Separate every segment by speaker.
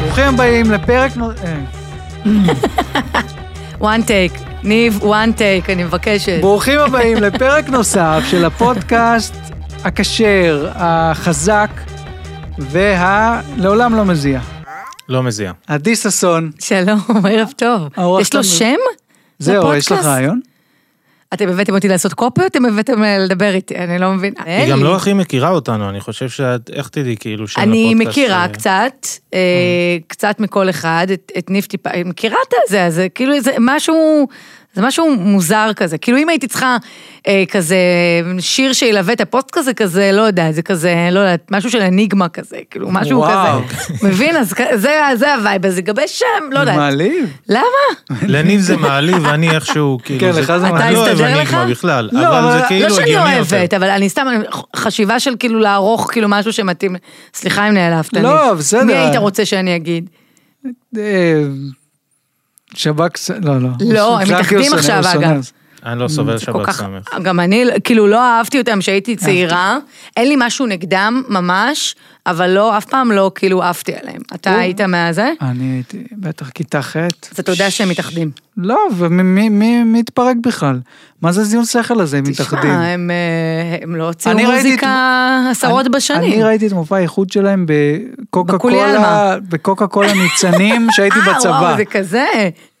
Speaker 1: ברוכים הבאים לפרק נו... אה,
Speaker 2: וואן טייק. ניב, וואן טייק, אני מבקשת.
Speaker 1: ברוכים הבאים לפרק נוסף של הפודקאסט הכשר, החזק וה... לעולם לא מזיע.
Speaker 3: לא מזיע.
Speaker 1: עדי ששון,
Speaker 2: שלום, ערב טוב.
Speaker 1: האורח
Speaker 2: יש לו
Speaker 1: שלנו.
Speaker 2: שם?
Speaker 1: זהו, יש לך
Speaker 2: לפודקאסט?
Speaker 1: רעיון?
Speaker 2: אתם הבאתם אותי לעשות קופי או אתם הבאתם אה, לדבר איתי? אני לא מבינה.
Speaker 3: היא גם לא הכי מכירה אותנו, אני חושב שאת, איך תדעי כאילו שם
Speaker 2: אני
Speaker 3: לפודקאסט,
Speaker 2: מכירה
Speaker 3: אה,
Speaker 2: קצת, אה, קצת מכל אחד, את- את ניב טיפה, אני מכירה את הזה, אז זה כאילו זה משהו, זה משהו מוזר כזה. כאילו אם הייתי צריכה אה, כזה שיר שילווה את הפוסט כזה, כזה, לא יודעת, זה כזה, לא יודעת, משהו של אניגמה כזה, כאילו משהו
Speaker 1: וואו.
Speaker 2: כזה. מבין? אז כ- זה, זה הווייב, אז לגבי שם, לא יודעת.
Speaker 1: מעליב?
Speaker 2: למה?
Speaker 3: לניב זה מעליב, אני איכשהו, כאילו...
Speaker 1: כן, לך זה
Speaker 2: אתה
Speaker 3: אני לא אוהב
Speaker 2: הסתדר
Speaker 3: אניגמה
Speaker 2: לך?
Speaker 3: בכלל,
Speaker 1: לא,
Speaker 3: אבל
Speaker 1: אבל-
Speaker 3: זה כאילו
Speaker 2: לא שאני
Speaker 3: הגיוני יותר.
Speaker 2: אוהבת, אבל אני סתם, אני- חשיבה של כאילו לערוך כאילו משהו שמתאים. סליחה אם נעלבת.
Speaker 1: לא,
Speaker 2: אני-
Speaker 1: בסדר.
Speaker 2: מי היית רוצה שאני אגיד?
Speaker 1: אה, שב"כ... ס- לא, לא.
Speaker 2: לא, הם
Speaker 1: שב"כ
Speaker 2: מתאחדים
Speaker 1: הוא שונא,
Speaker 2: עכשיו,
Speaker 1: הוא שונא.
Speaker 2: אגב.
Speaker 3: אני לא סובל
Speaker 2: Mm, זה כל
Speaker 3: שבת
Speaker 2: כך-
Speaker 3: סמך.
Speaker 2: גם אני, כאילו, לא אהבתי אותם כשהייתי צעירה. אין לי משהו נגדם, ממש, אבל לא, אף פעם לא, כאילו, עפתי עליהם. אתה היית מהזה?
Speaker 1: אני הייתי, בטח, כיתה ח'.
Speaker 2: אז אתה יודע שהם מתאחדים.
Speaker 1: לא, ומי מי- מי- מי התפרק בכלל? מה זה זיון שכל הזה, הם מתאחדים?
Speaker 2: תשמע, הם, אה, הם לא הוציאו
Speaker 1: אני ראיתי
Speaker 2: מוזיקה עשרות
Speaker 1: אני-
Speaker 2: בשנים.
Speaker 1: אני ראיתי את מופע האיחוד שלהם בקוקה
Speaker 2: בקולי
Speaker 1: קולה,
Speaker 2: עלמה.
Speaker 1: בקוקה קולה ניצנים שהייתי
Speaker 2: אה,
Speaker 1: בצבא.
Speaker 2: וואו, זה כזה.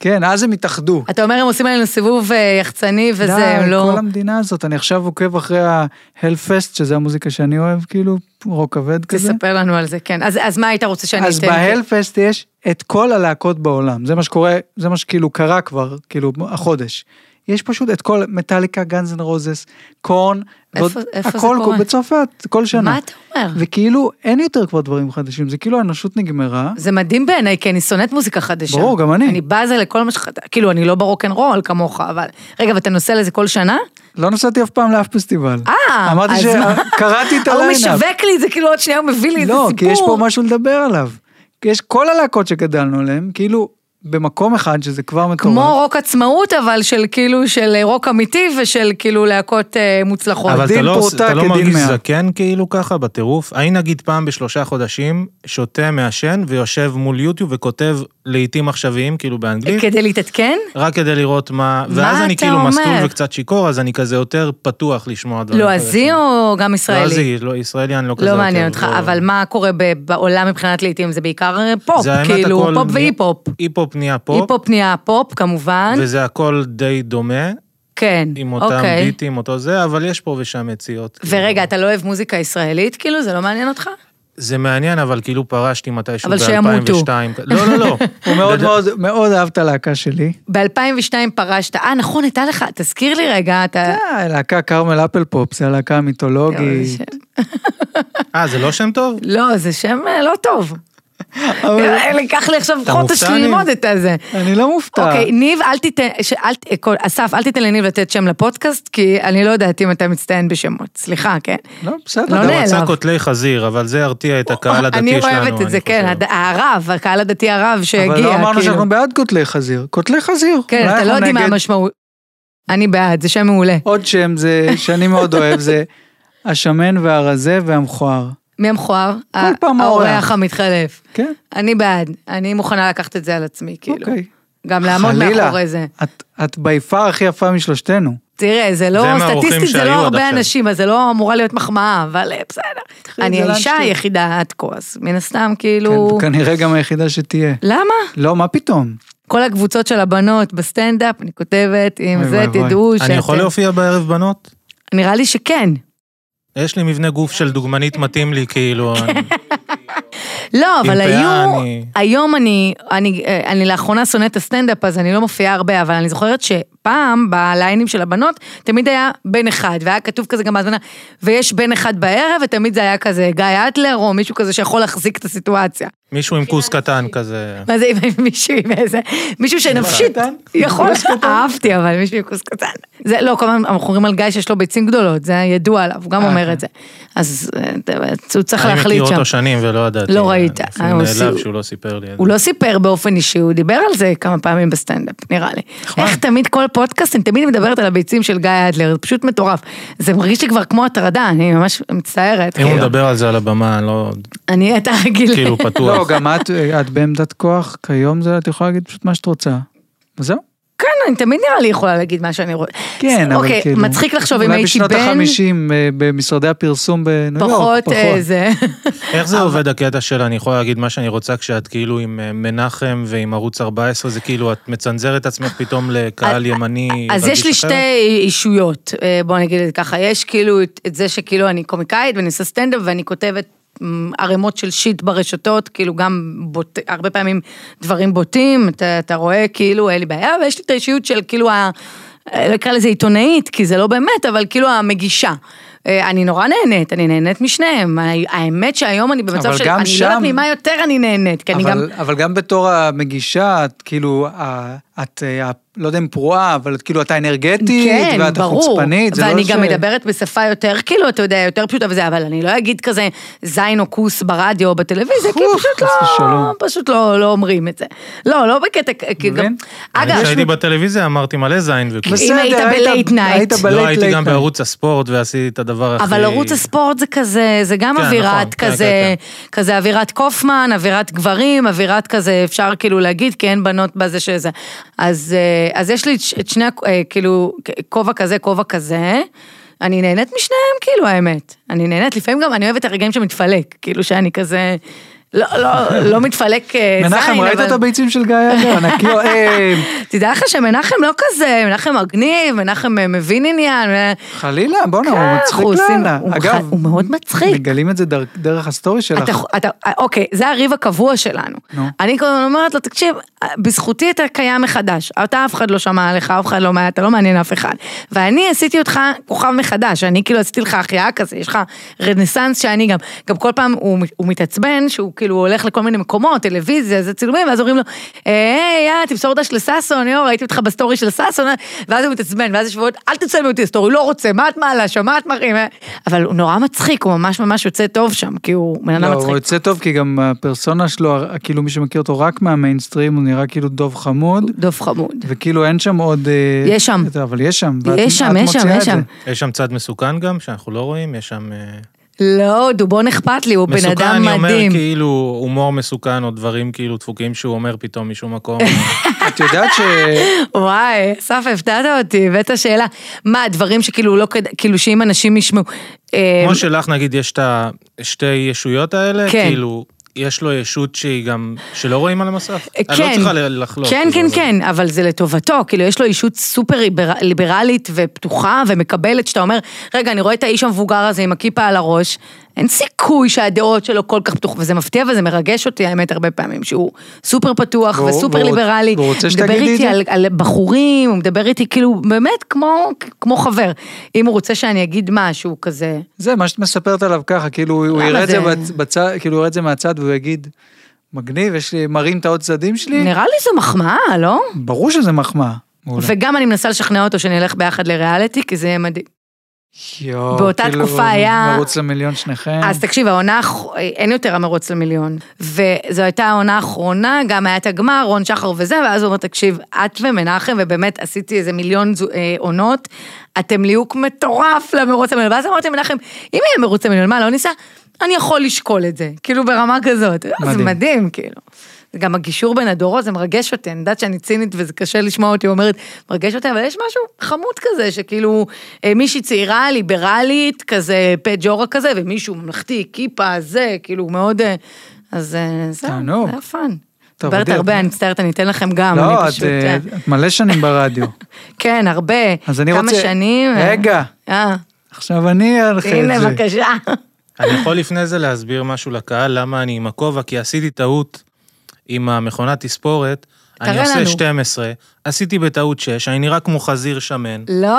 Speaker 1: כן, אז הם התאחדו.
Speaker 2: אתה אומר, הם עושים עלינו סיבוב אה, יחצני וזה, הם
Speaker 1: די,
Speaker 2: לא...
Speaker 1: כל המדינה הזאת, אני עכשיו עוקב אחרי ההלפסט, שזה המוזיקה שאני אוהב, כאילו, רוק כבד כזה.
Speaker 2: תספר לנו על זה, כן. אז, אז מה היית רוצה שאני
Speaker 1: אז
Speaker 2: אתן?
Speaker 1: בהלפסט יש את כל הלהקות בעולם, זה מה שקורה, זה מה שכאילו קרה כבר, כאילו החודש. יש פשוט את כל מטאליקה, גאנז אנד רוזס, קורן,
Speaker 2: איפה-
Speaker 1: ועוד-
Speaker 2: איפה זה
Speaker 1: הכל
Speaker 2: קורה?
Speaker 1: בצרפת, כל שנה.
Speaker 2: מה אתה אומר?
Speaker 1: וכאילו אין יותר כבר דברים חדשים, זה כאילו האנושות נגמרה.
Speaker 2: זה מדהים בעיניי, כי אני שונאת מוזיקה חדשה.
Speaker 1: ברור, גם אני.
Speaker 2: אני בזה לכל מה שחדש, כאילו, אני לא ברוקנרול כמוך, אבל... רגע, ואתה נוסע לזה כל שנה?
Speaker 1: לא נסעתי אף פעם לאף פסטיבל.
Speaker 2: אה,
Speaker 1: אמרתי
Speaker 2: אז מה?
Speaker 1: שקראתי את
Speaker 2: הוא
Speaker 1: הליינאפ.
Speaker 2: משווק לי את זה, כאילו, עוד שנייה הוא מביא לי איזה סיפור.
Speaker 1: לא, כי יש פה משהו לדבר עליו. כי יש כל הלהקות שגדלנו עליהן, כאילו במקום אחד שזה כבר מטורף.
Speaker 3: אה?
Speaker 2: כמו רוק עצמאות, אבל של כאילו, של רוק אמיתי ושל כאילו להקות אה, מוצלחות.
Speaker 3: אבל
Speaker 1: דין
Speaker 3: אתה לא,
Speaker 1: פרוטה
Speaker 3: אתה לא
Speaker 1: כדין
Speaker 3: מרגיש
Speaker 1: מאה.
Speaker 3: זקן כאילו ככה בטירוף? אני נגיד פעם בשלושה חודשים שותה, מעשן ויושב מול יוטיוב וכותב לעיתים עכשוויים כאילו באנגלית,
Speaker 2: כדי להתעדכן?
Speaker 3: רק כדי לראות מה, ואז
Speaker 2: מה
Speaker 3: אני
Speaker 2: אתה
Speaker 3: כאילו
Speaker 2: אומר?
Speaker 3: מסלול וקצת שיכור, אז אני כזה יותר פתוח לשמוע דברים.
Speaker 2: לועזי
Speaker 3: חדשים.
Speaker 2: או לא, גם ישראלי?
Speaker 3: לועזי, לא, ישראלי אני לא כזה
Speaker 2: לא
Speaker 3: יותר.
Speaker 2: מעניין אותך,
Speaker 3: לא-
Speaker 2: אבל מה קורה ב- בעולם מבחינת לעיתים? זה בעיקר אה, פופ,
Speaker 3: זה האמת,
Speaker 2: כאילו,
Speaker 3: הכל
Speaker 2: פופ
Speaker 3: נהיה-
Speaker 2: ואי-פופ.
Speaker 3: אי-פופ נהיה פופ,
Speaker 2: אי-פופ נהיה פופ, כמובן.
Speaker 3: וזה הכל די דומה,
Speaker 2: כן,
Speaker 3: עם אותם
Speaker 2: אוקיי.
Speaker 3: ביטים, אותו זה, אבל יש פה ושם יציאות.
Speaker 2: ורגע, אתה לא אוהב מוזיקה ישראלית? כאילו, זה לא מעניין אותך?
Speaker 3: זה מעניין, אבל כאילו פרשתי מתישהו
Speaker 2: אבל שימותו.
Speaker 3: ב-2002. לא, לא, לא.
Speaker 1: הוא מאוד מאוד מאוד אהב את הלהקה שלי.
Speaker 2: ב-2002 פרשת, אה, נכון, הייתה לך, תזכיר לי רגע, אתה...
Speaker 1: אה, להקה כרמל אפל פופ, זה הלהקה
Speaker 2: לא,
Speaker 1: המיתולוגית.
Speaker 2: זה שם-
Speaker 3: אה, זה לא שם טוב?
Speaker 2: לא, זה שם אה, לא טוב.
Speaker 1: אבל
Speaker 2: אה, לקח לי עכשיו
Speaker 3: אתה
Speaker 2: חודש
Speaker 3: מופתע, ניב?
Speaker 2: ללמוד את הזה.
Speaker 1: אני לא מופתע.
Speaker 2: אוקיי, ניב, אל תיתן, ש- אל ת- כל- אסף, אל תיתן לניב לתת שם לפודקאסט, כי אני לא יודעת אם אתה מצטיין בשמות. סליחה, כן?
Speaker 1: לא, בסדר.
Speaker 2: לא
Speaker 1: אבל-
Speaker 3: הוא
Speaker 2: נעלב.
Speaker 3: רצה כותלי חזיר, אבל זה ירתיע את הקהל הדתי שלנו.
Speaker 2: אני אוהבת את זה, כן,
Speaker 3: חושב.
Speaker 2: הד- הרב, הקהל הדתי הרב שהגיע,
Speaker 1: אבל לא אמרנו
Speaker 2: כאילו.
Speaker 1: שאנחנו בעד קוטלי חזיר. קוטלי חזיר.
Speaker 2: כן,
Speaker 1: אולי
Speaker 2: אתה
Speaker 1: אנחנו
Speaker 2: לא יודעים מה
Speaker 1: נגד.
Speaker 2: המשמעות. אני בעד, זה שם מעולה.
Speaker 1: עוד שם זה, שאני מאוד אוהב, זה השמן והרזה והמכוער.
Speaker 2: מי המכוער? ה-
Speaker 1: פעם האורח.
Speaker 2: האורח המתחלף.
Speaker 1: כן,
Speaker 2: אני בעד, אני מוכנה לקחת את זה על עצמי, כאילו.
Speaker 1: אוקיי.
Speaker 2: גם לעמוד
Speaker 1: חלילה,
Speaker 2: מאחורי זה.
Speaker 1: את- את בי פאר הכי יפה משלושתנו.
Speaker 2: תראה, זה
Speaker 3: זה
Speaker 2: לא,
Speaker 3: מהאורחים
Speaker 2: סטטיסטית זה
Speaker 3: שהיו
Speaker 2: לא
Speaker 3: עד
Speaker 2: הרבה
Speaker 3: עכשיו.
Speaker 2: אנשים, אז זה לא אמורה להיות מחמאה, אבל אה, בסדר.
Speaker 1: את
Speaker 2: אני
Speaker 1: זה
Speaker 2: האישה
Speaker 1: לאנשטיין.
Speaker 2: היחידה עד כה, אז מן הסתם, כאילו...
Speaker 1: כן, כנראה גם היחידה שתהיה.
Speaker 2: למה?
Speaker 1: לא, מה פתאום?
Speaker 2: כל הקבוצות של הבנות בסטנדאפ, אני כותבת, אם
Speaker 1: אוי,
Speaker 2: זה,
Speaker 1: וואי,
Speaker 2: תדעו אה,
Speaker 3: אני יכול להופיע בערב בנות?
Speaker 2: נראה לי שכן.
Speaker 3: יש לי מבנה גוף של דוגמנית מתאים לי, כאילו, אני-
Speaker 2: כן. לא, אבל
Speaker 3: פאה
Speaker 2: היו,
Speaker 3: אני-
Speaker 2: היום אני, אני, אה, אני לאחרונה שונאת את הסטנדאפ, אז אני לא מופיעה הרבה, אבל אני זוכרת שפעם, בליינים של הבנות, תמיד היה בן אחד, והיה כתוב כזה גם בהזמנה, ויש בן אחד בערב, ותמיד זה היה כזה גיא אטלר, או מישהו כזה שיכול להחזיק את הסיטואציה.
Speaker 3: מישהו עם כוס קטן כזה.
Speaker 2: מה זה עם מישהו עם איזה, מישהו שנפשית,
Speaker 1: קטן?
Speaker 2: יכול, אהבתי אבל מישהו עם כוס קטן. זה לא, כל הזמן אנחנו אומרים על גיא שיש לו ביצים גדולות, זה ידוע עליו, הוא גם
Speaker 1: אה,
Speaker 2: אומר
Speaker 1: כן.
Speaker 2: את זה. אז אה, הוא צריך
Speaker 3: אני
Speaker 2: להחליט
Speaker 3: מכיר
Speaker 2: שם.
Speaker 3: אותו שנים ולא ידעתי.
Speaker 2: לא ראית.
Speaker 3: אני
Speaker 2: אה, הוא
Speaker 3: אפילו נעלב
Speaker 2: עשו-
Speaker 3: שהוא לא סיפר לי את זה.
Speaker 1: נכון.
Speaker 2: הוא לא סיפר באופן אישי, הוא דיבר על זה כמה פעמים בסטנדאפ, נראה לי. איך תמיד כל הפודקאסט, אני תמיד מדברת על הביצים של גיא אדלר, זה פשוט מטורף. זה מרגיש לי כבר כמו הטרדה, אני ממש מצטערת.
Speaker 3: אם הוא
Speaker 2: כאילו.
Speaker 3: מדבר על זה על הבמה, אני לא...
Speaker 2: אני, אתה רגיל.
Speaker 3: כאילו פתוח.
Speaker 1: לא, גם את, את בעמדת כוח, כיום זה, את יכולה להגיד פשוט מה שאת רוצה. וזהו.
Speaker 2: כן, אני תמיד נראה לי יכולה להגיד מה שאני רוצה.
Speaker 1: כן, אבל
Speaker 2: אוקיי,
Speaker 1: כאילו...
Speaker 2: מצחיק לחשוב אם הייתי
Speaker 1: אולי בשנות
Speaker 2: בן,
Speaker 1: החמישים לא, אה, במשרדי הפרסום בניו יורק,
Speaker 2: פחות אה, זה.
Speaker 3: איך זה עובד הקטע של אני יכולה להגיד מה שאני רוצה כשאת כאילו עם אה, מנחם ועם ערוץ 14, זה כאילו את מצנזרת את עצמך פתאום לקהל ימני.
Speaker 2: אז
Speaker 3: רגיש
Speaker 2: יש לי
Speaker 3: אחרת?
Speaker 2: שתי אישויות, אה, בוא נגיד את זה ככה, יש כאילו את, את זה שכאילו אני קומיקאית ואני עושה סטנדאפ ואני כותבת מ, ערימות של שיט ברשתות, כאילו גם בוט, הרבה פעמים דברים בוטים, אתה, אתה רואה כאילו אין לי בעיה, ויש לי את האישיות של כאילו, ה- אה, לא אקרא לזה עיתונאית, כי זה לא באמת, אבל כאילו המגישה. אה, אני נורא נהנית, אני נהנית משניהם, ה- האמת שהיום אני במצב
Speaker 1: אבל
Speaker 2: של,
Speaker 1: גם
Speaker 2: אני לא
Speaker 1: שם-
Speaker 2: יודעת ממה יותר אני נהנית, כי אני גם...
Speaker 1: אבל, אבל גם בתור המגישה, את כאילו, ה- את, אה, לא יודע אם פרועה, אבל את כאילו, את האנרגטית,
Speaker 2: כן,
Speaker 1: ואת
Speaker 2: ברור.
Speaker 1: החוצפנית, זה לא
Speaker 2: ואני
Speaker 1: ש-
Speaker 2: גם מדברת בשפה יותר, כאילו, אתה יודע, יותר פשוטה וזה, אבל אני לא אגיד כזה זין או כוס ברדיו או בטלוויזיה, כי
Speaker 1: אוף, חס
Speaker 2: פשוט לא,
Speaker 1: ושלום.
Speaker 2: פשוט לא, לא אומרים את זה. לא, לא בקטע, כאילו, גם-
Speaker 1: מבין?
Speaker 2: אגב,
Speaker 3: אני כשהייתי בטלוויזיה אמרתי מלא זין וכאילו.
Speaker 1: בסדר,
Speaker 2: היית
Speaker 1: היית-
Speaker 2: ב-late night.
Speaker 1: היית ב-late
Speaker 3: לא, הייתי
Speaker 1: late
Speaker 3: גם
Speaker 1: night.
Speaker 3: בערוץ הספורט ועשיתי את הדבר הכי...
Speaker 2: אבל ערוץ הספורט זה כזה, זה גם
Speaker 3: כן, נכון,
Speaker 2: אווירת
Speaker 3: כן,
Speaker 2: כזה, כזה אווירת קופמן, אווירת גברים, אווירת כזה, אפשר כאילו להגיד, כי אין בנות בזה שזה. אז אה, אז יש לי את ש- את שני, הכ- אה, כאילו, כ- כובע כזה, כובע כזה. אני נהנית משניהם, כאילו, האמת. אני נהנית, לפעמים גם אני אוהבת את הרגעים שמתפלק, כאילו שאני כזה, לא, לא, לא מתפלק אה, זין, אבל...
Speaker 1: מנחם, ראית את הביצים של גיא אגר? ענקי, אה,
Speaker 2: תדע לך שמנחם לא כזה, מנחם מגניב, מנחם אה, מבין עניין. אה,
Speaker 1: חלילה, בואנה,
Speaker 2: כן,
Speaker 1: הוא
Speaker 2: אנחנו
Speaker 1: מצחיק
Speaker 2: עושים-
Speaker 1: לאללה.
Speaker 2: הוא ח-
Speaker 1: אגב,
Speaker 2: הוא מאוד מצחיק.
Speaker 1: מגלים את זה דרך- דרך הסטורי שלך.
Speaker 2: אתה, אתה, אוקיי, זה הריב הקבוע שלנו.
Speaker 1: נו.
Speaker 2: אני כל הזמן אומרת לו, תקשיב, בזכותי אתה קיים מחדש. אתה אף אחד לא שמע עליך, אף אחד לא מעניין, אתה לא מעניין אף אחד. ואני עשיתי אותך כוכב מחדש, אני כאילו עשיתי לך החייאה כזה, יש לך רנסאנס שאני גם, גם כל פעם הוא, הוא מתעצבן, שהוא כאילו הולך לכל מיני מקומות, טלוויזיה, זה צילומים, ואז אומרים לו, היי, יא, תמסור דש לששון, יו, ראיתי אותך בסטורי של ששון, ואז הוא מתעצבן, ואז יש שבועות, אל תצלמי אותי סטורי, לא רוצה, מה את מעלה שם, מה את מראים? אבל הוא נורא מצחיק, הוא ממש ממש יוצא טוב שם, כי הוא בן
Speaker 1: לא,
Speaker 2: אדם מצחיק.
Speaker 1: הוא יוצא טוב, כי גם הפרסונה שלו, כאילו מי שמכיר אותו רק מהמיינסטרים, הוא נראה כאילו דוב חמוד,
Speaker 2: דוב חמוד.
Speaker 1: וכאילו אין שם עוד... אה,
Speaker 2: יש שם.
Speaker 1: יותר, אבל יש שם. ואת-
Speaker 2: יש שם,
Speaker 1: את
Speaker 2: יש שם,
Speaker 1: מוציאה
Speaker 2: יש
Speaker 1: את
Speaker 2: שם.
Speaker 1: זה.
Speaker 3: יש שם צד מסוכן גם, שאנחנו לא רואים, יש שם... אה,
Speaker 2: לא, דובון אכפת לי, הוא בן
Speaker 3: מסוכן,
Speaker 2: אדם
Speaker 3: אני אומר
Speaker 2: מדהים.
Speaker 3: כאילו הומור מסוכן או דברים כאילו דפוקים שהוא אומר פתאום משום מקום.
Speaker 1: את יודעת ש...
Speaker 2: וואי, אסף, הפתעת אותי, הבאת שאלה. מה, דברים שכאילו לא כדאי, כאילו שאם אנשים ישמעו. אה,
Speaker 3: כמו שלך נגיד יש את השתי ישויות האלה,
Speaker 2: כן.
Speaker 3: כאילו יש לו ישות שהיא גם, שלא רואים על המסך.
Speaker 2: אה,
Speaker 3: אני לא צריכה ל- לחלוק.
Speaker 2: כן, כן,
Speaker 3: כאילו, אבל-
Speaker 2: כן, אבל זה לטובתו, כאילו יש לו אישות סופר ליבר- ליברלית ופתוחה ומקבלת, שאתה אומר, רגע, אני רואה את האיש המבוגר הזה עם הכיפה על הראש, אין סיכוי שהדעות שלו כל כך פתוחות, וזה מפתיע וזה מרגש אותי, האמת, הרבה פעמים, שהוא סופר פתוח
Speaker 1: והוא-
Speaker 2: וסופר
Speaker 1: והוא-
Speaker 2: ליברלי,
Speaker 1: והוא רוצה
Speaker 2: מדבר
Speaker 1: שתגידי את
Speaker 2: איתי
Speaker 1: זה?
Speaker 2: על, על בחורים, הוא מדבר איתי כאילו, באמת כמו, כמו חבר. אם הוא רוצה שאני אגיד משהו כזה,
Speaker 1: זה, מה שאת מספרת עליו ככה, כאילו הוא
Speaker 2: למה
Speaker 1: יראה את זה
Speaker 2: זה-
Speaker 1: בצ- בצד, כאילו הוא יראה את זה מהצד והוא יגיד, מגניב, יש לי, מרים את העוד צדדים שלי?
Speaker 2: נראה לי זו מחמאה, לא?
Speaker 1: ברור שזה מחמאה. מעולה.
Speaker 2: וגם אני מנסה לשכנע אותו שנלך ביחד לריאליטי, כי זה יהיה מדהים.
Speaker 1: יואו,
Speaker 2: באותה
Speaker 1: כאילו,
Speaker 2: תקופה היה-
Speaker 1: מרוץ למיליון שניכם.
Speaker 2: אז תקשיב, העונה, האח- אין יותר המרוץ למיליון. וזו הייתה העונה האחרונה, גם היה את הגמר, רון שחר וזה, ואז הוא אומר, תקשיב, את ומנחם, ובאמת עשיתי איזה מיליון זו- אה, עונות, אתם ליהוק מטורף למרוץ למיליון. ואז אמרתי למנחם, אם יהיה מרוץ למיליון, מה, לא ניסע? אני יכול לשקול את זה, כאילו ברמה כזאת. מדהים. זה
Speaker 1: מדהים.
Speaker 2: מדהים, כאילו. זה גם הגישור בין הדורות, זה מרגש אותי, אני יודעת שאני צינית וזה קשה לשמוע אותי אומרת, מרגש אותי, אבל יש משהו חמוד כזה, שכאילו אה, מישהי צעירה, ליברלית, כזה פג'ורה כזה, ומישהו ממלכתי, כיפה, זה, כאילו מאוד... אה, אז אה, זהו,
Speaker 1: תענוג.
Speaker 2: זה היה פאן.
Speaker 1: טוב,
Speaker 2: מדברת
Speaker 1: עדי,
Speaker 2: הרבה,
Speaker 1: את-
Speaker 2: אני מצטערת, אני אתן לכם גם,
Speaker 1: לא,
Speaker 2: אני
Speaker 1: את,
Speaker 2: פשוט...
Speaker 1: אה,
Speaker 2: אה,
Speaker 1: את מלא שנים ברדיו.
Speaker 2: כן, הרבה.
Speaker 1: אז אני
Speaker 2: כמה
Speaker 1: רוצה-
Speaker 2: שנים. אה,
Speaker 1: רגע.
Speaker 2: אה,
Speaker 1: עכשיו אני אראה לך את
Speaker 2: הנה,
Speaker 1: זה.
Speaker 2: בבקשה. כן.
Speaker 3: אני יכול לפני זה להסביר משהו לקהל, למה אני עם הכובע, כי עשיתי טעות עם המכונת תספורת.
Speaker 2: תראה
Speaker 3: אני עושה
Speaker 2: לנו.
Speaker 3: 12, עשיתי בטעות 6, אני נראה כמו חזיר שמן.
Speaker 2: לא,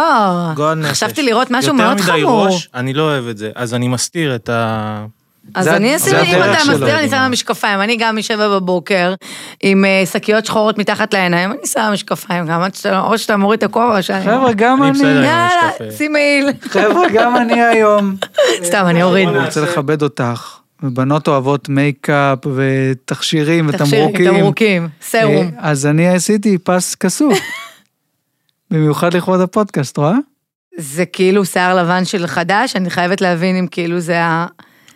Speaker 3: גועל נפש.
Speaker 2: חשבתי לראות משהו מאוד
Speaker 3: יותר מדי
Speaker 2: חמור.
Speaker 3: ראש, אני לא אוהב את זה, אז אני מסתיר את ה...
Speaker 2: אז
Speaker 1: זה-
Speaker 2: אני
Speaker 1: זה
Speaker 2: אשים, אם
Speaker 1: הדרך
Speaker 2: אתה
Speaker 1: שלו,
Speaker 2: מסתיר, אני
Speaker 3: אני
Speaker 2: שמה
Speaker 3: אומר.
Speaker 2: משקפיים. אני גם משבע בבוקר, עם אה, שקיות שחורות מתחת לעיניים, אני שמה משקפיים, גם עד שאתה, או שאתה מוריד את הכובע, או שאני...
Speaker 1: חבר'ה, גם
Speaker 3: אני
Speaker 1: אני,
Speaker 3: בסדר.
Speaker 2: יאללה,
Speaker 3: משקפיים.
Speaker 2: שים מעיל.
Speaker 1: חבר'ה, גם אני היום.
Speaker 2: סתם, אני אוריד.
Speaker 1: אני רוצה לכבד אותך. ובנות אוהבות מייקאפ ותכשירים
Speaker 2: תכשירים,
Speaker 1: ותמרוקים.
Speaker 2: אה, תמרוקים, סרום.
Speaker 1: אה, אז אני עשיתי פס כסוף. במיוחד לכבוד הפודקאסט, רואה?
Speaker 2: זה כאילו שיער לבן של חדש, אני חייבת להבין אם כאילו זה ה...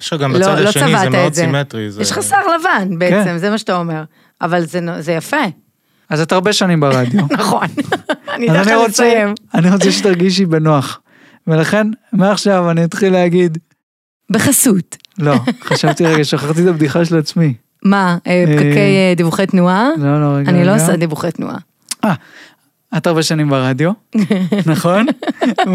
Speaker 3: יש לך גם
Speaker 2: לא-
Speaker 3: בצד
Speaker 2: לא
Speaker 3: השני,
Speaker 2: צבעת
Speaker 3: זה
Speaker 2: את
Speaker 3: מאוד
Speaker 2: זה.
Speaker 3: סימטרי. זה-
Speaker 2: יש לך שיער לבן בעצם, זה מה שאתה אומר. אבל זה נו- זה יפה,
Speaker 1: אז את הרבה שנים ברדיו.
Speaker 2: נכון. אני
Speaker 1: אז
Speaker 2: אדע לך
Speaker 1: רוצה,
Speaker 2: לסיים.
Speaker 1: אני רוצה שתרגישי בנוח. ולכן, מעכשיו אני אתחיל להגיד,
Speaker 2: בחסות.
Speaker 1: לא, חשבתי רגע, שכחתי את הבדיחה של עצמי.
Speaker 2: מה, אה,
Speaker 1: אה,
Speaker 2: פקקי אה, דיווחי תנועה?
Speaker 1: לא, לא, רגע.
Speaker 2: אני לא
Speaker 1: רגע.
Speaker 2: עושה דיווחי תנועה.
Speaker 1: את הרבה שנים ברדיו, נכון?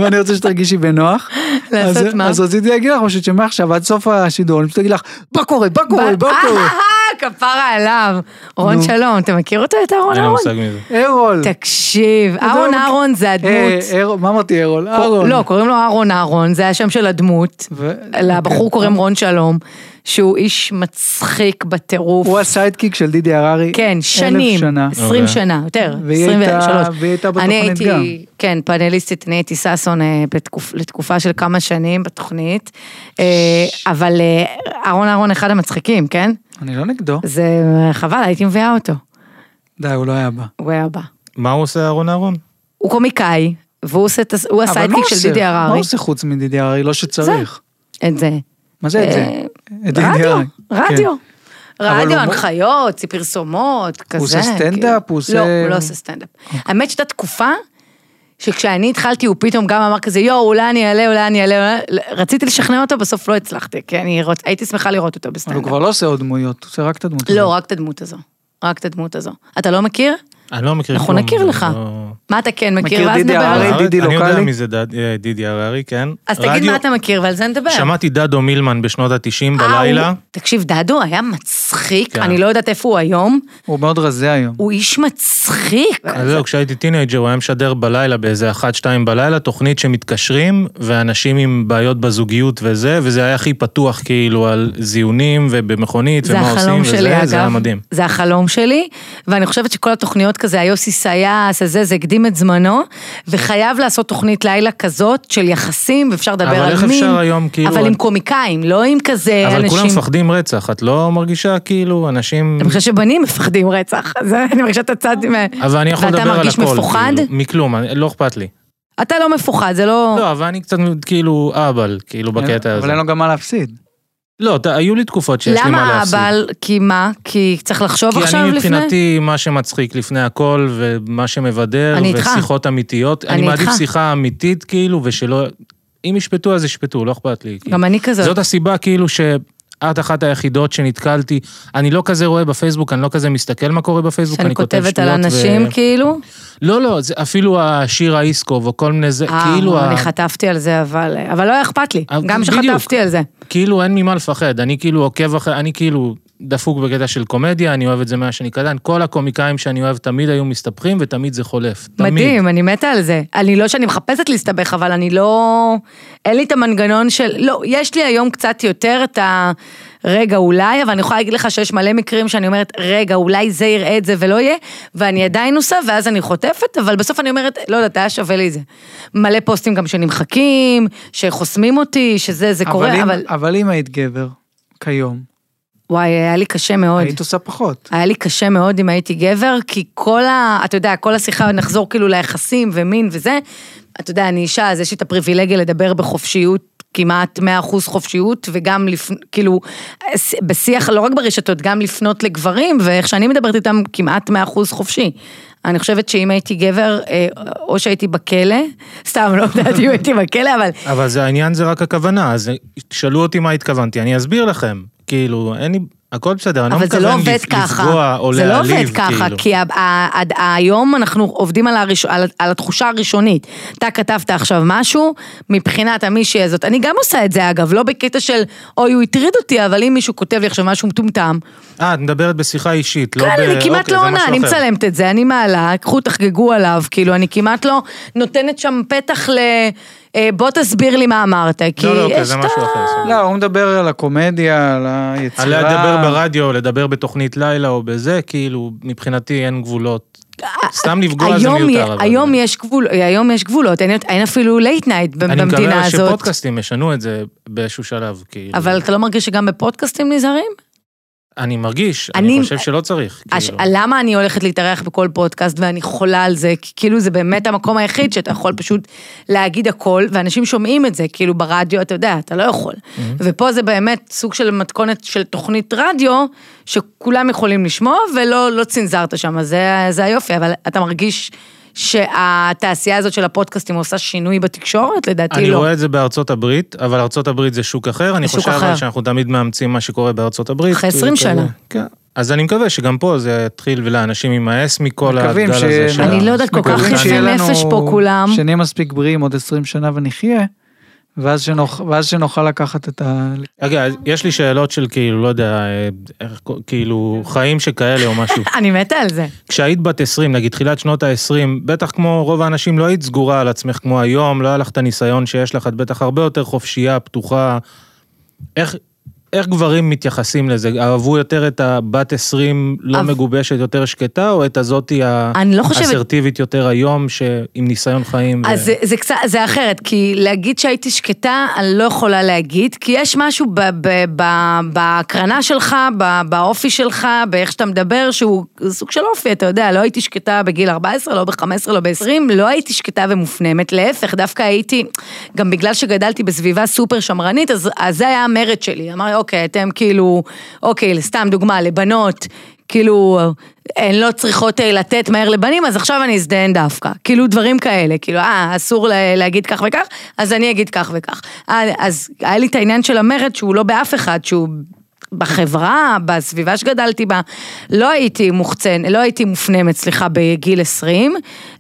Speaker 1: ואני רוצה שתרגישי בנוח.
Speaker 2: לעשות
Speaker 1: אז-
Speaker 2: מה?
Speaker 1: אז רציתי להגיד לך פשוט שמעכשיו עד סוף השידור אני פשוט אגיד לך מה קורה, מה קורה, מה קורה.
Speaker 2: אה, כפרה עליו. רון
Speaker 1: נו.
Speaker 2: שלום, אתה מכיר אותו? את אהרון
Speaker 3: אין לי
Speaker 2: אהרון?
Speaker 3: מושג מזה.
Speaker 1: אהרול.
Speaker 2: תקשיב, אהרון
Speaker 1: לא
Speaker 2: אהרון זה
Speaker 1: אה,
Speaker 2: הדמות.
Speaker 1: אהרול, מה אמרתי אהרול? אהרול.
Speaker 2: לא, קוראים לו אהרון אהרון, זה השם של הדמות.
Speaker 1: ו- אוקיי.
Speaker 2: לבחור קוראים רון שלום, שהוא איש מצחיק בטירוף.
Speaker 1: הוא הסיידקיק של דידי הררי.
Speaker 2: כן,
Speaker 1: אלף
Speaker 2: שנים,
Speaker 1: שנה. לא,
Speaker 2: 20
Speaker 3: אוקיי.
Speaker 2: שנה, יותר,
Speaker 1: והיא
Speaker 2: 23.
Speaker 1: הייתה- והיא הייתה
Speaker 2: אני
Speaker 1: בתוכנית
Speaker 2: הייתי,
Speaker 1: גם.
Speaker 2: כן, פאנליסטית, אני הייתי ששון אה, בתקופ- לתקופה של כמה שנים בתוכנית, אה, אבל אה, אהרון אהרון אחד המצחיקים, כן?
Speaker 1: אני לא נגדו.
Speaker 2: זה חבל, הייתי מביאה אותו.
Speaker 1: די, הוא לא היה בא.
Speaker 2: הוא היה בא.
Speaker 3: מה הוא עושה, אהרון אהרון?
Speaker 2: הוא קומיקאי, והוא עושה את הס- הוא
Speaker 1: אבל מה
Speaker 2: הסיידקיק
Speaker 1: עושה?
Speaker 2: של דידי
Speaker 1: מה
Speaker 2: הררי.
Speaker 1: עושה חוץ מדידי הררי? לא שצריך.
Speaker 2: את זה.
Speaker 1: מה זה את זה?
Speaker 2: אה,
Speaker 1: את דידי
Speaker 2: רדיו,
Speaker 1: הררי.
Speaker 2: רדיו.
Speaker 1: כן. אבל הוא-
Speaker 2: רדיו, הנחיות, פרסומות, כזה.
Speaker 1: עושה סטנדאפ?
Speaker 2: כאילו.
Speaker 1: הוא עושה- אוקיי.
Speaker 2: לא, הוא לא עושה סטנדאפ. האמת שהייתה תקופה שכשאני התחלתי, הוא פתאום גם אמר כזה, יואו, אולי אני אעלה, אולי אני אעלה, אולי-" רציתי לשכנע אותו, בסוף לא הצלחתי, כי אני רוצ- הייתי שמחה לראות אותו
Speaker 1: אבל הוא
Speaker 2: בסטנדאפ.
Speaker 1: כבר לא עושה עוד דמויות, הוא עושה רק את הדמות.
Speaker 2: לא,
Speaker 1: הזאת.
Speaker 2: רק את הדמות הזו. רק את הדמות הזו. אתה לא מכיר?
Speaker 3: אני לא מכיר
Speaker 2: אנחנו
Speaker 3: כלום.
Speaker 2: נכיר
Speaker 3: זה
Speaker 2: לך.
Speaker 3: לא-
Speaker 2: מה אתה כן מכיר?
Speaker 1: מכיר
Speaker 2: ואז
Speaker 1: דידי
Speaker 2: נדבר על
Speaker 1: הררי?
Speaker 2: זה.
Speaker 3: הררי,
Speaker 1: דידי
Speaker 3: אני יודע
Speaker 1: לוקאלי?
Speaker 3: מי זה דד- אה, דידי הררי, כן.
Speaker 2: אז תגיד
Speaker 3: רדיו-
Speaker 2: מה אתה מכיר ועל זה נדבר.
Speaker 3: שמעתי דדו מילמן בשנות ה-90
Speaker 2: אה, הוא-
Speaker 3: בלילה.
Speaker 2: תקשיב, דדו היה מצחיק,
Speaker 3: כן.
Speaker 2: אני לא יודעת איפה הוא היום.
Speaker 1: הוא מאוד רזה היום.
Speaker 2: הוא איש מצחיק.
Speaker 3: אז אה, זהו, כשהייתי טינג'ר הוא היה משדר בלילה, באיזה אחת, שתיים בלילה, תוכנית שמתקשרים, ואנשים עם בעיות בזוגיות וזה, וזה היה הכי פתוח כאילו על זיונים ובמכונית,
Speaker 2: זה
Speaker 3: ומה עושים
Speaker 2: החלום שלי,
Speaker 3: וזה,
Speaker 2: אגב.
Speaker 3: זה היה מדהים.
Speaker 2: זה החלום שלי, ואני חושבת שכל התוכניות כזה, היוסי סייס, הזה, זה הקדים את זמנו, וחייב לעשות תוכנית לילה כזאת של יחסים, ואפשר לדבר על מין.
Speaker 3: אבל איך אפשר היום, כאילו,
Speaker 2: אבל
Speaker 3: את-
Speaker 2: עם קומיקאים, לא עם כזה
Speaker 3: אבל כולם
Speaker 2: אנשים...
Speaker 3: מפחדים רצח, את לא מרגישה כאילו אנשים...
Speaker 2: אני חושבת שבנים מפחדים רצח, זה אני מרגישה את הצד... מ-
Speaker 3: אבל אני יכול
Speaker 2: ואתה
Speaker 3: לדבר על הכל,
Speaker 2: מרגיש מפוחד?
Speaker 3: כאילו, מכלום, אני- לא אכפת לי.
Speaker 2: אתה לא מפוחד, זה לא...
Speaker 3: לא, אבל אני קצת כאילו אהבל, כאילו בקטע הזה.
Speaker 1: אבל אין לו גם מה להפסיד.
Speaker 3: לא, ת- היו לי תקופות שיש לי מה
Speaker 2: למה
Speaker 3: להפסיד.
Speaker 2: אבל? כי מה? כי צריך לחשוב
Speaker 3: כי
Speaker 2: עכשיו
Speaker 3: אני
Speaker 2: לפני?
Speaker 3: מבחינתי, מה שמצחיק לפני הכל, ומה שמבדר,
Speaker 2: אני איתך.
Speaker 3: ושיחות אמיתיות. אני
Speaker 2: אני
Speaker 3: מעדיף
Speaker 2: איתך.
Speaker 3: שיחה אמיתית, כאילו, ושלא... אם ישפטו, אז ישפטו, לא אכפת לי. כאילו.
Speaker 2: גם אני כזאת.
Speaker 3: זאת הסיבה, כאילו, שאת אחת היחידות שנתקלתי. אני לא כזה רואה בפייסבוק, אני לא כזה מסתכל מה קורה בפייסוק,
Speaker 2: שאני
Speaker 3: אני כותב שטויות.
Speaker 2: כותבת על אנשים,
Speaker 3: ו...
Speaker 2: כאילו?
Speaker 3: לא, לא, זה אפילו השיר האיסקוב, או כל מיני זה,
Speaker 2: אה,
Speaker 3: כאילו... ה-
Speaker 2: אני חטפתי על זה, אבל... אבל לא היה אכפת לי,
Speaker 3: אבל
Speaker 2: גם
Speaker 3: בדיוק.
Speaker 2: שחטפתי על זה.
Speaker 3: כאילו אין ממה לפחד, אני כאילו עוקב אחרי, אני כאילו דפוק בקטע של קומדיה, אני אוהב את זה מאז שאני קטן, כל הקומיקאים שאני אוהב תמיד היו מסתבכים ותמיד זה חולף. תמיד.
Speaker 2: מדהים, אני מתה על זה. אני לא שאני מחפשת להסתבך, אבל אני לא... אין לי את המנגנון של... לא, יש לי היום קצת יותר את ה... רגע, אולי, אבל אני יכולה להגיד לך שיש מלא מקרים שאני אומרת, רגע, אולי זה יראה את זה ולא יהיה, ואני עדיין עושה, ואז אני חוטפת, אבל בסוף אני אומרת, לא יודעת, היה שווה לי זה. מלא פוסטים גם שנמחקים, שחוסמים אותי, שזה, זה
Speaker 1: אבל
Speaker 2: קורה,
Speaker 1: אם-
Speaker 2: אבל...
Speaker 1: אבל אם היית גבר, כיום,
Speaker 2: וואי, היה לי קשה מאוד.
Speaker 1: היית עושה פחות.
Speaker 2: היה לי קשה מאוד אם הייתי גבר, כי כל ה... אתה יודע, כל השיחה, נחזור כאילו ליחסים ומין וזה. אתה יודע, אני אישה, אז יש לי את הפריבילגיה לדבר בחופשיות, כמעט 100% חופשיות, וגם לפ... כאילו, ס- בשיח, לא רק ברשתות, גם לפנות לגברים, ואיך שאני מדברת איתם, כמעט 100% חופשי. אני חושבת שאם הייתי גבר, אה, או שהייתי בכלא, סתם, לא יודעת אם הייתי בכלא, אבל
Speaker 3: אבל זה העניין זה רק הכוונה, אז תשאלו אותי מה התכוונתי, אני אסביר לכם. כאילו, אין לי, הכל בסדר, אני לא
Speaker 2: אבל זה
Speaker 3: מתכוון
Speaker 2: לא עובד
Speaker 3: לפ- לפגוע
Speaker 2: ככה,
Speaker 3: או
Speaker 2: זה לא
Speaker 3: להעליב,
Speaker 2: עובד ככה,
Speaker 3: כאילו.
Speaker 2: כי ה- ה- ה- היום אנחנו עובדים על הראש- על- על התחושה הראשונית. אתה כתבת עכשיו משהו, מבחינת המישהי הזאת, אני גם עושה את זה אגב, לא בקטע של אוי הוא הטריד אותי, אבל אם מישהו כותב לי עכשיו משהו מטומטם,
Speaker 3: אה, את מדברת בשיחה אישית, לא ב...
Speaker 2: כאן אני כמעט
Speaker 3: אוקיי,
Speaker 2: לא
Speaker 3: זה
Speaker 2: עונה,
Speaker 3: משהו
Speaker 2: אני
Speaker 3: אחר.
Speaker 2: מצלמת את זה, אני מעלה, קחו תחגגו עליו, כאילו אני כמעט לא נותנת שם פתח ל... אה, בוא תסביר לי מה אמרת, כי
Speaker 3: לא, לא, אוקיי,
Speaker 2: יש
Speaker 3: זה
Speaker 2: את
Speaker 3: משהו אחר.
Speaker 2: ה...
Speaker 3: סבבה.
Speaker 1: לא, הוא מדבר על הקומדיה, על
Speaker 3: עליה
Speaker 1: היצירה.
Speaker 3: לדבר ברדיו, לדבר בתוכנית לילה או בזה, כאילו, מבחינתי אין גבולות. סתם לפגוע זה
Speaker 2: אה, היום
Speaker 3: מיותר.
Speaker 2: יה-
Speaker 3: אבל-
Speaker 2: היום יש גבול- היום יש גבולות, אין- אין אפילו לייט נייט
Speaker 3: אני מקווה
Speaker 2: במדינה הזאת.
Speaker 3: שפודקאסטים ישנו את זה באיזשהו שלב, כאילו.
Speaker 2: אבל אתה לא מרגיש שגם בפודקאסטים נזהרים?
Speaker 3: אני מרגיש,
Speaker 2: אני- אה,
Speaker 3: אני חושב שלא צריך.
Speaker 2: הש...
Speaker 3: כאילו.
Speaker 2: למה אני הולכת להתארח בכל פודקאסט ואני חולה על זה? כי כאילו זה באמת המקום היחיד שאתה יכול פשוט להגיד הכל, ואנשים שומעים את זה, כאילו ברדיו, אתה יודע, אתה לא יכול.
Speaker 3: Mm-hmm.
Speaker 2: ופה זה באמת סוג של מתכונת של תוכנית רדיו, שכולם יכולים לשמוע, ולא לא צנזרת שם, אז זה, זה היופי, אבל אתה מרגיש שהתעשייה הזאת של הפודקאסטים עושה שינוי בתקשורת? לדעתי
Speaker 3: אני
Speaker 2: לא.
Speaker 3: רואה את זה בארצות הברית, אבל ארצות הברית זה שוק אחר, אני
Speaker 2: שוק
Speaker 3: חושב אבל
Speaker 2: אחר.
Speaker 3: שאנחנו תמיד מאמצים מה שקורה בארצות הברית.
Speaker 2: אחרי 20
Speaker 3: וכאלה.
Speaker 2: שנה.
Speaker 3: כן. אז אני מקווה שגם פה זה יתחיל ולאנשים יימאס מכל
Speaker 1: מקווים
Speaker 3: הגל
Speaker 1: ש-
Speaker 3: הזה של...
Speaker 2: אני
Speaker 3: ה-
Speaker 2: לא יודעת, כל כך
Speaker 3: מקווים
Speaker 1: מקווים
Speaker 2: יפי
Speaker 1: שיהיה לנו-
Speaker 2: נפש פה כולם.
Speaker 1: שנהיה מספיק בריאים עוד 20 שנה ונחיה, ואז, שנוכ... ואז שנוכל לקחת את ה...
Speaker 3: רגע, אז יש לי שאלות של כאילו, לא יודע, אה, איך, קו- כאילו, חיים שכאלה או משהו.
Speaker 2: אני מתה על זה.
Speaker 3: כשהיית בת 20, נגיד תחילת שנות ה-20, בטח כמו רוב האנשים לא היית סגורה על עצמך כמו היום, לא היה לך את הניסיון שיש לך, את בטח הרבה יותר חופשייה, פתוחה. איך, איך גברים מתייחסים לזה? אהבו יותר את הבת 20 לא
Speaker 2: אב-
Speaker 3: מגובשת, יותר שקטה, או את הזאתי
Speaker 2: אני לא חושבת-
Speaker 3: האסרטיבית יותר היום, ש... עם ניסיון חיים?
Speaker 2: אז זה, זה קצת, זה אחרת, כי להגיד שהייתי שקטה, אני לא יכולה להגיד, כי יש משהו ב, ב, ב, בהקרנה שלך, ב, באופי שלך, באיך שאתה מדבר, שהוא סוג של אופי, אתה יודע, לא הייתי שקטה בגיל 14, לא ב-15, לא ב-20, לא הייתי שקטה ומופנמת, להפך, דווקא הייתי, גם בגלל שגדלתי בסביבה סופר שמרנית, אז, אז זה היה המרד שלי, אמרתי, אוקיי, אתם כאילו, אוקיי, סתם דוגמה, לבנות, כאילו, הן לא צריכות אה, לתת מהר לבנים, אז עכשיו אני אזדהן דווקא. כאילו, דברים כאלה, כאילו, אה, אסור לה- להגיד כך וכך, אז אני אגיד כך וכך. אה, אז היה לי את העניין של המרד שהוא לא באף אחד, שהוא בחברה, בסביבה שגדלתי בה, לא הייתי מוחצן, לא הייתי מופנמת, סליחה, בגיל 20,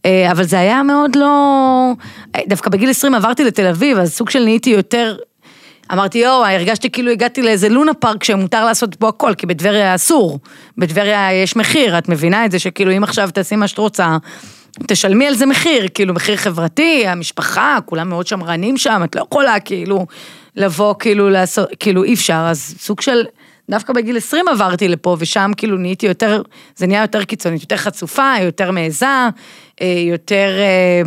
Speaker 2: אה, אבל זה היה מאוד לא... אה, דווקא בגיל 20 עברתי לתל אביב, אז סוג של נהייתי יותר... אמרתי, יואו, הרגשתי כאילו הגעתי לאיזה לונה פארק שמותר לעשות בו הכל, כי בטבריה אסור. בטבריה יש מחיר, את מבינה את זה שכאילו אם עכשיו תעשי מה שאת רוצה, תשלמי על זה מחיר, כאילו מחיר חברתי, המשפחה, כולם מאוד שמרנים שם, את לא יכולה כאילו לבוא כאילו לעשות, כאילו אי אפשר, אז סוג של... דווקא בגיל 20 עברתי לפה, ושם כאילו נהייתי יותר, זה נהיה יותר קיצונית, יותר חצופה, יותר מעיזה, אה, יותר, אה,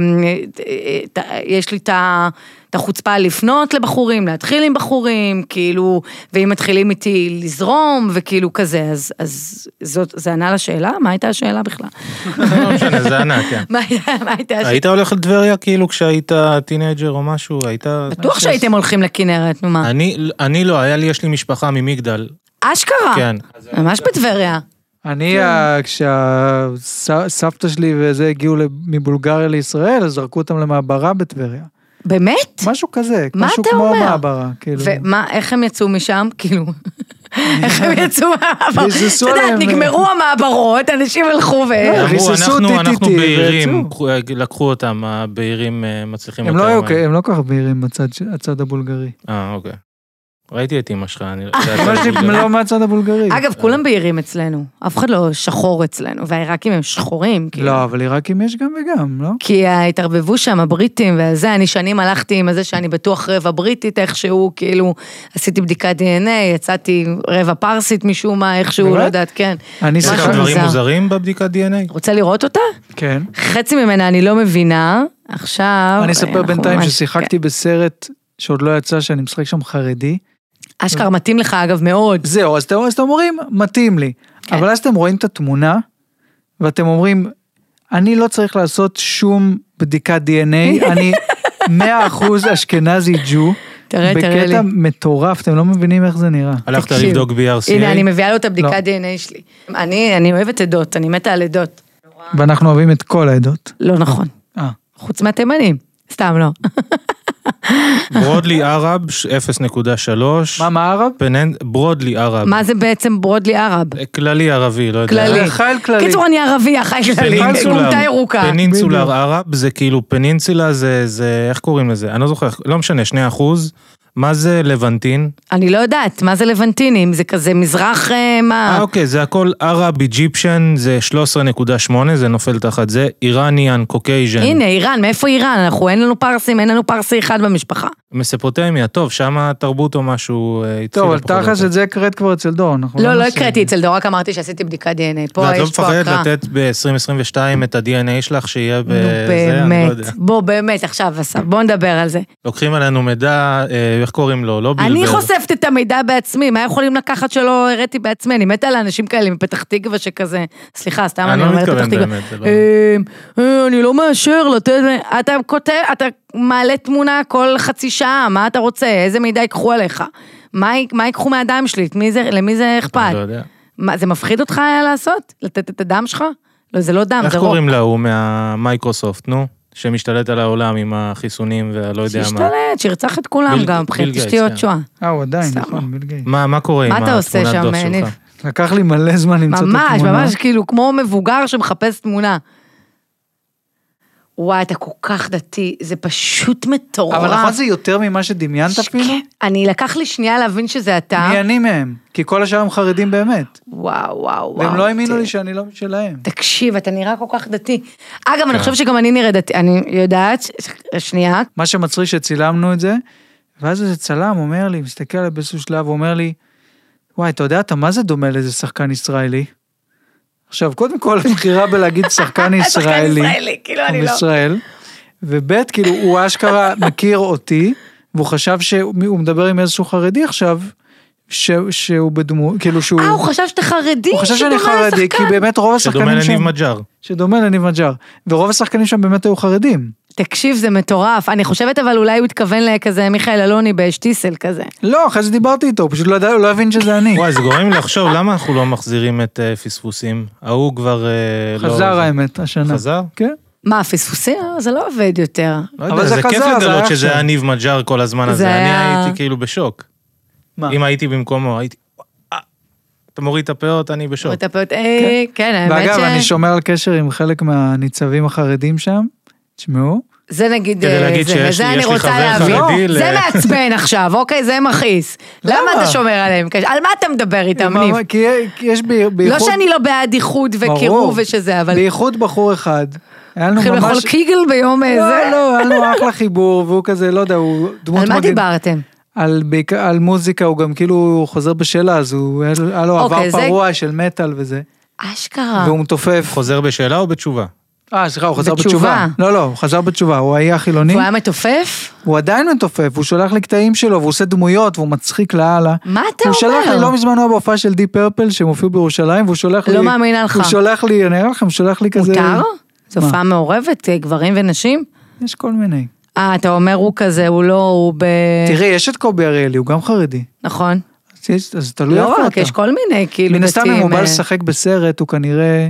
Speaker 2: אה, אה, יש לי את ה- את החוצפה לפנות לבחורים, להתחיל עם בחורים, כאילו, ואם מתחילים איתי לזרום, וכאילו כזה, אז, אז זאת, זה ענה לשאלה? מה הייתה השאלה בכלל?
Speaker 3: לא משנה, זה ענק, כן.
Speaker 2: מה הייתה- מה הייתה השאלה?
Speaker 3: היית הולך לטבריה כאילו כשהיית טינג'ר או משהו? היית...
Speaker 2: בטוח שהייתם הולכים לכנרת, נו מה.
Speaker 3: אני, אני לא, היה לי, יש לי משפחה ממגדל.
Speaker 2: אשכרה,
Speaker 3: כן.
Speaker 2: ממש בטבריה. כן.
Speaker 1: אני, אה, כשסבתא שלי וזה הגיעו לב- מבולגריה לישראל, אז זרקו אותם למעברה בטבריה.
Speaker 2: באמת?
Speaker 1: משהו כזה,
Speaker 2: מה
Speaker 1: משהו
Speaker 2: אתה
Speaker 1: כמו
Speaker 2: אומר?
Speaker 1: מעברה, כאילו.
Speaker 2: ומה, איך הם יצאו משם? כאילו, איך הם יצאו מהמעברות? את
Speaker 1: ריססו
Speaker 2: יודעת,
Speaker 1: עליהם. אה.
Speaker 2: נגמרו המעברות, אנשים הלכו ו...
Speaker 1: לא,
Speaker 3: אמרו,
Speaker 1: ריססו
Speaker 3: אנחנו,
Speaker 1: טיטיטי
Speaker 3: אנחנו בהירים,
Speaker 1: ויצאו.
Speaker 3: קחו- לקחו אותם, הבהירים אה, מצליחים
Speaker 1: הם לא
Speaker 3: יותר
Speaker 1: היו,
Speaker 3: מהם.
Speaker 1: כ- הם לא כל כך בהירים הצד ש- הצד הבולגרי.
Speaker 3: אה, אוקיי. ראיתי את אמא שלך, אני לא
Speaker 1: אמא שלי לא מהצד הבולגרי.
Speaker 2: אגב, כולם בהירים אצלנו, אף אחד לא שחור אצלנו, והעיראקים הם שחורים, כאילו.
Speaker 1: לא, אבל עיראקים יש גם וגם, לא?
Speaker 2: כי התערבבו שם הבריטים וזה, אני שנים הלכתי עם זה שאני בטוח רבע בריטית איכשהו, כאילו, עשיתי בדיקת דנ"א, יצאתי רבע פרסית משום מה, איכשהו,
Speaker 1: באמת?
Speaker 2: לא יודעת, כן.
Speaker 1: אני
Speaker 3: יש
Speaker 2: משהו
Speaker 3: לך
Speaker 1: סליחה.
Speaker 3: דברים
Speaker 2: מוזר.
Speaker 3: מוזרים בבדיקת DNA?
Speaker 2: רוצה לראות אותה?
Speaker 1: כן.
Speaker 2: חצי ממנה אני לא מבינה, עכשיו...
Speaker 1: אני אספר
Speaker 2: אנחנו
Speaker 1: בינתיים
Speaker 2: ממש-
Speaker 1: ששיחקתי בסרט שעוד לא יצא, שאני משחק שם חרדי.
Speaker 2: כן. אשכרה מתאים לך אגב מאוד.
Speaker 1: זהו, אז אתם, אז אתם אומרים, מתאים לי.
Speaker 2: כן.
Speaker 1: אבל אז אתם רואים את התמונה, ואתם אומרים, אני לא צריך לעשות שום בדיקת DNA, אני 100% אשכנזי ג'ו.
Speaker 2: תראה, תראה לי.
Speaker 1: בקטע מטורף, אתם לא מבינים איך זה נראה.
Speaker 3: הלכת
Speaker 2: תקשיב.
Speaker 3: לבדוק BRCA?
Speaker 2: הנה, אני מביאה לו את הבדיקת
Speaker 1: לא.
Speaker 2: דנ"א שלי. אני, אני אוהבת עדות, אני מתה על עדות.
Speaker 1: ואנחנו אוהבים את כל העדות.
Speaker 2: לא נכון.
Speaker 1: אה,
Speaker 2: חוץ מהתימנים. סתם לא.
Speaker 3: ברודלי ערב, ש- 0.3.
Speaker 1: מה, מה ערב?
Speaker 3: פננ- ברודלי ערב.
Speaker 2: מה זה בעצם ברודלי ערב?
Speaker 3: אה, כללי ערבי, לא יודע.
Speaker 2: כללי.
Speaker 1: חייל כללי.
Speaker 2: קיצור, אני ערבייה, חי כללי.
Speaker 3: פנינסולר.
Speaker 2: גומתה ירוקה.
Speaker 1: בדיוק.
Speaker 3: פנינסולר ערב זה כאילו פנינסולה זה, זה, איך קוראים לזה? אני לא זוכר, לא משנה, 2 אחוז. מה זה לבנטין?
Speaker 2: אני לא יודעת, מה זה לבנטינים? זה כזה מזרח, אה,
Speaker 3: אה
Speaker 2: מה?
Speaker 3: אוקיי, זה הכל ערב איג'יפשן, זה 13.8, זה נופל תחת זה, איראניאן, קוקייז'ן.
Speaker 2: הנה, איראן, מאיפה איראן? אנחנו, אין לנו פרסים, אין לנו פרסי אחד במשפחה.
Speaker 3: מספוטמיה, טוב, שם התרבות או משהו אה, התחילה.
Speaker 1: טוב, אבל
Speaker 3: פחות או
Speaker 1: תכלס
Speaker 3: יותר.
Speaker 1: את זה הקראת כבר אצל דורון, אנחנו
Speaker 2: לא, לא
Speaker 1: נעשה
Speaker 2: הקראתי
Speaker 1: את זה.
Speaker 2: אצל דור, רק אמרתי שעשיתי בדיקת דנ"א. פה
Speaker 3: ואת לא
Speaker 2: יש פה
Speaker 3: מפחדת
Speaker 2: הקראה.
Speaker 3: לתת ב-2022 את ה-DNA שלך שיהיה
Speaker 2: נו
Speaker 3: בזה, אני לא
Speaker 2: באמת,
Speaker 3: יודע.
Speaker 2: בוא באמת עכשיו אסף, בוא נדבר על זה.
Speaker 3: לוקחים עלינו מידע, אה, איך קוראים לו, לא בילבר.
Speaker 2: אני חושפת את המידע בעצמי, מה יכולים לקחת שלא הראיתי בעצמי? אני מתה על אנשים כאלה מפתח תקווה שכזה, סליחה, סתם
Speaker 3: אני
Speaker 2: אני
Speaker 3: לא
Speaker 2: אומרת
Speaker 3: מתכוון
Speaker 2: פתח תקווה.
Speaker 3: באמת, זה לא-
Speaker 2: "אמ, אה, אני לא מאשר לתת... אתה כותב, אתה מעלה תמונה כל חצי שעה, מה אתה רוצה? איזה מידע ייקחו עליך? מה י- מה ייקחו מהדם שלי? את מי זה- למי זה אכפת?
Speaker 3: אני לא יודע.
Speaker 2: מה, זה מפחיד אותך היה לעשות? לתת את הדם שלך? לא, זה לא דם,
Speaker 3: איך
Speaker 2: זה רוק.
Speaker 3: קוראים להוא מהמייקרוסופט, נו? שמשתלט על העולם עם החיסונים והלא לא יודע מה.
Speaker 2: שישתלט, שירצח את כולם
Speaker 3: ביל-
Speaker 2: גם,
Speaker 3: ביל
Speaker 2: מבחינת
Speaker 3: גייטס,
Speaker 2: תשתיות
Speaker 3: כן.
Speaker 2: שואה.
Speaker 1: אה, הוא עדיין,
Speaker 2: סתם.
Speaker 1: נכון, ביל גייט.
Speaker 3: מה, מה קורה עם
Speaker 2: מה
Speaker 3: התמונת
Speaker 2: אתה עושה שם, אה,
Speaker 3: דוח שלך?
Speaker 2: ניב?
Speaker 1: לקח לי מלא זמן למצוא את התמונה.
Speaker 2: ממש, ממש כאילו כמו מבוגר שמחפש תמונה. וואי, אתה כל כך דתי, זה פשוט מטורף.
Speaker 1: אבל נכון זה יותר ממה שדמיינת אפילו?
Speaker 2: כן, אני לקח לי שנייה להבין שזה אתה.
Speaker 1: מי אני מהם? כי כל השאר הם חרדים באמת.
Speaker 2: וואו, וואו, וואו.
Speaker 1: והם לא האמינו
Speaker 2: תראה.
Speaker 1: לי שאני לא שלהם.
Speaker 2: תקשיב, אתה נראה כל כך דתי. אגב,
Speaker 1: כן.
Speaker 2: אני חושבת שגם אני נראית דתי, אני יודעת, ש- ש- שנייה,
Speaker 1: מה שמצחיק שצילמנו את זה, ואז איזה צלם אומר לי, מסתכל עליי באיזשהו שלב, אומר לי, וואי, אתה יודע, אתה מה זה דומה לאיזה שחקן ישראלי? עכשיו, קודם כל, הבחירה בלהגיד שחקן ישראלי,
Speaker 2: אה, ישראלי, כאילו, אני
Speaker 1: הוא
Speaker 2: לא-
Speaker 1: ישראל, וב' כאילו, הוא אשכרה מכיר אותי, והוא חשב שהוא מדבר עם איזשהו חרדי עכשיו, ש- שהוא בדמות, כאילו שהוא...
Speaker 2: אה, הוא חשב שאתה חרדי? כאילו,
Speaker 1: הוא חשב שאני
Speaker 2: שדומה
Speaker 1: חרדי, כי
Speaker 2: לשחקן.
Speaker 1: באמת רוב
Speaker 3: שדומה
Speaker 1: השחקנים
Speaker 3: לניב
Speaker 1: שם,
Speaker 3: מג'אר.
Speaker 1: שדומה לניב מג'אר, ורוב השחקנים שם באמת היו חרדים.
Speaker 2: תקשיב, זה מטורף. אני חושבת, אבל אולי הוא התכוון לכזה מיכאל אלוני באשטיסל כזה.
Speaker 1: לא, אחרי זה דיברתי איתו, הוא פשוט לא ידע, הוא לא הבין שזה אני.
Speaker 3: וואי, זה גורם לי לחשוב, למה אנחנו לא מחזירים את אה, פספוסים? ההוא כבר... אה, לא-
Speaker 1: חזר האמת, השנה.
Speaker 3: חזר?
Speaker 1: כן.
Speaker 2: מה, פספוסים? אה, זה לא עובד יותר.
Speaker 3: לא
Speaker 1: אבל
Speaker 3: יודע,
Speaker 1: זה
Speaker 3: זה כיף
Speaker 1: חזר, זה
Speaker 3: לגלות
Speaker 1: היה
Speaker 3: שזה
Speaker 1: עכשיו.
Speaker 3: היה ניב מג'אר כל הזמן
Speaker 2: זה
Speaker 3: הזה.
Speaker 2: היה-
Speaker 3: אני הייתי כאילו בשוק.
Speaker 1: מה?
Speaker 3: אם הייתי במקומו, הייתי... אה, אתה מוריד את הפאות, אני בשוק.
Speaker 2: אתה פה- אה, כן, האמת
Speaker 1: ואגב, אני
Speaker 2: ש...
Speaker 1: שומר על קשר עם חלק מהניצבים החרדים שם, תשמעו.
Speaker 2: זה נגיד...
Speaker 3: כדי
Speaker 2: אה,
Speaker 3: להגיד
Speaker 2: זה,
Speaker 3: שיש
Speaker 2: זה
Speaker 3: לי-
Speaker 2: אני
Speaker 3: יש לי
Speaker 2: רוצה
Speaker 3: חבר
Speaker 2: להבין.
Speaker 3: חרדי ל-
Speaker 2: זה מעצבן עכשיו, אוקיי? זה מכעיס. למה
Speaker 1: למה?
Speaker 2: אתה שומר עליהם? קש- על מה אתה מדבר איתם, ניב?
Speaker 1: מה- כי כי יש בי-
Speaker 2: לא
Speaker 1: בייחוד...
Speaker 2: שאני לא בעד איחוד וקירוב
Speaker 1: ברור.
Speaker 2: ושזה, אבל...
Speaker 1: בייחוד בחור אחד, היה לנו
Speaker 2: הולכים לאכול
Speaker 1: ממש...
Speaker 2: קיגל ביום
Speaker 1: לא,
Speaker 2: איזה...
Speaker 1: לא, היה לנו אחלה חיבור, והוא כזה, לא יודע, הוא דמות
Speaker 2: על
Speaker 1: מגניבה.
Speaker 2: מה דיברתם?
Speaker 1: על, בעיק- על מוזיקה, הוא גם כאילו חוזר בשאלה, אז הוא, היה לו- היה לו עבר
Speaker 2: אוקיי, זה- אה.
Speaker 1: פרוע של מטאל וזה,
Speaker 2: אשכרה.
Speaker 1: והוא מתופף.
Speaker 3: חוזר בשאלה או בתשובה?
Speaker 1: אה, סליחה, הוא חזר בתשובה.
Speaker 2: בתשובה.
Speaker 1: לא, לא, הוא חזר בתשובה, הוא היה חילוני,
Speaker 2: והוא היה מתופף?
Speaker 1: הוא עדיין מתופף, הוא שולח לי קטעים שלו, והוא עושה דמויות, והוא מצחיק לאללה.
Speaker 2: מה אתה
Speaker 1: הוא שלח לי,
Speaker 2: אומר?
Speaker 1: לא מזמן הוא היה בהופעה של די פרפל, שהם הופיעו בירושלים, והוא שולח לי...
Speaker 2: לא מאמינה לך.
Speaker 1: הוא שולח לי, אני אראה לכם, הוא שולח לי כזה...
Speaker 2: מותר? זו
Speaker 1: מה?
Speaker 2: הופעה מעורבת, אה, גברים ונשים?
Speaker 1: יש כל מיני.
Speaker 2: אה, אתה אומר הוא כזה, הוא לא, הוא ב...
Speaker 1: תראי, יש את קובי אריאלי, הוא גם חרדי.
Speaker 2: נכון.
Speaker 1: אז יש- אז תלוי
Speaker 2: לא
Speaker 1: איפה
Speaker 2: רק,
Speaker 1: אתה.
Speaker 2: יש כל מיני, כאילו,
Speaker 1: מן הסתם אם
Speaker 2: דתיים,
Speaker 1: הוא בא
Speaker 2: אה,
Speaker 1: לשחק בסרט, הוא כנראה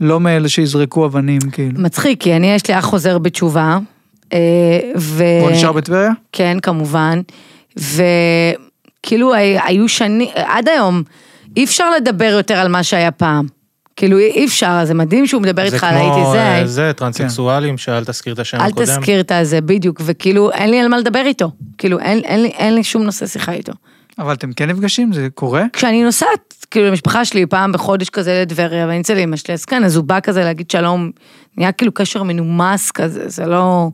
Speaker 1: לא מאלה שיזרקו אבנים, כאילו.
Speaker 2: מצחיק, כי אני, יש לי אח חוזר בתשובה. אה, ו...
Speaker 1: הוא נשאר בטבריה?
Speaker 2: כן, כמובן. וכאילו הי- היו שנים, עד היום, אי אפשר לדבר יותר על מה שהיה פעם. כאילו, אי אי אפשר, זה מדהים שהוא מדבר
Speaker 3: זה
Speaker 2: איתך על הייתי
Speaker 3: כמו
Speaker 2: זה,
Speaker 3: אה,
Speaker 2: הי-
Speaker 3: זה, טרנסקסואלים, שאל תזכיר את השם
Speaker 2: אל
Speaker 3: הקודם.
Speaker 2: תזכיר את הזה, בדיוק, וכאילו, אין לי על מה לדבר איתו. כאילו, אין, אין, לי, אין לי שום נושא שיחה איתו.
Speaker 1: אבל אתם כן נפגשים? זה קורה?
Speaker 2: כשאני נוסעת, כאילו למשפחה שלי פעם בחודש כזה לטבריה, ואני אצל אמא שלי, אז כן, אז הוא בא כזה להגיד שלום, נהיה כאילו קשר מנומס כזה, זה לא...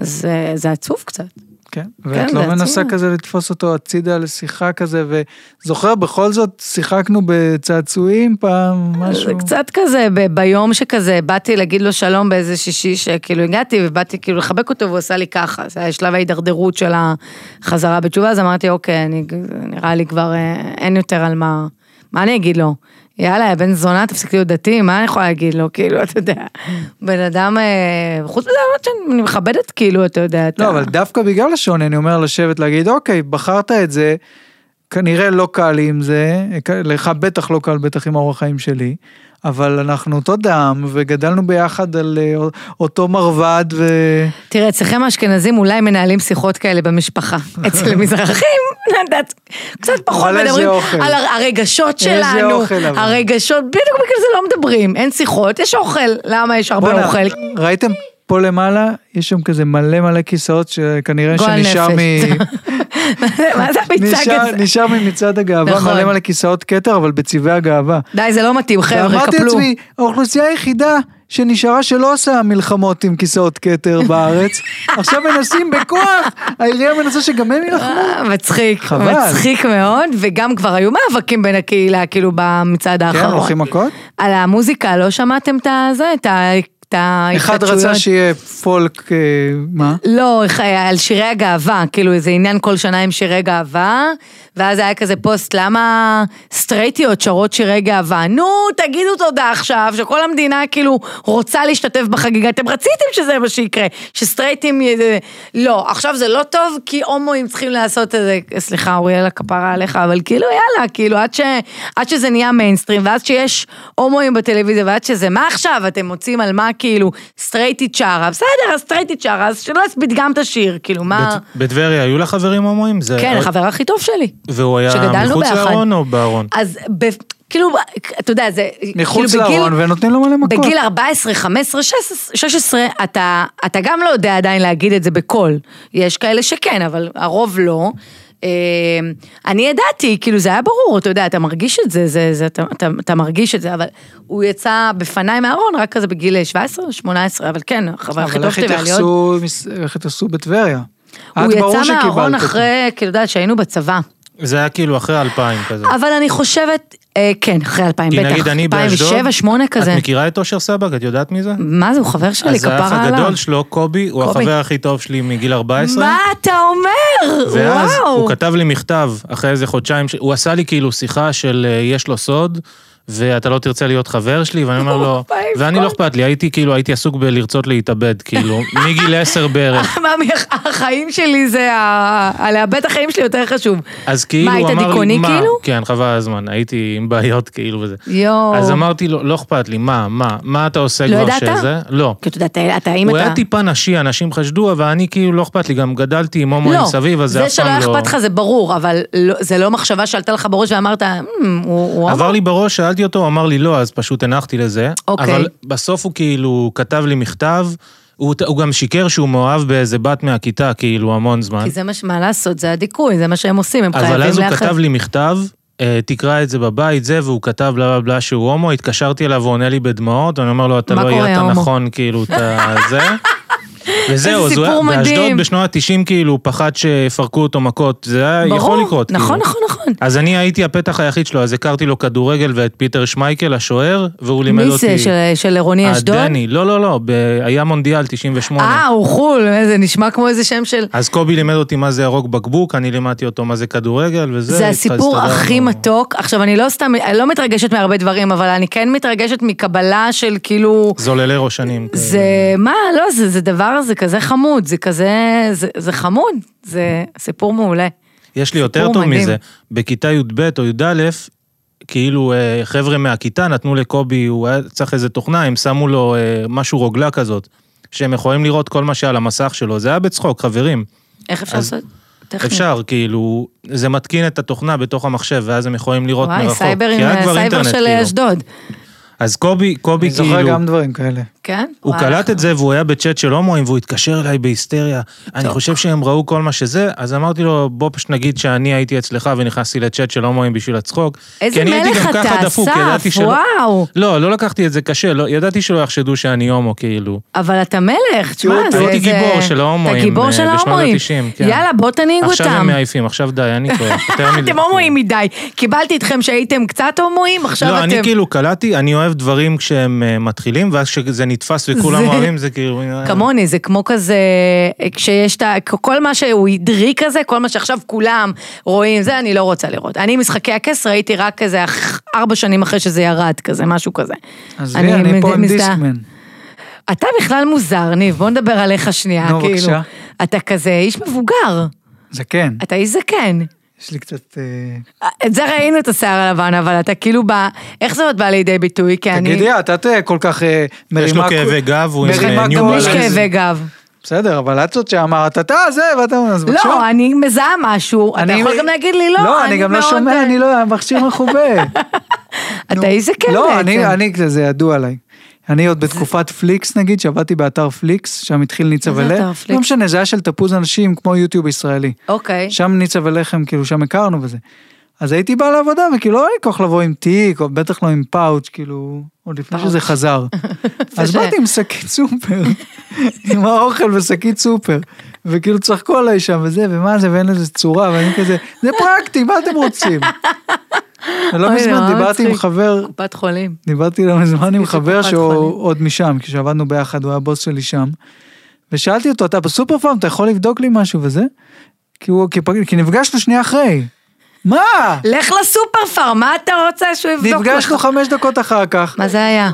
Speaker 2: זה, זה עצוב קצת.
Speaker 1: כן.
Speaker 2: כן,
Speaker 1: ואת
Speaker 2: זה
Speaker 1: לא מנסה
Speaker 2: עצוב.
Speaker 1: כזה לתפוס אותו הצידה לשיחה כזה, וזוכר, בכל זאת שיחקנו בצעצועים פעם,
Speaker 2: אה, זה
Speaker 1: משהו.
Speaker 2: קצת כזה, ב- ביום שכזה, באתי להגיד לו שלום באיזה שישי, שכאילו הגעתי, ובאתי כאילו לחבק אותו, והוא עשה לי ככה. זה היה שלב ההידרדרות של החזרה בתשובה, אז אמרתי, אוקיי, אני, נראה לי כבר אה, אין יותר על מה... מה אני אגיד לו? יאללה, יא בן זונה, תפסיק להיות דתי, מה אני יכולה להגיד לו? כאילו, אתה יודע, בן אדם, אה, חוץ מזה, למרות שאני מכבדת, כאילו, אתה יודע, אתה...
Speaker 1: לא, אבל דווקא בגלל השוני, אני אומר לשבת, להגיד, אוקיי, בחרת את זה, כנראה לא קל לי עם זה, לך בטח לא קל, בטח עם אורח חיים שלי, אבל אנחנו אותו דם, וגדלנו ביחד על אה, אותו מרבד, ו...
Speaker 2: תראה, אצלכם האשכנזים אולי מנהלים שיחות כאלה במשפחה. אצל המזרחים, לא יודעת, קצת פחות
Speaker 1: אבל איזה
Speaker 2: מדברים
Speaker 1: אוכל.
Speaker 2: על הר- הרגשות
Speaker 1: איזה
Speaker 2: שלנו.
Speaker 1: אוכל אבל.
Speaker 2: הרגשות, בדיוק בגלל זה לא מדברים, אין שיחות, יש אוכל. למה יש הרבה
Speaker 1: בואנה,
Speaker 2: אוכל?
Speaker 1: ראיתם פה למעלה? יש שם כזה מלא מלא כיסאות שכנראה
Speaker 2: גועל
Speaker 1: שנשאר מ...
Speaker 2: נפש. מה זה המיצג
Speaker 1: נשאר,
Speaker 2: הזה?
Speaker 1: נשאר ממצעד הגאווה,
Speaker 2: נכון.
Speaker 1: מלא מלא כיסאות כתר, אבל בצבעי הגאווה.
Speaker 2: די, זה לא מתאים, חבר'ה,
Speaker 1: ואמרתי
Speaker 2: קפלו.
Speaker 1: לעצמי, האוכלוסייה היחידה שנשארה שלא עושה מלחמות עם כיסאות כתר בארץ, עכשיו מנסים בכוח, העירייה מנסה שגם הם ילחמו.
Speaker 2: אה, מצחיק,
Speaker 1: חבל.
Speaker 2: מצחיק מאוד, וגם כבר היו מאבקים בין הקהילה, כאילו, במצעד
Speaker 1: כן,
Speaker 2: האחרון.
Speaker 1: הולכים מכות?
Speaker 2: על המוזיקה, לא שמעתם את הזה? את ה... את
Speaker 1: אחד
Speaker 2: ההתחדשויות.
Speaker 1: רצה שיהיה פולק, אה, מה?
Speaker 2: לא, איך- על שירי הגאווה, כאילו איזה עניין כל שנה עם שירי גאווה, ואז היה כזה פוסט, למה סטרייטיות שרות שירי גאווה? נו, תגידו תודה עכשיו, שכל המדינה כאילו רוצה להשתתף בחגיגה, אתם רציתם שזה מה שיקרה, שסטרייטים... י- זה- לא, עכשיו זה לא טוב, כי הומואים צריכים לעשות את זה, סליחה, אוריאלה, כפרה עליך, אבל כאילו, יאללה, כאילו, עד, ש... עד שזה נהיה מיינסטרים, ועד שיש הומואים בטלוויזיה, ועד שזה, מה עכשיו אתם מוצאים על מה, כאילו, סטרייטית שרה, בסדר, אז סטרייטית שרה, אז שלא יספיד גם את השיר, כאילו, מה...
Speaker 3: בת- בטבריה היו לך חברים הומואים? זה-
Speaker 2: כן, החבר הכי טוב שלי.
Speaker 3: והוא היה
Speaker 2: שגדלנו
Speaker 3: מחוץ
Speaker 2: ביחד.
Speaker 3: לארון או בארון?
Speaker 2: אז ב... כאילו, אתה יודע, זה... כאילו,
Speaker 1: מחוץ
Speaker 2: בגיל-
Speaker 1: לארון ונותנים לו מלא מכות.
Speaker 2: בגיל 14, 15, 16, 16, אתה, אתה גם לא יודע עדיין להגיד את זה בקול. יש כאלה שכן, אבל הרוב לא. אה, אני ידעתי, כאילו זה היה ברור, אתה יודע, אתה מרגיש את זה, זה, זה אתה, אתה, אתה מרגיש את זה, אבל הוא יצא בפניי מהארון רק כזה בגיל 17, 18, אבל כן, החבר הכי
Speaker 1: אבל
Speaker 2: טוב
Speaker 1: איך
Speaker 2: שלי והליון.
Speaker 1: התייחסו, מס- איך התייחסו בטבריה?
Speaker 2: הוא
Speaker 1: את ברור
Speaker 2: יצא מהארון
Speaker 1: שקיבלת את זה.
Speaker 2: אחרי, כאילו, אתה יודעת, שהיינו בצבא.
Speaker 3: זה היה כאילו אחרי אלפיים כזה.
Speaker 2: אבל אני חושבת, אה, כן, אחרי 2000
Speaker 3: כי
Speaker 2: בטח,
Speaker 3: נגיד אני באשדוד,
Speaker 2: 2007, 2008 כזה.
Speaker 3: את מכירה את אושר סבג? את יודעת מי זה?
Speaker 2: מה זה, הוא חבר שלי,
Speaker 3: אז
Speaker 2: כפרה עליו.
Speaker 3: האח הגדול שלו, קובי, הוא
Speaker 2: קובי.
Speaker 3: החבר הכי טוב שלי מגיל 14.
Speaker 2: מה אתה אומר?
Speaker 3: ואז
Speaker 2: וואו.
Speaker 3: הוא כתב לי מכתב אחרי איזה חודשיים, ש- הוא עשה לי כאילו שיחה של אה, יש לו סוד, ואתה לא תרצה להיות חבר שלי, ואני אומר לו,
Speaker 2: Oh my
Speaker 3: ואני לא
Speaker 2: God.
Speaker 3: אכפת לי, הייתי כאילו, הייתי עסוק בלרצות להתאבד, כאילו, מגיל 10 בערך.
Speaker 2: מה, מי- החיים שלי זה, ה- ה- לאבד החיים שלי יותר חשוב.
Speaker 3: אז כאילו,
Speaker 2: מה,
Speaker 3: הוא
Speaker 2: היית
Speaker 3: אמר לי,
Speaker 2: דיכאוני
Speaker 3: "מה?"
Speaker 2: כאילו?
Speaker 3: כן, חבל על הזמן, הייתי עם בעיות כאילו וזה.
Speaker 2: יואו.
Speaker 3: אז אמרתי לו, לא אכפת לי, מה, מה, מה אתה עושה
Speaker 2: לא
Speaker 3: כבר
Speaker 2: ידעת?
Speaker 3: שזה? לא.
Speaker 2: כי אתה יודע, אתה- אתה, אם
Speaker 3: הוא
Speaker 2: אתה...
Speaker 3: היה טיפה נשי, אנשים חשדו, אבל אני כאילו לא אכפת לי, גם גדלתי עם הומואים
Speaker 2: לא,
Speaker 3: סביב, אז זה
Speaker 2: זה
Speaker 3: אף פעם
Speaker 2: שלא
Speaker 3: לא...
Speaker 2: היה אכפת לך זה ברור, אבל לא- זה לא מחשבה שעלתה לך בראש ואמרת, "מ, הוא הוא
Speaker 3: עבר לי בראש, שאלתי אותו, הוא אמר לי לא, אז פשוט הנחתי לזה.
Speaker 2: אוקיי.
Speaker 3: אבל בסוף הוא כאילו כתב לי מכתב, הוא, הוא גם שיקר שהוא מאוהב באיזה בת מהכיתה, כאילו, המון זמן.
Speaker 2: כי זה מה ש... מה לעשות, זה הדיכוי, זה מה שהם עושים, הם חייבים
Speaker 3: אבל אז הוא
Speaker 2: לאחד-
Speaker 3: כתב לי מכתב, אה, תקרא את זה בבית, זה, והוא כתב בלה בלה בלה שהוא הומו, התקשרתי אליו, הוא עונה לי בדמעות, אני אומר לו, אתה
Speaker 2: מה
Speaker 3: לא
Speaker 2: קורה,
Speaker 3: יהיה אתה
Speaker 2: הומו?"
Speaker 3: נכון, כאילו, אתה זה. וזהו,
Speaker 2: איזה
Speaker 3: אז הוא היה
Speaker 2: סיפור מדהים.
Speaker 3: באשדוד בשנות ה-90, כאילו, הוא פחד שיפרקו אותו מכות, זה היה יכול
Speaker 2: ברור,
Speaker 3: לקרות.
Speaker 2: נכון,
Speaker 3: כאילו.
Speaker 2: נכון, נכון.
Speaker 3: אז אני הייתי הפתח היחיד שלו, אז הכרתי לו כדורגל ואת פיטר שמייקל, השוער, והוא לימד
Speaker 2: מי זה,
Speaker 3: אותי...
Speaker 2: של- של עירוני אשדוד?
Speaker 3: הדני, לא, לא, לא, ב- היה מונדיאל 98.
Speaker 2: אה, הוא חול, זה נשמע כמו איזה שם של...
Speaker 3: אז קובי לימד אותי מה זה ירוק בקבוק, אני לימדתי אותו מה זה כדורגל, וזה...
Speaker 2: זה הסיפור
Speaker 3: הסתדרנו.
Speaker 2: הכי מתוק. עכשיו, אני לא סתם, אני לא מתרגשת מהרבה דברים, אבל אני כן מתרגשת מקבלה של כאילו...
Speaker 3: זוללי ראשנים. כאלה.
Speaker 2: זה, מה, לא, זה, זה דבר, זה כזה חמוד, זה כזה, זה, זה חמוד, זה סיפור מעולה.
Speaker 3: כאילו. יש לי יותר
Speaker 2: סיפור
Speaker 3: טוב
Speaker 2: מדהים.
Speaker 3: מזה. בכיתה י"ב או י"א, כאילו אה, חבר'ה מהכיתה נתנו לקובי, הוא היה צריך איזה תוכנה, הם שמו לו אה, משהו רוגלה כזאת, שהם יכולים לראות כל מה שעל המסך שלו. זה היה בצחוק, חברים.
Speaker 2: איך אפשר
Speaker 3: אז
Speaker 2: לעשות? טכנית.
Speaker 3: אפשר, כאילו, זה מתקין את התוכנה בתוך המחשב, ואז הם יכולים לראות
Speaker 2: וואי,
Speaker 3: מרחוק.
Speaker 2: סייבר,
Speaker 3: כי
Speaker 2: עם, אה,
Speaker 3: היה כבר
Speaker 2: סייבר
Speaker 3: אינטרנט,
Speaker 2: של
Speaker 3: כאילו.
Speaker 2: אשדוד.
Speaker 3: אז קובי, קובי
Speaker 1: אני זוכר
Speaker 3: כאילו,
Speaker 1: גם דברים כאלה.
Speaker 2: כן?
Speaker 3: הוא
Speaker 2: וואי,
Speaker 3: קלט את זה והוא היה בצ'אט של הומואים והוא התקשר אליי בהיסטריה. אני חושב שהם ראו כל מה שזה, אז אמרתי לו, בוא פשוט נגיד שאני הייתי אצלך ונכנסתי לצ'אט של הומואים בשביל הצחוק.
Speaker 2: איזה
Speaker 3: כי אני הייתי
Speaker 2: מלך
Speaker 3: גם
Speaker 2: אתה,
Speaker 3: ככה דפוק,
Speaker 2: אסף,
Speaker 3: ידעתי שלא...
Speaker 2: וואו.
Speaker 3: לא, לא לקחתי את זה קשה, לא- ידעתי שלא יחשדו שאני הומו, כאילו.
Speaker 2: אבל אתה מלך, תשמע,
Speaker 1: הייתי
Speaker 2: זה... זה-
Speaker 3: גיבור של ההומואים,
Speaker 2: אתה גיבור
Speaker 3: אה,
Speaker 2: של
Speaker 3: בשנות
Speaker 2: ההומואים.
Speaker 3: ה-90, כן.
Speaker 2: יאללה, בוא תנהיג אותם.
Speaker 3: עכשיו הם מעייפים, עכשיו די, אני טועה. יותר מדי.
Speaker 2: אתם הומואים מדי. קיבלתי אתכם שהייתם קצת הומואים, עכשיו
Speaker 3: לא,
Speaker 2: אתם...
Speaker 3: אני כאילו קלטתי, אני אוהב דברים כשהם אה, מתחילים, ואז כשזה נתפס וכולם
Speaker 2: זה-
Speaker 3: אוהבים, זה כאילו... אה,
Speaker 2: כמוני, זה כמו כזה, אה, כשיש את ה... כל מה שהוא הדרי כזה, כל מה שעכשיו כולם רואים, זה אני לא רוצה לראות. אני משחקי הכס ראיתי רק כזה אח- ארבע שנים אחרי שזה ירד, כזה, משהו כזה.
Speaker 1: עזבי, אני
Speaker 2: מז-
Speaker 1: פה עם
Speaker 2: מזדהה.
Speaker 1: דיסקמן.
Speaker 2: אתה בכלל מוזר, ניב, בוא נדבר עליך שנייה,
Speaker 1: נו,
Speaker 2: כאילו.
Speaker 1: בבקשה.
Speaker 2: אתה כזה איש מבוגר,
Speaker 1: זקן.
Speaker 2: אתה איש זקן.
Speaker 1: כן, יש לי קצת... אה,
Speaker 2: את זה ראינו את השיער הלבן, אבל אתה כאילו בא... איך זה עוד בא לידי ביטוי? כי אני...
Speaker 1: תגידי את, את אה, כל כך אה, מרימה...
Speaker 3: לו כאבי גב, הוא עם,
Speaker 1: מרימה
Speaker 3: אה, ניו
Speaker 1: כל-
Speaker 2: גם לי יש
Speaker 3: balance.
Speaker 2: כאבי גב.
Speaker 1: בסדר, אבל את זאת שאמרת, אתה זה, ואתה... אז בבקשה.
Speaker 2: לא, אני מזהה משהו, אתה יכול גם להגיד לי לא,
Speaker 1: לא, אני גם לא
Speaker 2: מאוד,
Speaker 1: שומע,
Speaker 2: אה,
Speaker 1: אני לא, המכשיר מחווה.
Speaker 2: אתה איזה כן
Speaker 1: לא,
Speaker 2: בעצם.
Speaker 1: אני, אני, זה ידוע עליי. אני עוד בתקופת פליקס נגיד, שעבדתי באתר פליקס, שם התחיל ניצה
Speaker 2: מה זה אתר
Speaker 1: ולחם.
Speaker 2: פליקס?
Speaker 1: לא משנה, זה היה של תפוז אנשים כמו יוטיוב ישראלי.
Speaker 2: אוקיי.
Speaker 1: שם ניצה ולחם, כאילו, שם הכרנו וזה. אז הייתי בא לעבודה, וכאילו לא היה לי כוח לבוא עם תיק, או בטח לא עם פאוץ', כאילו, עוד לפני
Speaker 2: פאוץ'.
Speaker 1: שזה חזר. אז
Speaker 2: זה-
Speaker 1: באתי עם שקית סופר, עם האוכל ושקית סופר. וכאילו צחקו עליי שם וזה, ומה זה, ואין לזה צורה, ואני כזה, זה פרקטי, מה אתם רוצים? לא
Speaker 2: אוי,
Speaker 1: מזמן
Speaker 2: נורא
Speaker 1: דיברתי עם
Speaker 2: מצחיק.
Speaker 1: חבר,
Speaker 2: קופת חולים.
Speaker 1: דיברתי לא מזמן עם
Speaker 2: מצחיק
Speaker 1: חבר
Speaker 2: שקופת חולים.
Speaker 1: שהוא עוד משם, כשעבדנו ביחד, הוא היה בוס שלי שם. ושאלתי אותו, אתה בסופר פארם, אתה יכול לבדוק לי משהו וזה? כי הוא, כי פג- כי נפגשנו שנייה אחרי. מה?
Speaker 2: לך לסופר פארם, מה אתה רוצה שהוא יבדוק לך?
Speaker 1: נפגשנו חמש דקות אחר כך.
Speaker 2: מה זה היה?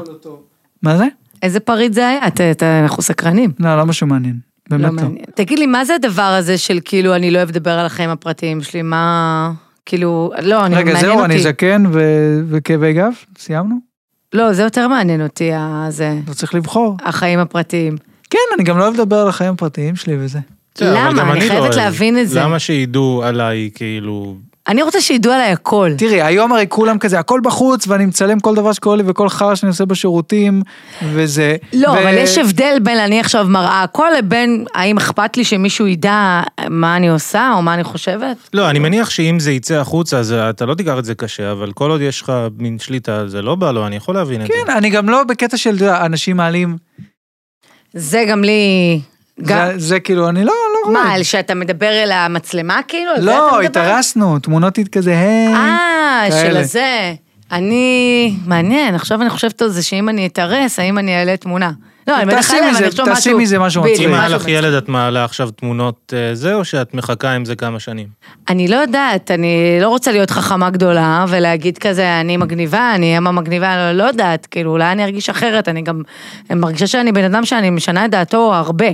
Speaker 1: מה זה?
Speaker 2: איזה פריט זה היה? אתה- אתה- אנחנו סקרנים.
Speaker 1: לא, לא משהו מעניין.
Speaker 2: לא
Speaker 1: באמת לא.
Speaker 2: מעניין. תגיד לי, מה זה הדבר הזה של כאילו, אני לא אוהב לדבר על החיים הפרטיים שלי, מה... כאילו, לא, אני,
Speaker 1: רגע,
Speaker 2: מעניין
Speaker 1: זהו,
Speaker 2: אותי.
Speaker 1: אני זקן ו- וכאבי גב? סיימנו?
Speaker 2: לא, זה יותר מעניין אותי, ה- זה,
Speaker 1: לא צריך לבחור.
Speaker 2: החיים הפרטיים.
Speaker 1: כן, אני גם לא אוהב לדבר על החיים הפרטיים שלי וזה.
Speaker 3: בסדר, אבל
Speaker 2: למה?
Speaker 3: גם
Speaker 2: אני
Speaker 3: לא
Speaker 2: חייבת
Speaker 3: אוהב.
Speaker 2: להבין את זה.
Speaker 3: למה שידעו עליי, כאילו...
Speaker 2: אני רוצה שידעו עליי הכל.
Speaker 1: תראי, היום הרי כולם כזה, הכל בחוץ, ואני מצלם כל דבר שקורה לי וכל חרא שאני עושה בשירותים, וזה...
Speaker 2: לא,
Speaker 1: ו-
Speaker 2: אבל יש הבדל בין אני עכשיו מראה הכל לבין האם אכפת לי שמישהו ידע מה אני עושה או מה אני חושבת?
Speaker 3: לא, אני מניח שאם זה יצא החוצה, אז אתה לא תיקח את זה קשה, אבל כל עוד יש לך מין שליטה, על זה לא בא לו, אני יכול להבין את זה.
Speaker 1: כן, אני גם לא בקטע של אתה יודע, אנשים מעלים,
Speaker 2: זה גם לי... גם...
Speaker 1: זה- זה כאילו, אני לא, לא
Speaker 2: מה,
Speaker 1: רואה.
Speaker 2: על שאתה מדבר אל המצלמה כאילו? על זה אתה
Speaker 1: לא,
Speaker 2: מדבר?
Speaker 1: התארסנו, תמונות אית כזה, היי.
Speaker 2: אה, של
Speaker 1: כאלה.
Speaker 2: הזה. אני... מעניין, עכשיו אני חושבת על זה שאם אני אתארס, האם אני אעלה תמונה. לא, אני בטח
Speaker 1: תעשי
Speaker 2: אעלה, אבל
Speaker 1: מזה-
Speaker 2: אני אחשוב משהו...
Speaker 1: תעשי מזה משהו
Speaker 2: בדיוק,
Speaker 1: מצחיק.
Speaker 3: אם
Speaker 1: זה
Speaker 3: היה
Speaker 2: משהו
Speaker 3: לך ילד, את מעלה עכשיו תמונות אה, זה, או שאת מחכה עם זה כמה שנים?
Speaker 2: אני לא יודעת, אני לא רוצה להיות חכמה גדולה ולהגיד כזה, אני מגניבה, אני אמה מגניבה, לא, לא יודעת, כאילו, אולי אני ארגיש אחרת, אני גם אני מרגישה שאני בן אדם שאני משנה את דעתו הרבה.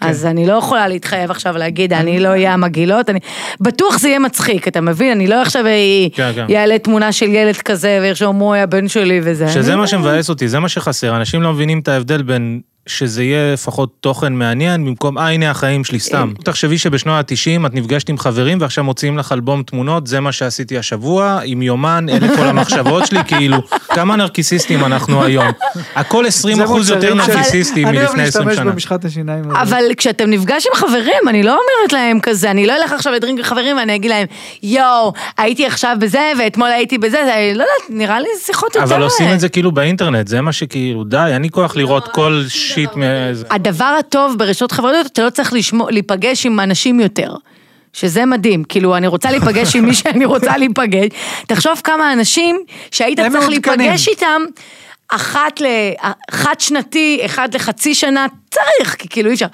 Speaker 3: כן.
Speaker 2: אז אני לא יכולה להתחייב עכשיו להגיד, אני לא אהיה המגעילות, אני... בטוח זה יהיה מצחיק, אתה מבין? אני לא עכשיו אי-
Speaker 3: כן, כן.
Speaker 2: יעלה תמונה של ילד כזה, וירשום, הוא היה הבן שלי וזה.
Speaker 3: שזה
Speaker 2: אני-
Speaker 1: לא
Speaker 3: מה שמבאס אותי, זה מה שחסר. אנשים לא מבינים את ההבדל בין שזה יהיה לפחות תוכן מעניין, במקום, אה, הנה החיים שלי, סתם.
Speaker 1: אה.
Speaker 3: תחשבי שבשנות ה-90 את נפגשת עם חברים, ועכשיו מוציאים לך אלבום תמונות, זה מה שעשיתי השבוע, עם יומן, אלה כל המחשבות שלי, כאילו, כמה נרקיסיסטים אנחנו היום. הכל 20
Speaker 1: זה
Speaker 3: אחוז יותר
Speaker 1: מוצרים של-
Speaker 3: נרקיסיסטים מלפני
Speaker 1: אני
Speaker 3: 20
Speaker 1: לא אוהב
Speaker 3: שנה.
Speaker 1: להשתמש במשחת השיניים הזה.
Speaker 2: אבל כשאתם נפגש עם חברים, אני לא אומרת להם כזה, אני לא אלך עכשיו לדרינק עם חברים ואני אגיד להם, יואו, הייתי עכשיו בזה ואתמול הייתי בזה, זה, לא יודעת, נראה לי שיחות יותר...
Speaker 3: אבל עושים את זה כאילו באינטרנט, זה מה שכאילו, די, אין לי כוח
Speaker 1: לא,
Speaker 3: לראות כל שיט מאיזה...
Speaker 2: הדבר הטוב ברשתות חברתיות, אתה לא צריך לשמוע, להיפגש עם אנשים יותר. שזה מדהים, כאילו אני רוצה להיפגש עם מי שאני רוצה להיפגש. תחשוב כמה אנשים שהיית
Speaker 1: הם
Speaker 2: צריך
Speaker 1: מעודכנים.
Speaker 2: להיפגש איתם, אחת ל... אחת שנתי, אחד לחצי שנה, צריך, כי כאילו אי אפשר.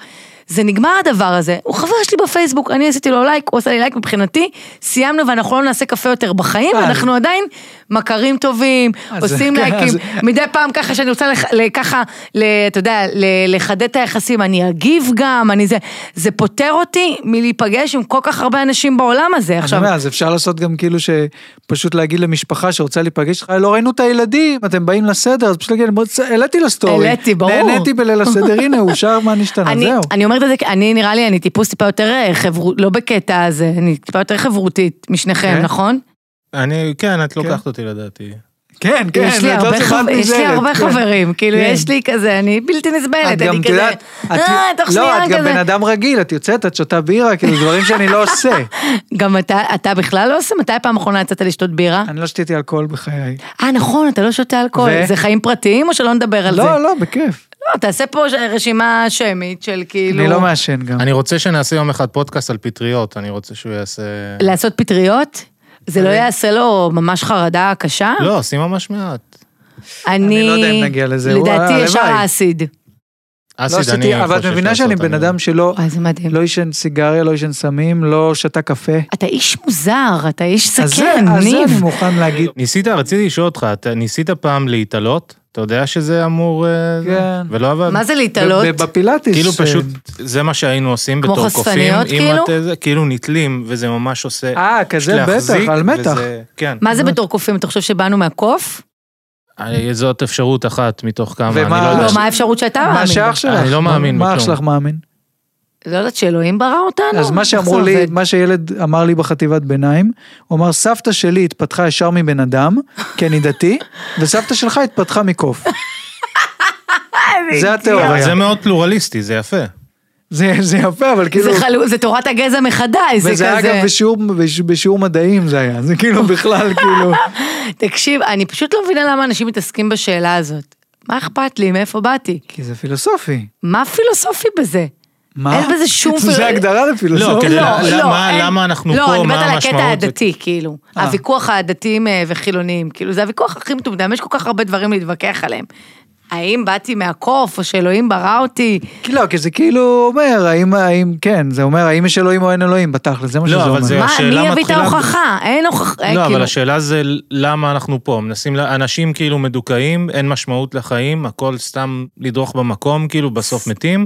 Speaker 2: זה נגמר הדבר הזה, הוא חבר שלי בפייסבוק, אני עשיתי לו לייק, הוא עשה לי לייק מבחינתי, סיימנו ואנחנו לא נעשה קפה יותר בחיים,
Speaker 1: אה,
Speaker 2: אנחנו עדיין מכרים טובים,
Speaker 1: אז-
Speaker 2: עושים
Speaker 1: כן,
Speaker 2: לייקים,
Speaker 1: אז-
Speaker 2: מדי פעם ככה שאני רוצה לח- ל- ככה, ל- אתה יודע, ל- לחדד את היחסים, אני אגיב גם, אני זה, זה פוטר אותי מלהיפגש עם כל כך הרבה אנשים בעולם הזה.
Speaker 1: עכשיו...
Speaker 2: עכשיו,
Speaker 1: אני אומר, אז אפשר לעשות גם כאילו שפשוט להגיד למשפחה שרוצה להיפגש איתך, לא ראינו את הילדים, אתם באים לסדר, אז פשוט להגיד, "בוא, צ- העליתי לסטורי.
Speaker 2: העליתי, ברור.
Speaker 1: נהניתי בליל הסדר, הנה, הוא שר מה נשתנה,
Speaker 2: אני,
Speaker 1: זהו.
Speaker 2: אני אומרת את זה, כי אני נראה לי, אני טיפוס טיפה יותר אה, חברות, לא בקטע הזה, אני טיפה יותר חברותית משניכם,
Speaker 1: כן.
Speaker 2: נכון?
Speaker 3: אני, כן, את לוקחת
Speaker 1: כן.
Speaker 3: אותי לדעתי.
Speaker 1: כן, כן,
Speaker 2: כאילו, יש לי
Speaker 1: את לא
Speaker 2: הרבה,
Speaker 1: צריכה
Speaker 2: חב...
Speaker 1: להיות
Speaker 2: יש לי
Speaker 1: נזהרת,
Speaker 2: הרבה
Speaker 1: כן.
Speaker 2: חברים, כאילו
Speaker 1: כן.
Speaker 2: יש לי כזה, אני בלתי נסבלת,
Speaker 1: את גם,
Speaker 2: אני
Speaker 1: את
Speaker 2: כזה,
Speaker 1: יודעת, את-
Speaker 2: אה, תוך
Speaker 1: לא,
Speaker 2: שנייה
Speaker 1: את גם בן
Speaker 2: כזה.
Speaker 1: אדם רגיל, את יוצאת, את שותה בירה, כאילו דברים שאני לא עושה.
Speaker 2: גם אתה, אתה בכלל לא עושה? מתי הפעם האחרונה יצאת לשתות בירה?
Speaker 1: אני לא שתיתי אלכוהול בחיי.
Speaker 2: אה, נכון, אתה לא שותה אלכוהול.
Speaker 1: ו-
Speaker 2: זה חיים פרטיים או שלא נדבר על זה?
Speaker 1: לא, לא, בכיף.
Speaker 2: לא, תעשה פה ש- רשימה שמית של כאילו...
Speaker 1: אני לא מעשן גם.
Speaker 3: אני רוצה שנעשה יום אחד פודקאסט על פטריות, אני רוצה שהוא יעשה...
Speaker 2: לעשות פטריות? זה לא יעשה לו ממש חרדה קשה?
Speaker 3: לא, עושים ממש מעט.
Speaker 2: אני...
Speaker 1: אני לא יודע אם נגיע לזה,
Speaker 2: לדעתי
Speaker 1: וואי,
Speaker 2: ישר
Speaker 1: הלוואי.
Speaker 2: אסיד.
Speaker 1: לא
Speaker 3: אסיד, אני
Speaker 1: שתיתי, אבל את
Speaker 3: חושש
Speaker 1: מבינה
Speaker 3: לעשות,
Speaker 1: שאני
Speaker 3: אני
Speaker 1: בן
Speaker 3: לא-
Speaker 1: אדם שלא
Speaker 2: וואי, זה מדהים.
Speaker 1: לא עישן סיגריה, לא עישן סמים, לא שתה קפה.
Speaker 2: אתה איש מוזר, אתה איש
Speaker 1: אז זה- כן,
Speaker 2: זקן,
Speaker 1: אז זה אני
Speaker 2: ניב.
Speaker 1: מוכן להגיד.
Speaker 3: ניסית, רציתי לשאול אותך, אתה ניסית פעם להתעלות? אתה יודע שזה אמור... אה, זה?
Speaker 1: כן.
Speaker 3: ולא עבד?
Speaker 2: מה זה להתעלות?
Speaker 1: ב- בפילאטיס.
Speaker 3: כאילו
Speaker 1: אה,
Speaker 3: פשוט, זה מה שהיינו עושים
Speaker 2: כמו
Speaker 3: בתור קופים.
Speaker 2: חשפניות,
Speaker 3: אם
Speaker 2: כאילו?
Speaker 3: את, אה, זה, כאילו נתלים, וזה ממש עושה...
Speaker 1: אה, כזה
Speaker 3: פשוט להחזיק,
Speaker 1: בטח, על מתח.
Speaker 3: וזה- כן.
Speaker 2: מה זה בתור קופים? אתה חושב שבאנו מהקוף?
Speaker 3: אה, זאת אפשרות אחת מתוך כמה, אני לא
Speaker 1: ומה-
Speaker 3: יודע.
Speaker 2: לא,
Speaker 1: ש-
Speaker 2: מה האפשרות שאתה מאמין?
Speaker 1: מה שאח
Speaker 2: בה?
Speaker 1: שלך?
Speaker 3: אני לא מאמין
Speaker 1: מה אח
Speaker 3: בכלום.
Speaker 1: שלך מאמין?
Speaker 2: לא יודעת שאלוהים ברא אותנו?
Speaker 1: אז לא, מה
Speaker 2: איך זה
Speaker 1: שאמרו לי,
Speaker 2: עובד?
Speaker 1: מה שילד אמר לי בחטיבת ביניים, הוא אמר, סבתא שלי התפתחה ישר מבן אדם, כי אני דתי, וסבתא שלך התפתחה מקוף. זה
Speaker 3: אבל
Speaker 1: התיאוריה.
Speaker 3: זה מאוד פלורליסטי, זה יפה.
Speaker 1: זה זה יפה, אבל
Speaker 2: זה
Speaker 1: כאילו...
Speaker 2: חלו- זה תורת הגזע מחדש, זה כזה.
Speaker 1: וזה היה גם בשיעור- בש- בשיעור מדעים זה היה, זה כאילו בכלל כאילו...
Speaker 2: תקשיב, אני פשוט לא מבינה למה אנשים מתעסקים בשאלה הזאת. מה אכפת לי, מאיפה באתי?
Speaker 1: כי זה פילוסופי.
Speaker 2: מה פילוסופי בזה?
Speaker 1: מה?
Speaker 2: אין בזה שום פילוס-
Speaker 1: זה הגדרה לפילוסופיה.
Speaker 3: לא, כדי
Speaker 2: לא,
Speaker 3: לה-
Speaker 2: לא,
Speaker 3: למה-
Speaker 2: אין.
Speaker 3: למה אנחנו פה,
Speaker 2: לא, אני
Speaker 3: מה
Speaker 2: מדברת על הקטע
Speaker 3: המשמעות?
Speaker 2: הדתי, כאילו.
Speaker 1: אה.
Speaker 2: הוויכוח הדתיים אה, וחילוניים, כאילו, זה הוויכוח הכי מטומטם, יש כל כך הרבה דברים להתווכח עליהם. האם באתי מהקוף, או שאלוהים ברא אותי?
Speaker 3: אה,
Speaker 1: כי לא, כי זה כאילו אומר, האם, האם, כן, זה אומר, האם יש אלוהים או אין אלוהים, בתכל'ס, זה מה
Speaker 3: לא,
Speaker 1: שזה
Speaker 3: אבל
Speaker 1: אומר.
Speaker 3: זה-
Speaker 2: מה,
Speaker 3: השאלה
Speaker 2: מי יביא את
Speaker 3: מתחילה ב-
Speaker 2: ההוכחה? אין הוכחה,
Speaker 3: לא, אבל
Speaker 2: כאילו.
Speaker 3: השאלה זה למה אנחנו פה, מנסים, ל- אנשים כאילו מדוכאים, אין משמעות לחיים, הכל סתם לדרוך במקום, כאילו בסוף מתים,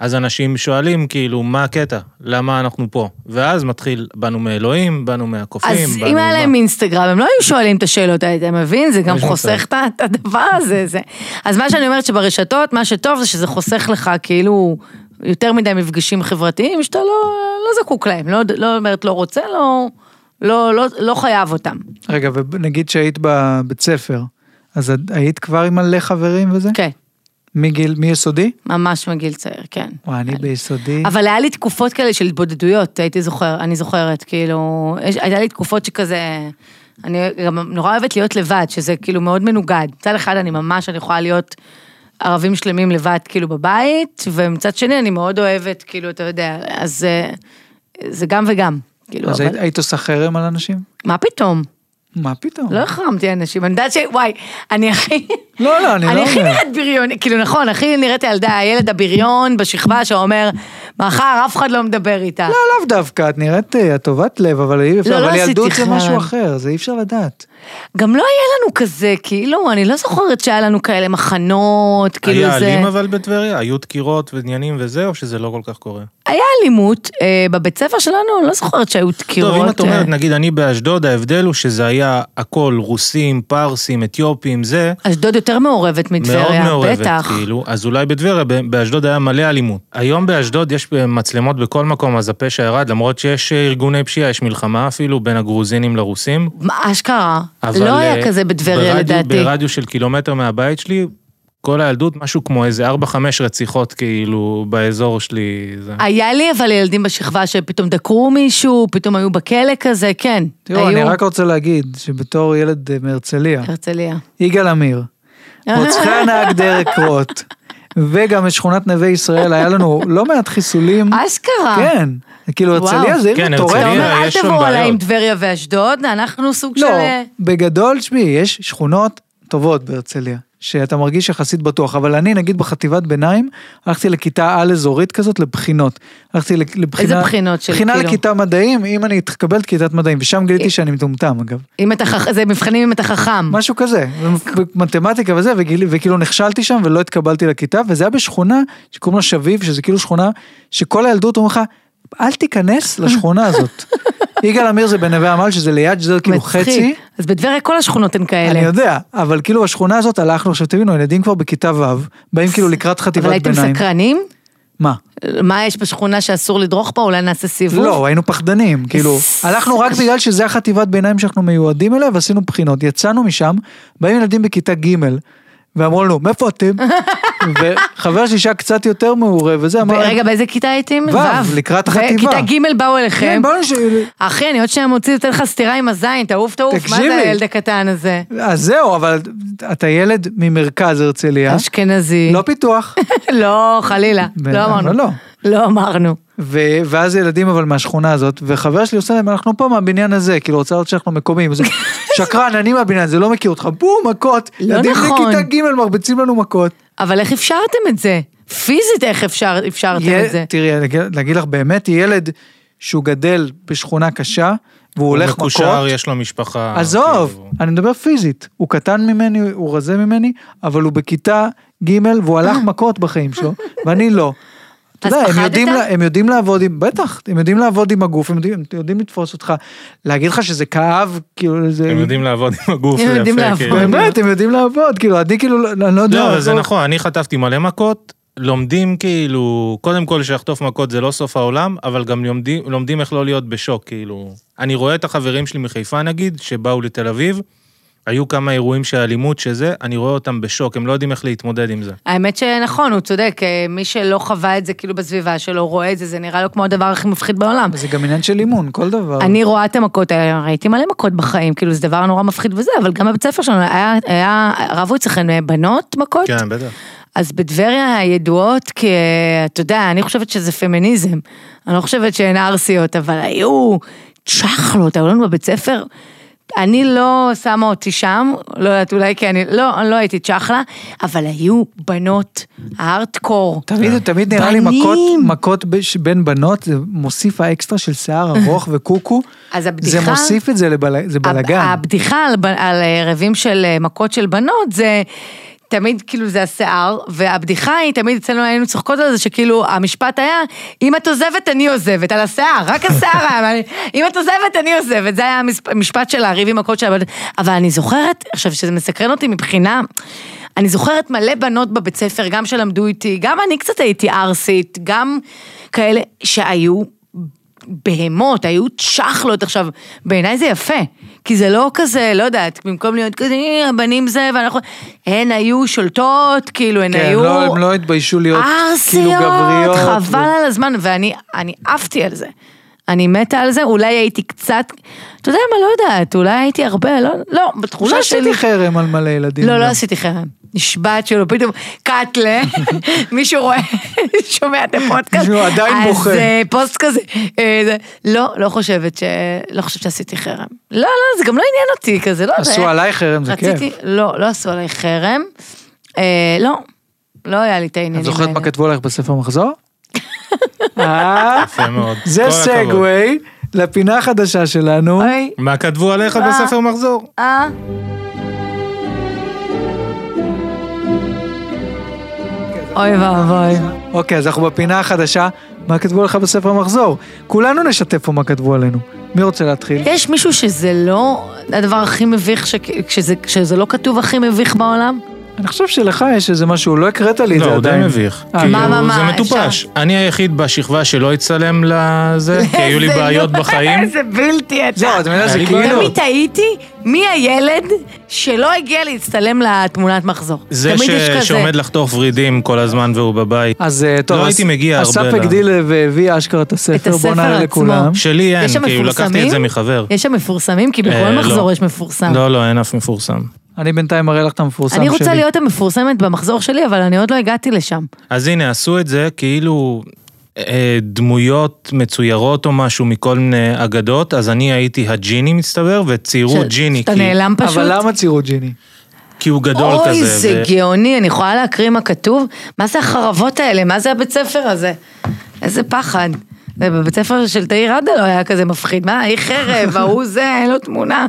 Speaker 3: אז אנשים שואלים כאילו, מה הקטע? למה אנחנו פה? ואז מתחיל, באנו מאלוהים, באנו מהקופים,
Speaker 2: אז
Speaker 3: באנו
Speaker 2: אם היה
Speaker 3: מה-
Speaker 2: להם אינסטגרם, הם לא היו שואלים את השאלות האלה, אתה מבין? זה גם
Speaker 3: יש מצב.
Speaker 2: חוסך את ה- את הדבר הזה. זה. אז מה שאני אומרת שברשתות, מה שטוב זה שזה חוסך לך כאילו יותר מדי מפגשים חברתיים שאתה לא, לא זקוק להם, לא, לא אומרת לא רוצה, לא, לא, לא, לא חייב אותם.
Speaker 1: רגע, ונגיד שהיית בבית ספר, אז את- היית כבר עם מלא חברים וזה?
Speaker 2: כן,
Speaker 1: מגיל, מיסודי?
Speaker 2: ממש מגיל צעיר, כן.
Speaker 1: וואי, אני ביסודי.
Speaker 2: אבל היה לי תקופות כאלה של התבודדויות, הייתי זוכר, אני זוכרת, כאילו, יש- היה לי תקופות שכזה, אני גם נורא אוהבת להיות לבד, שזה כאילו מאוד מנוגד. מצד אחד אני ממש, אני יכולה להיות ערבים שלמים לבד כאילו בבית, ומצד שני אני מאוד אוהבת, כאילו, אתה יודע, אז אה, זה גם וגם, כאילו,
Speaker 1: אז היית-
Speaker 2: אבל,
Speaker 1: היית עושה חרם על אנשים?
Speaker 2: מה פתאום?
Speaker 1: מה פתאום?
Speaker 2: לא החרמתי אנשים, אני יודעת ש... וואי, אני הכי...
Speaker 1: לא, לא, אני לא
Speaker 2: אני הכי
Speaker 1: אומר.
Speaker 2: נראית בריון, כאילו נכון, הכי נראית הילדה, הילד הבריון בשכבה שאומר, מחר אף אחד לא מדבר איתה.
Speaker 1: לא, לאו דווקא, את נראית אה, את טובת לב, אבל אי אפשר,
Speaker 2: לא, לא
Speaker 1: אבל
Speaker 2: עשיתי
Speaker 1: ילדות זה
Speaker 2: חרם.
Speaker 1: משהו אחר, זה אי אפשר לדעת.
Speaker 2: גם לא היה לנו כזה, כאילו, אני לא זוכרת שהיה לנו כאלה מחנות, כאילו
Speaker 3: היה
Speaker 2: זה...
Speaker 3: אלים אבל בטבריה? היו דקירות ועניינים וזה, או שזה לא כל כך קורה?
Speaker 2: היה אלימות, אה, בבית ספר שלנו, אני לא זוכרת שהיו דקירות.
Speaker 3: טוב, אם את
Speaker 2: אה,
Speaker 3: אומרת, נגיד אני באשדוד, ההבדל הוא שזה היה הכל רוסים, פרסים, אתיופים, זה.
Speaker 2: אשדוד יותר מעורבת
Speaker 3: מאוד
Speaker 2: מטבריה,
Speaker 3: מעורבת,
Speaker 2: בטח.
Speaker 3: כאילו, אז אולי בטבריה, ב- באשדוד היה מלא אלימות. היום באשדוד יש אה, מצלמות בכל מקום, אז הפשע ירד, למרות שיש אה, ארגוני פשיעה, יש מלחמה אפילו בין הגרוזינים לרוסים.
Speaker 2: מה, אשכרה.
Speaker 3: אבל...
Speaker 2: לא
Speaker 3: אה,
Speaker 2: היה כזה בטבריה
Speaker 3: ברדיו-
Speaker 2: לדעתי.
Speaker 3: ברדיו של קילומטר מהבית שלי, כל הילדות, משהו כמו איזה 4-5 רציחות, כאילו, באזור שלי. זה...
Speaker 2: היה לי אבל ילדים בשכבה שפתאום דקרו מישהו, פתאום היו בכלא כזה, כן.
Speaker 1: תראו,
Speaker 2: היו-
Speaker 1: אני רק רוצה להגיד שבתור ילד אה, מהרצליה,
Speaker 2: הרצליה.
Speaker 1: יגאל עמיר, רוצחי הנהג דרק רוט, וגם את שכונת נווה ישראל, היה לנו לא מעט חיסולים.
Speaker 2: אשכרה.
Speaker 1: כן, כאילו
Speaker 2: אה, וואו.
Speaker 1: הרצליה זה עיר
Speaker 3: כן,
Speaker 2: אתה
Speaker 1: מטורפת.
Speaker 3: הרצליה.
Speaker 2: אומר, אל
Speaker 3: יש שם
Speaker 2: תבואו עליי
Speaker 3: בעיות."
Speaker 2: עם טבריה ואשדוד, אנחנו סוג של... אה,
Speaker 1: לא, בגדול, תשמעי, יש שכונות טובות בהרצליה. שאתה מרגיש יחסית בטוח, אבל אני נגיד בחטיבת ביניים, הלכתי לכיתה על אזורית כזאת לבחינות. הלכתי לק- לבחינה...
Speaker 2: בחינות של
Speaker 1: בחינה
Speaker 2: כאילו? אה.
Speaker 1: לכיתה מדעים, אם אני אתקבל את כיתת מדעים, ושם גיליתי שאני מטומטם אגב.
Speaker 2: אם אתה חכ... זה מבחנים אם אתה חכם.
Speaker 1: משהו כזה, מתמטיקה וזה, וגיל, וכאילו נכשלתי שם ולא התקבלתי לכיתה, וזה היה בשכונה שקוראים לה שביב, שזה כאילו שכונה שכל הילדות אומרים לך, אל תיכנס לשכונה הזאת. יגאל עמיר זה בנווה עמל, שזה ליד, שזה כאילו
Speaker 2: מצחיק.
Speaker 1: חצי,
Speaker 2: אז בטבריה כל השכונות הן כאלה.
Speaker 1: אני יודע, אבל כאילו השכונה הזאת הלכנו, עכשיו תבינו, הילדים כבר בכיתה ו', באים כאילו לקראת
Speaker 2: אבל
Speaker 1: חטיבת
Speaker 2: הייתם
Speaker 1: ביניים.
Speaker 2: סקרנים?
Speaker 1: מה?
Speaker 2: מה יש בשכונה שאסור לדרוך בה? אולי נעשה סיבוב?
Speaker 1: לא, היינו פחדנים, כאילו, הלכנו רק בגלל שזה החטיבת ביניים שאנחנו מיועדים אליה, ועשינו בחינות. יצאנו משם, באים ילדים בכיתה ג' ואמרו לנו, מאיפה אתם? וחבר שלי שהיה קצת יותר מעורה, וזה אמר... "כן,
Speaker 2: רגע, באיזה כיתה הייתם?
Speaker 1: ו', לקראת החטיבה.
Speaker 2: וכיתה ג' באו אליכם.
Speaker 1: כן, באנו ש...
Speaker 2: אחי, אני עוד שנייה מוציא, אתן לך סטירה עם הזין, תעוף תעוף, מה
Speaker 1: תקשיבי.
Speaker 2: זה הילד הקטן הזה?
Speaker 1: אז זהו, אבל אתה ילד ממרכז הרצליה,
Speaker 2: אשכנזי.
Speaker 1: לא פיתוח.
Speaker 2: לא, חלילה.
Speaker 1: בן-
Speaker 2: לא אמרנו.
Speaker 1: אבל לא.
Speaker 2: לא אמרנו.
Speaker 1: ו- ואז ילדים אבל מהשכונה הזאת, וחבר שלי עושה להם, אנחנו פה מהבניין הזה, כאילו רוצה לראות שאנחנו מקומיים. אז הוא, שקרן, אני מהבניין הזה, לא מכיר אותך, בום, מכות.
Speaker 2: לא
Speaker 1: ילדים
Speaker 2: נכון.
Speaker 1: בכיתה ג' מרביצים לנו מכות.
Speaker 2: אבל איך אפשרתם את זה? פיזית איך אפשר, אפשרתם
Speaker 1: יה-
Speaker 2: את זה?
Speaker 1: תראי, להגיד- להגיד לך באמת, ילד שהוא גדל בשכונה קשה, והוא
Speaker 3: הוא
Speaker 1: הולך מכות,
Speaker 3: מקושר, יש לו משפחה.
Speaker 1: עזוב,
Speaker 3: כאילו.
Speaker 1: אני מדבר פיזית. הוא קטן ממני, הוא רזה ממני, אבל הוא בכיתה ג' והוא הלך מכות בחיים שלו, ואני לא. אתה
Speaker 2: אז
Speaker 1: יודע, הם
Speaker 2: פחדת?
Speaker 1: יודעים, לה- הם יודעים לעבוד עם, בטח, הם יודעים לעבוד עם הגוף, הם יודעים, הם יודעים לתפוס אותך. להגיד לך שזה כאב, כאילו, זה...
Speaker 3: הם יודעים לעבוד עם הגוף,
Speaker 2: הם
Speaker 3: זה
Speaker 2: יודעים
Speaker 3: יפה,
Speaker 2: לעבוד.
Speaker 3: כאילו.
Speaker 1: באמת, הם יודעים לעבוד, כאילו, אני כאילו, לא- אני לא יודע.
Speaker 3: לא, אבל זה
Speaker 1: לא-
Speaker 3: נכון, אני חטפתי מלא מכות, לומדים כאילו, קודם כל שלחטוף מכות זה לא סוף העולם, אבל גם לומדים, לומדים איך לא להיות בשוק, כאילו. אני רואה את החברים שלי מחיפה נגיד, שבאו לתל אביב, היו כמה אירועים של אלימות שזה, אני רואה אותם בשוק, הם לא יודעים איך להתמודד עם זה.
Speaker 2: האמת שנכון, הוא צודק, אה, מי שלא חווה את זה כאילו בסביבה שלו, רואה את זה, זה נראה לו כמו הדבר הכי מפחיד בעולם.
Speaker 1: זה גם עניין של אימון, כל דבר.
Speaker 2: אני רואה את המכות האלה, ראיתי מלא מכות בחיים, כאילו זה דבר נורא מפחיד וזה, אבל גם בבית ספר שלנו היה, היה רבו אצלכם אה, בנות מכות,
Speaker 3: כן, בטח.
Speaker 2: אז בטבריה הידועות כ... אתה יודע, אני חושבת שזה פמיניזם. אני לא חושבת שהן ערסיות, אבל היו צ'חלות, היו לנו בבית ספר. אני לא שמה אותי שם, לא יודעת, אולי כי אני, לא, אני לא הייתי צ'חלה, אבל היו בנות הארדקור.
Speaker 1: תמיד, תמיד נראה לי
Speaker 2: אה, בנים.
Speaker 1: מכות, מכות בש- בין בנות, זה מוסיף האקסטרה של שיער ארוך וקוקו,
Speaker 2: אז הבדיחה...
Speaker 1: זה מוסיף את זה לבלגן. זה בלגן.
Speaker 2: הבדיחה על, ב- על אה, רבים של אה, מכות של בנות זה... תמיד כאילו זה השיער, והבדיחה היא, תמיד אצלנו היינו צוחקות על זה, שכאילו המשפט היה, אם את עוזבת אני עוזבת, על השיער, רק השיער היה, אבל, אם את עוזבת אני עוזבת, זה היה המספ- המשפט של הריב עם מכות של הבנות, אבל אני זוכרת, עכשיו שזה מסקרן אותי מבחינה, אני זוכרת מלא בנות בבית ספר, גם שלמדו איתי, גם אני קצת הייתי ערסית, גם כאלה שהיו בהמות, היו צ'חלות עכשיו, בעיניי זה יפה, כי זה לא כזה, לא יודעת, במקום להיות כזה, "אה, הבנים זה, ואנחנו, הן היו שולטות, כאילו, הן
Speaker 1: כן,
Speaker 2: היו...
Speaker 1: לא, הם לא התביישו להיות כאילו
Speaker 2: ארסיות,
Speaker 1: גבריות.
Speaker 2: חבל על הזמן, ואני אני עפתי על זה. אני מתה על זה, אולי הייתי קצת, אתה יודע מה, לא יודעת, אולי הייתי הרבה, לא, לא,
Speaker 1: אולי
Speaker 2: בתחושה שלי...
Speaker 1: עשיתי חרם על מלא ילדים.
Speaker 2: לא, לא
Speaker 1: גם.
Speaker 2: עשיתי חרם. נשבעת שלא, פתאום קאטלה, מישהו רואה, שומע את הפודקאסט.
Speaker 1: מישהו עדיין בוכה.
Speaker 2: אז אה, פוסט כזה. אה, זה- לא, לא חושבת ש... לא חושבת שעשיתי חרם. לא, לא, זה גם לא עניין אותי כזה, לא יודע.
Speaker 1: עשו עליי חרם, זה כיף.
Speaker 2: רציתי, לא, לא עשו עליי חרם. אה, לא, לא היה לי את העניינים
Speaker 1: את
Speaker 2: האלה.
Speaker 1: זוכרת מה כתבו עלייך בספר מחזור? אה,
Speaker 3: יפה מאוד.
Speaker 1: זה
Speaker 3: כל הכבוד.
Speaker 1: סגווי לפינה החדשה שלנו.
Speaker 2: אוי,
Speaker 3: מה כתבו עליך
Speaker 2: מה?
Speaker 3: בספר מחזור?
Speaker 2: אה. אוי ואבוי.
Speaker 1: אוקיי, אז אנחנו בפינה החדשה, מה כתבו לך בספר מחזור? כולנו נשתף פה מה כתבו עלינו. מי רוצה להתחיל?
Speaker 2: יש מישהו שזה לא הדבר הכי מביך, ש... כשזה, כשזה לא כתוב הכי מביך בעולם?
Speaker 1: אני חושב שלך יש איזה משהו, לא הקראת לי את
Speaker 3: לא,
Speaker 1: זה
Speaker 3: הוא די
Speaker 1: עדיין.
Speaker 3: מביך.
Speaker 1: אה,
Speaker 3: כאילו,
Speaker 2: מה, מה, מה,
Speaker 3: זה מטופש. אני היחיד בשכבה שלא הצטלם לזה, כי היו לי
Speaker 2: איזה
Speaker 3: בעיות
Speaker 2: נו-
Speaker 3: בחיים.
Speaker 2: איזה לא- בלתי אתה.
Speaker 1: זהו, את מבינה, זה
Speaker 3: אני לא-
Speaker 1: כאילו...
Speaker 2: תמיד תהיתי מי הילד שלא הגיע להצטלם לתמונת מחזור.
Speaker 3: זה
Speaker 2: תמיד יש
Speaker 3: ש-
Speaker 2: כזה.
Speaker 3: שעומד לחטוף ורידים כל הזמן והוא בבית.
Speaker 1: אז אה, טוב,
Speaker 3: לא
Speaker 1: אז-
Speaker 3: הייתי מגיע הרבה
Speaker 1: אסף
Speaker 3: ל-
Speaker 1: הגדיל והביא אשכרה את הספר, בוא
Speaker 2: הספר
Speaker 1: נראה
Speaker 2: עצמו.
Speaker 1: לכולם.
Speaker 3: שלי אין,
Speaker 2: יש שם
Speaker 3: כאילו לקחתי
Speaker 2: מפורסמים?
Speaker 3: את זה מחבר.
Speaker 2: יש שם מפורסמים? כי בכל
Speaker 3: אה, לא.
Speaker 2: מחזור יש מפורסם.
Speaker 3: לא, לא, אין אף מפורסם.
Speaker 1: אני בינתיים אראה לך את המפורסם שלי.
Speaker 2: אני רוצה להיות המפורסמת במחזור שלי, אבל אני עוד לא הגעתי לשם.
Speaker 3: אז הנה, עשו את זה כאילו אה, דמויות מצוירות או משהו מכל מיני אגדות, אז אני הייתי הג'יני מסתבר, וציירו
Speaker 2: ש-
Speaker 3: ג'יני,
Speaker 2: שאתה
Speaker 3: כי-
Speaker 2: נעלם פשוט.
Speaker 1: אבל למה ציירו ג'יני?
Speaker 3: כי הוא גדול כזה.
Speaker 2: אוי, זה
Speaker 3: ו-
Speaker 2: גאוני, אני יכולה להקריא מה כתוב? מה זה החרבות האלה? מה זה הבית ספר הזה? איזה פחד. זה בבית ספר של תאיר עדה לא היה כזה מפחיד, מה, היא חרב, ההוא זה, אין לו תמונה.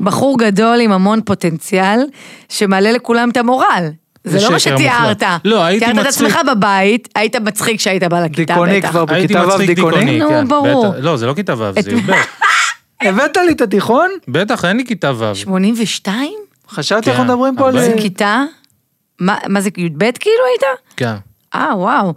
Speaker 2: בחור גדול עם המון פוטנציאל, שמעלה לכולם את המורל. זה
Speaker 3: זה
Speaker 2: לא מה
Speaker 3: שקר
Speaker 2: שתיארת.
Speaker 3: מוחלט. לא, הייתי
Speaker 2: תיארת את
Speaker 3: מצחיק.
Speaker 2: עצמך בבית, היית מצחיק כשהיית בא לכיתה,
Speaker 1: דיכאוני
Speaker 2: בטח.
Speaker 1: כבר.
Speaker 3: הייתי
Speaker 1: בכיתה ו'
Speaker 3: מצחיק
Speaker 1: דיכאוני?
Speaker 3: דיכאוני,
Speaker 2: נו,
Speaker 3: כן,
Speaker 2: ברור.
Speaker 3: בטח. לא, זה לא כיתה ו', זה
Speaker 2: את-
Speaker 3: י"ב.
Speaker 1: הבאת לי את התיכון?
Speaker 3: בטח, אין לי כיתה ו'.
Speaker 2: 82?
Speaker 1: חשבתי
Speaker 3: כן,
Speaker 1: אנחנו מדברים פה על...
Speaker 3: אבל-
Speaker 2: זה
Speaker 1: אה,
Speaker 2: כיתה? מה מה זה, י"ב כאילו היית?
Speaker 3: כן.
Speaker 2: אה, וואו.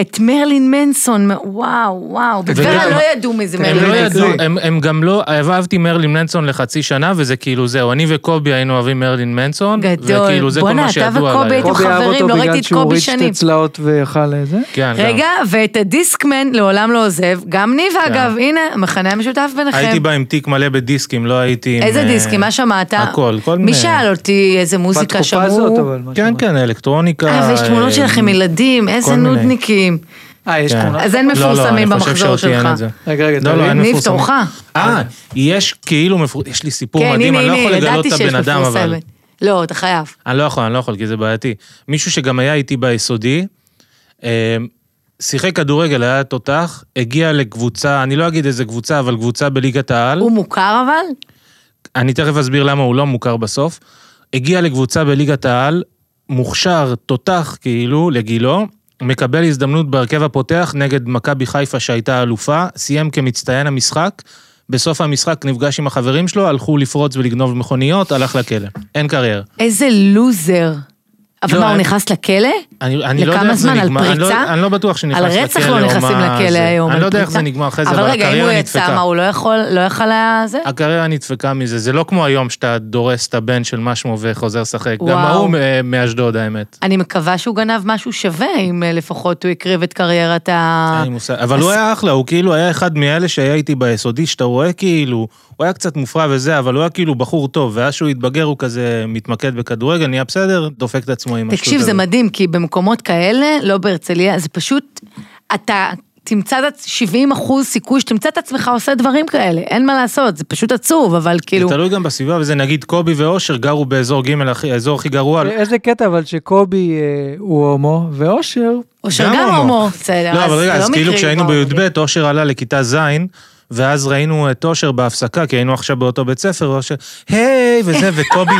Speaker 2: את מרלין מנסון, וואו, וואו. בטבריה
Speaker 3: וגם-
Speaker 2: לא ידעו מי זה
Speaker 3: הם
Speaker 2: מרלין
Speaker 3: לא
Speaker 1: מרלין
Speaker 2: מנסון.
Speaker 3: ידעו,
Speaker 1: מנסון.
Speaker 3: הם- הם גם לא, אהבתי מרלין מנסון לחצי שנה, וזה כאילו זהו, אני וקובי היינו אוהבים מרלין מנסון,
Speaker 2: גדול.
Speaker 3: וכאילו זה כל
Speaker 2: בואנה,
Speaker 3: מה
Speaker 2: אתה
Speaker 3: שידוע
Speaker 2: וקובי
Speaker 3: עליי.
Speaker 2: הייתם
Speaker 1: קובי אהב
Speaker 2: חברים,
Speaker 1: אותו
Speaker 2: לא ראיתי
Speaker 1: בגלל
Speaker 2: את
Speaker 1: שהוא
Speaker 2: קובי
Speaker 1: הוריד שתי
Speaker 2: שנים.
Speaker 1: צלעות ואכל איזה.
Speaker 3: כן, גם.
Speaker 2: רגע, ואת הדיסקמן לעולם לא עוזב. גם ניב, אגב, הנה, המכנה המשותף ביניכם.
Speaker 3: הייתי בא עם תיק מלא בדיסקים, לא הייתי עם...
Speaker 2: איזה
Speaker 3: אה,
Speaker 2: דיסקים, מה שמעת?
Speaker 3: הכל, כל מיני.
Speaker 2: מי שאל אותי איזה מוזיקה
Speaker 1: בתקופה הזאת,
Speaker 2: שמעו?
Speaker 1: אבל... מה
Speaker 3: כן,
Speaker 1: שאמרת.
Speaker 3: כן, אלקטרוניקה.
Speaker 2: אה, ויש תמונות
Speaker 3: אה,
Speaker 2: שלכם ילדים, איזה
Speaker 3: מיני.
Speaker 2: נודניקים.
Speaker 1: אה, יש
Speaker 3: כן.
Speaker 1: תמונה?
Speaker 2: אז אין
Speaker 3: לא, לא,
Speaker 2: מפורסמים
Speaker 3: אני חושב
Speaker 2: במחזור
Speaker 3: שאותי אין
Speaker 2: שלך. כן,
Speaker 3: את זה.
Speaker 1: רגע, רגע,
Speaker 3: לא, לא,
Speaker 1: תראי.
Speaker 3: אין
Speaker 2: ניב,
Speaker 3: מפורסמים.
Speaker 2: תורך.
Speaker 3: אה, יש כאילו מפורסמים, יש לי סיפור
Speaker 2: כן,
Speaker 3: מדהים,
Speaker 2: הנה,
Speaker 3: אני לא יכול
Speaker 2: הנה,
Speaker 3: לגלות
Speaker 2: ידעתי
Speaker 3: את
Speaker 2: שיש
Speaker 3: הבן אדם, אבל...
Speaker 2: מפורסמת. לא, אתה חייב.
Speaker 3: אני לא יכול, אני לא יכול, כי זה בעייתי. מישהו שגם היה איתי ביסודי, אה, שיחק כדורגל, היה תותח, הגיע לקבוצה, אני לא אגיד איזה קבוצה, אבל קבוצה בליגת העל.
Speaker 2: הוא מוכר אבל?
Speaker 3: אני תכף אסביר למה הוא לא מוכר בסוף. הגיע לקבוצה בליגת העל, מוכשר, תותח כאילו, לגילו, מקבל הזדמנות בהרכב הפותח נגד מכבי חיפה שהייתה אלופה, סיים כמצטיין המשחק, בסוף המשחק נפגש עם החברים שלו, הלכו לפרוץ ולגנוב מכוניות, הלך לכלא. אין קריירה.
Speaker 2: איזה לוזר. אבל
Speaker 3: לא,
Speaker 2: מה, הוא
Speaker 3: אני-
Speaker 2: נכנס לכלא?
Speaker 3: אני, אני לא יודע
Speaker 2: לכמה
Speaker 3: איך זה
Speaker 2: זמן? על
Speaker 3: נגמר, אני לא,
Speaker 2: פריצה?
Speaker 3: אני לא בטוח שנכנס
Speaker 2: על
Speaker 3: לכלא,
Speaker 2: רצח לא
Speaker 3: או
Speaker 2: נכנסים
Speaker 3: מה
Speaker 2: לכלא
Speaker 3: זה.
Speaker 2: היום.
Speaker 3: אני
Speaker 2: על
Speaker 3: לא יודע איך
Speaker 2: פריצה.
Speaker 3: זה נגמר אחרי זה,
Speaker 2: אבל
Speaker 3: אבל
Speaker 2: רגע, אם הוא
Speaker 3: הקריירה
Speaker 2: יצא, מה,
Speaker 3: נדפקה.
Speaker 2: הוא לא יכול, לא יכול היה זה?
Speaker 3: הקריירה נדפקה מזה, זה לא כמו היום שאתה דורס את הבן של מה שמו וחוזר לשחק. גם
Speaker 2: וואו.
Speaker 3: ההוא אה, מאשדוד האמת.
Speaker 2: אני מקווה שהוא גנב משהו שווה, אם אה, לפחות הוא הקריב את קריירת ה...
Speaker 3: אין לי מושג. אבל הוא היה אחלה, הוא כאילו היה אחד מאלה שהיה איתי ביסודי, שאתה רואה כאילו, הוא היה קצת מופרע וזה, אבל הוא היה כאילו בחור טוב, ואז שהוא התבגר הוא כזה מתמקד בכדורגל, נהיה בסדר, דופק את עצמו עם
Speaker 2: תקשיב, זה
Speaker 3: הזאת.
Speaker 2: מדהים, כי במקומות כאלה, לא בהרצליה, זה פשוט, אתה תמצא את עצ- 70 אחוז סיכוי שתמצא את עצמך עושה דברים כאלה, אין מה לעשות, זה פשוט עצוב, אבל כאילו,
Speaker 3: זה תלוי גם בסביבה, וזה נגיד קובי ואושר גרו באזור ג', הכי- האזור הכי גרוע.
Speaker 2: אה,
Speaker 1: איזה קטע אבל שקובי אה, הוא הומו, ואושר,
Speaker 2: אושר גם הומו, בסדר,
Speaker 3: לא, אבל
Speaker 2: זה
Speaker 3: רגע, אז כאילו
Speaker 2: מקרי
Speaker 3: כשהיינו
Speaker 2: כבר.
Speaker 3: בי"ב, אושר עלה לכיתה ז', ואז ראינו את אושר בהפסקה, כי היינו עכשיו באותו בית ספר, ואושר, היי, וזה, וקובי,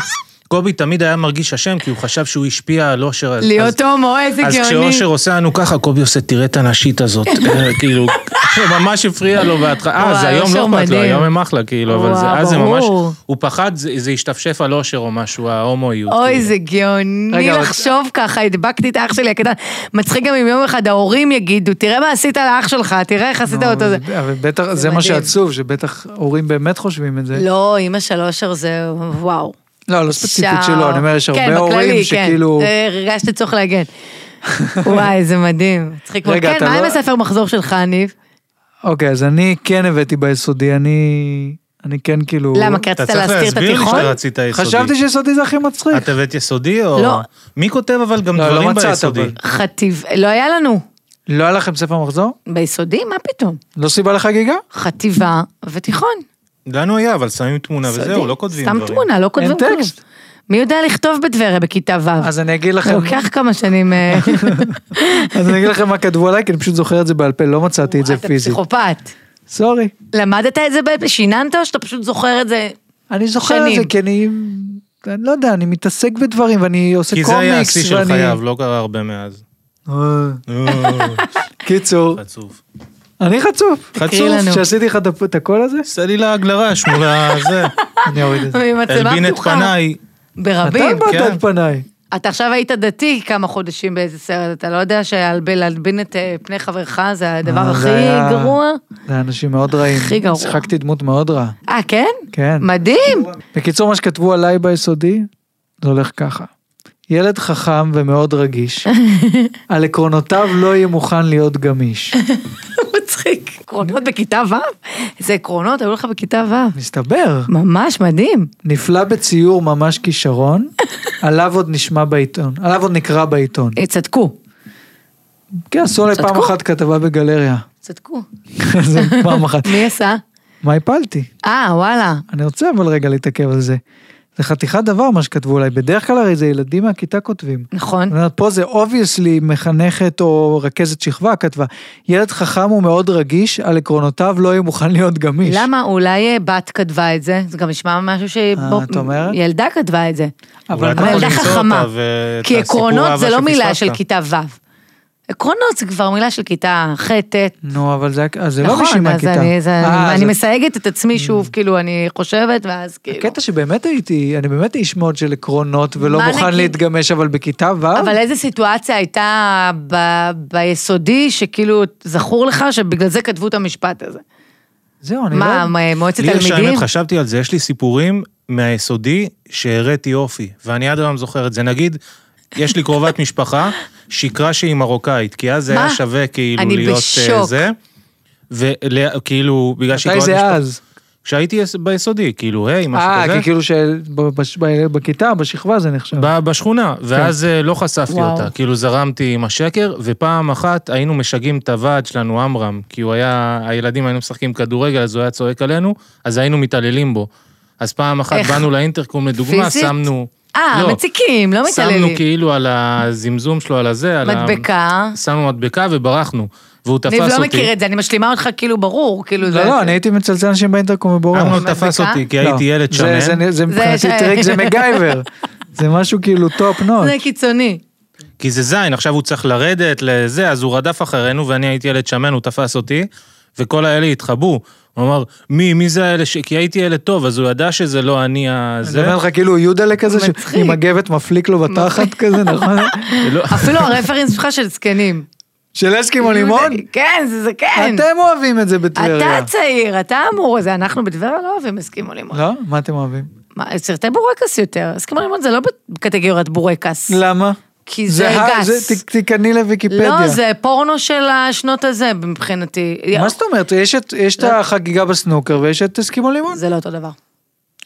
Speaker 3: קובי תמיד היה מרגיש אשם, כי הוא חשב שהוא השפיע על אושר. אז-
Speaker 2: להיות הומו, איזה
Speaker 3: אז
Speaker 2: גאוני.
Speaker 3: כשאושר עושה לנו ככה, קובי עושה, תראה את הנשית הזאת, כאילו, ממש הפריע לו בהתחלה, אה, זה
Speaker 2: וואי,
Speaker 3: היום לא
Speaker 2: אושר
Speaker 3: אכפת לו,
Speaker 2: מדהים.
Speaker 3: היום הם אחלה, כאילו, אבל זה-
Speaker 2: וואו,
Speaker 3: אז זה ממש,
Speaker 2: ברור.
Speaker 3: הוא פחד, זה זה השתפשף על אושר או משהו, ההומואיות.
Speaker 2: אוי,
Speaker 3: כאילו.
Speaker 2: זה גאוני
Speaker 1: רגע, אבל-
Speaker 2: לחשוב ככה, הדבקתי את האח שלי הקטן. מצחיק גם אם יום אחד ההורים יגידו, תראה מה עשית לאח שלך, תראה איך עשית
Speaker 1: נו,
Speaker 2: אותו זה.
Speaker 1: אבל בטח, לא, זה
Speaker 2: מדהים.
Speaker 1: מה שעצוב, שבטח הורים באמת חושבים את זה.
Speaker 2: לא, אימא של אושר זה וואו.
Speaker 1: לא, לא ספציפית
Speaker 2: אפשר-
Speaker 1: שלו, אני אומר, יש הרבה הורים שכאילו...
Speaker 2: כן, בכללי, כן. הרגשתי צורך להגן. וואי, זה מדהים. מצחיק מאוד.
Speaker 1: רגע,
Speaker 2: כן,
Speaker 1: אתה
Speaker 2: מה
Speaker 1: לא-
Speaker 2: עם הספר מחזור שלך, ניב?
Speaker 1: אוקיי, אז אני כן הבאתי ביסודי, אני אני כן כאילו... נכון?
Speaker 2: למה? כי
Speaker 3: אתה
Speaker 2: רצית
Speaker 3: צריך
Speaker 2: להסתיר את
Speaker 3: להסביר לי
Speaker 2: התיכון?
Speaker 3: שאתה רצית יסודי.
Speaker 1: חשבתי שיסודי זה הכי מצחיק.
Speaker 3: את הבאת יסודי או...
Speaker 2: לא.
Speaker 3: מי כותב אבל גם
Speaker 1: לא, לא
Speaker 3: דברים
Speaker 1: מצאת,
Speaker 3: ביסודי?
Speaker 1: אבל.
Speaker 2: חטיב... לא היה לנו.
Speaker 1: לא היה לכם ספר מחזור?
Speaker 2: ביסודי? מה פתאום?
Speaker 1: לא סיבה לחגיגה?
Speaker 2: אה. חטיבה ותיכון.
Speaker 3: לנו היה, אבל שמים תמונה וזהו,
Speaker 2: סודי.
Speaker 3: לא כותבים
Speaker 2: סתם
Speaker 3: דברים.
Speaker 2: תמונה, לא כותבים כלום.
Speaker 1: טקסט.
Speaker 2: מי יודע לכתוב בטבריה בכיתה ו'?
Speaker 1: אז אני אגיד
Speaker 2: זה
Speaker 1: לכם,
Speaker 2: לוקח כמה שנים. אה,
Speaker 1: אז אני אגיד לכם מה כתבו עליי, כי אני פשוט זוכר את זה בעל פה, לא מצאתי את זה
Speaker 2: אתה
Speaker 1: פיזית.
Speaker 2: פסיכופת.
Speaker 1: סורי.
Speaker 2: למדת את זה בעל פה? שיננת או שאתה פשוט זוכר את זה?
Speaker 1: אני זוכר את זה,
Speaker 2: שנים.
Speaker 1: כי אני... אני לא יודע, אני מתעסק בדברים, ואני עושה
Speaker 3: כי
Speaker 1: קומיקס,
Speaker 3: זה
Speaker 1: ואני...
Speaker 3: היה השיא של חייו, לא קרה הרבה מאז.
Speaker 1: אה, קיצור,
Speaker 3: חצוף.
Speaker 1: אני חצוף.
Speaker 2: תקראי לנו.
Speaker 1: שעשיתי לך את הפ- את הקול הזה?
Speaker 3: עשה לי לעג לרש מול הזה.
Speaker 2: אה,
Speaker 1: אני אוריד את זה.
Speaker 2: ממצלמה
Speaker 3: הלבין את
Speaker 2: פתוחה.
Speaker 3: פניי.
Speaker 1: אתה
Speaker 2: ברבים.
Speaker 1: באת
Speaker 3: כן.
Speaker 1: על פניי.
Speaker 2: אתה עכשיו היית דתי כמה חודשים באיזה סרט, אתה לא יודע שלהלבין את אה, פני חברך זה הדבר
Speaker 1: אה,
Speaker 2: הכי
Speaker 1: זה היה-
Speaker 2: גרוע?
Speaker 1: זה היה אנשים מאוד רעים.
Speaker 2: הכי גרוע.
Speaker 1: שיחקתי דמות מאוד רעה.
Speaker 2: אה, כן?
Speaker 1: כן.
Speaker 2: מדהים.
Speaker 1: בקיצור, מה שכתבו עליי ביסודי, זה הולך ככה. ילד חכם ומאוד רגיש, על עקרונותיו לא יהיה מוכן להיות גמיש.
Speaker 2: מצחיק. עקרונות בכיתה ו'? איזה עקרונות היו לך בכיתה ו'.
Speaker 1: מסתבר,
Speaker 2: ממש מדהים.
Speaker 1: נפלא בציור ממש כישרון, עליו עוד נשמע בעיתון, עליו עוד נקרא בעיתון.
Speaker 2: אה, צדקו.
Speaker 1: כן, עשו עליי פעם
Speaker 2: צדקו.
Speaker 1: אחת כתבה בגלריה.
Speaker 2: צדקו.
Speaker 1: זה פעם אחת.
Speaker 2: מי עשה?
Speaker 1: מה הפלתי?
Speaker 2: אה, וואלה.
Speaker 1: אני רוצה אבל רגע להתעכב על זה. זה חתיכת דבר מה שכתבו עליי, בדרך כלל הרי זה ילדים מהכיתה כותבים.
Speaker 2: נכון.
Speaker 1: זאת אומרת, פה זה אובייסלי מחנכת או רכזת שכבה כתבה. ילד חכם הוא מאוד רגיש, על עקרונותיו לא יהיה מוכן להיות גמיש.
Speaker 2: למה? אולי אה, בת כתבה את זה, זה גם נשמע משהו ש... בוא-
Speaker 1: אה, את אומרת?
Speaker 2: ילדה כתבה את זה.
Speaker 1: אבל
Speaker 3: אתה
Speaker 2: אבל
Speaker 1: מה-
Speaker 3: יכול
Speaker 2: ילדה
Speaker 3: למצוא
Speaker 2: חכמה.
Speaker 3: אותה ואת
Speaker 2: כי
Speaker 3: הסיפור
Speaker 2: עקרונות
Speaker 3: אהבה
Speaker 2: זה לא מילה של
Speaker 3: שפספסת.
Speaker 2: כיתה ו'. עקרונות זה כבר מילה של כיתה ח', ט'.
Speaker 1: נו, אבל זה, אז זה לא מישהי
Speaker 2: נכון, אז
Speaker 1: מהכיתה.
Speaker 2: אני, זה,
Speaker 1: אה,
Speaker 2: אני
Speaker 1: אז
Speaker 2: מסייגת את עצמי שוב, כאילו, אני חושבת, ואז כאילו...
Speaker 1: הקטע שבאמת הייתי, אני באמת איש מאוד של עקרונות ולא
Speaker 2: מה
Speaker 1: מוכן
Speaker 2: נגיד?
Speaker 1: להתגמש, אבל בכיתה ו',
Speaker 2: אבל איזה סיטואציה הייתה ב, ביסודי, שכאילו, זכור לך שבגלל זה כתבו את המשפט הזה.
Speaker 1: זהו, אני לא...
Speaker 2: מה, מ- מועצת
Speaker 3: לי יש
Speaker 2: תלמידים?
Speaker 3: האמת, חשבתי על זה, יש לי סיפורים מהיסודי שהראיתי אופי, ואני עד היום זוכר את זה. נגיד, יש לי קרובת משפחה, שיקרה שהיא מרוקאית, כי אז זה
Speaker 2: מה?
Speaker 3: היה שווה כאילו
Speaker 2: אני
Speaker 3: להיות אה,
Speaker 2: בשוק.
Speaker 3: זה. וכאילו, בגלל שהיא
Speaker 1: מתי זה
Speaker 3: קרובת משפחה...
Speaker 1: אז?
Speaker 3: כשהייתי יס- ביסודי, כאילו, היי, משהו
Speaker 1: אה,
Speaker 3: כזה.
Speaker 1: כי כאילו שבכיתה, בשכבה זה נחשב.
Speaker 3: ב- בשכונה, ואז אה, לא חשפתי
Speaker 2: כן. וואו.
Speaker 3: אותה, כאילו זרמתי עם השקר, ופעם אחת היינו משגעים את הוועד שלנו, עמרם, כי הוא היה, הילדים היינו משחקים כדורגל, אז הוא היה צועק עלינו, אז היינו מתעללים בו. אז פעם אחת
Speaker 2: איך?
Speaker 3: באנו לאינטרקום לדוגמה,
Speaker 2: פיזית?
Speaker 3: שמנו...
Speaker 2: אה,
Speaker 3: לא,
Speaker 2: מציקים, לא
Speaker 3: שמנו
Speaker 2: מתעללים.
Speaker 3: כאילו על הזמזום שלו, על הזה, על ה...
Speaker 2: מדבקה.
Speaker 3: שמנו מדבקה וברחנו, והוא תפס
Speaker 2: ניב
Speaker 3: אותי.
Speaker 2: לא מכיר את זה, אני משלימה אותך כאילו ברור, כאילו זה...
Speaker 1: לא, לא, אני הייתי מצלצל אנשים באינטרקום ובורח.
Speaker 3: אמנון
Speaker 2: מדבקה?
Speaker 3: תפס אותי, כי
Speaker 1: לא,
Speaker 3: הייתי ילד
Speaker 1: זה-
Speaker 3: שמן.
Speaker 1: זה- זה מבחינתי
Speaker 2: ש-
Speaker 1: טריק, זה מגייבר. זה משהו כאילו טופ נוט.
Speaker 2: זה קיצוני.
Speaker 3: כי זה זין, עכשיו הוא צריך לרדת לזה, אז הוא רדף אחרינו, ואני הייתי ילד שמן, הוא תפס אותי, וכל האלה התחבאו. הוא אמר, מי, מי זה האלה ש... כי הייתי ילד טוב, אז הוא ידע שזה לא אני ה...
Speaker 1: זה
Speaker 3: זה.
Speaker 1: אומר לך כאילו יודלה כזה,
Speaker 2: מצחיק.
Speaker 1: שעם מגבת מפליק לו בתחת כזה, נכון?
Speaker 3: לא-
Speaker 2: אפילו הרפרנס שלך של זקנים.
Speaker 1: של אסקימו לימון?
Speaker 2: כן, זה זקן.
Speaker 1: אתם אוהבים את זה בטבריה.
Speaker 2: אתה צעיר, אתה אמור, זה אנחנו בטבריה לא אוהבים אסקימו לימון.
Speaker 1: לא? מה אתם אוהבים?
Speaker 2: מה, סרטי בורקס יותר, אסקימו לימון זה לא בקטגוריית בורקס.
Speaker 1: למה?
Speaker 2: כי זה, גס.
Speaker 1: זה- ת- תיכנסי לוויקיפדיה.
Speaker 2: לא, זה פורנו של השנות הזה מבחינתי.
Speaker 1: מה זאת אומרת? יש את- יש את
Speaker 2: לא.
Speaker 1: החגיגה בסנוקר ויש את אסקימו לימון.
Speaker 2: זה לא אותו דבר.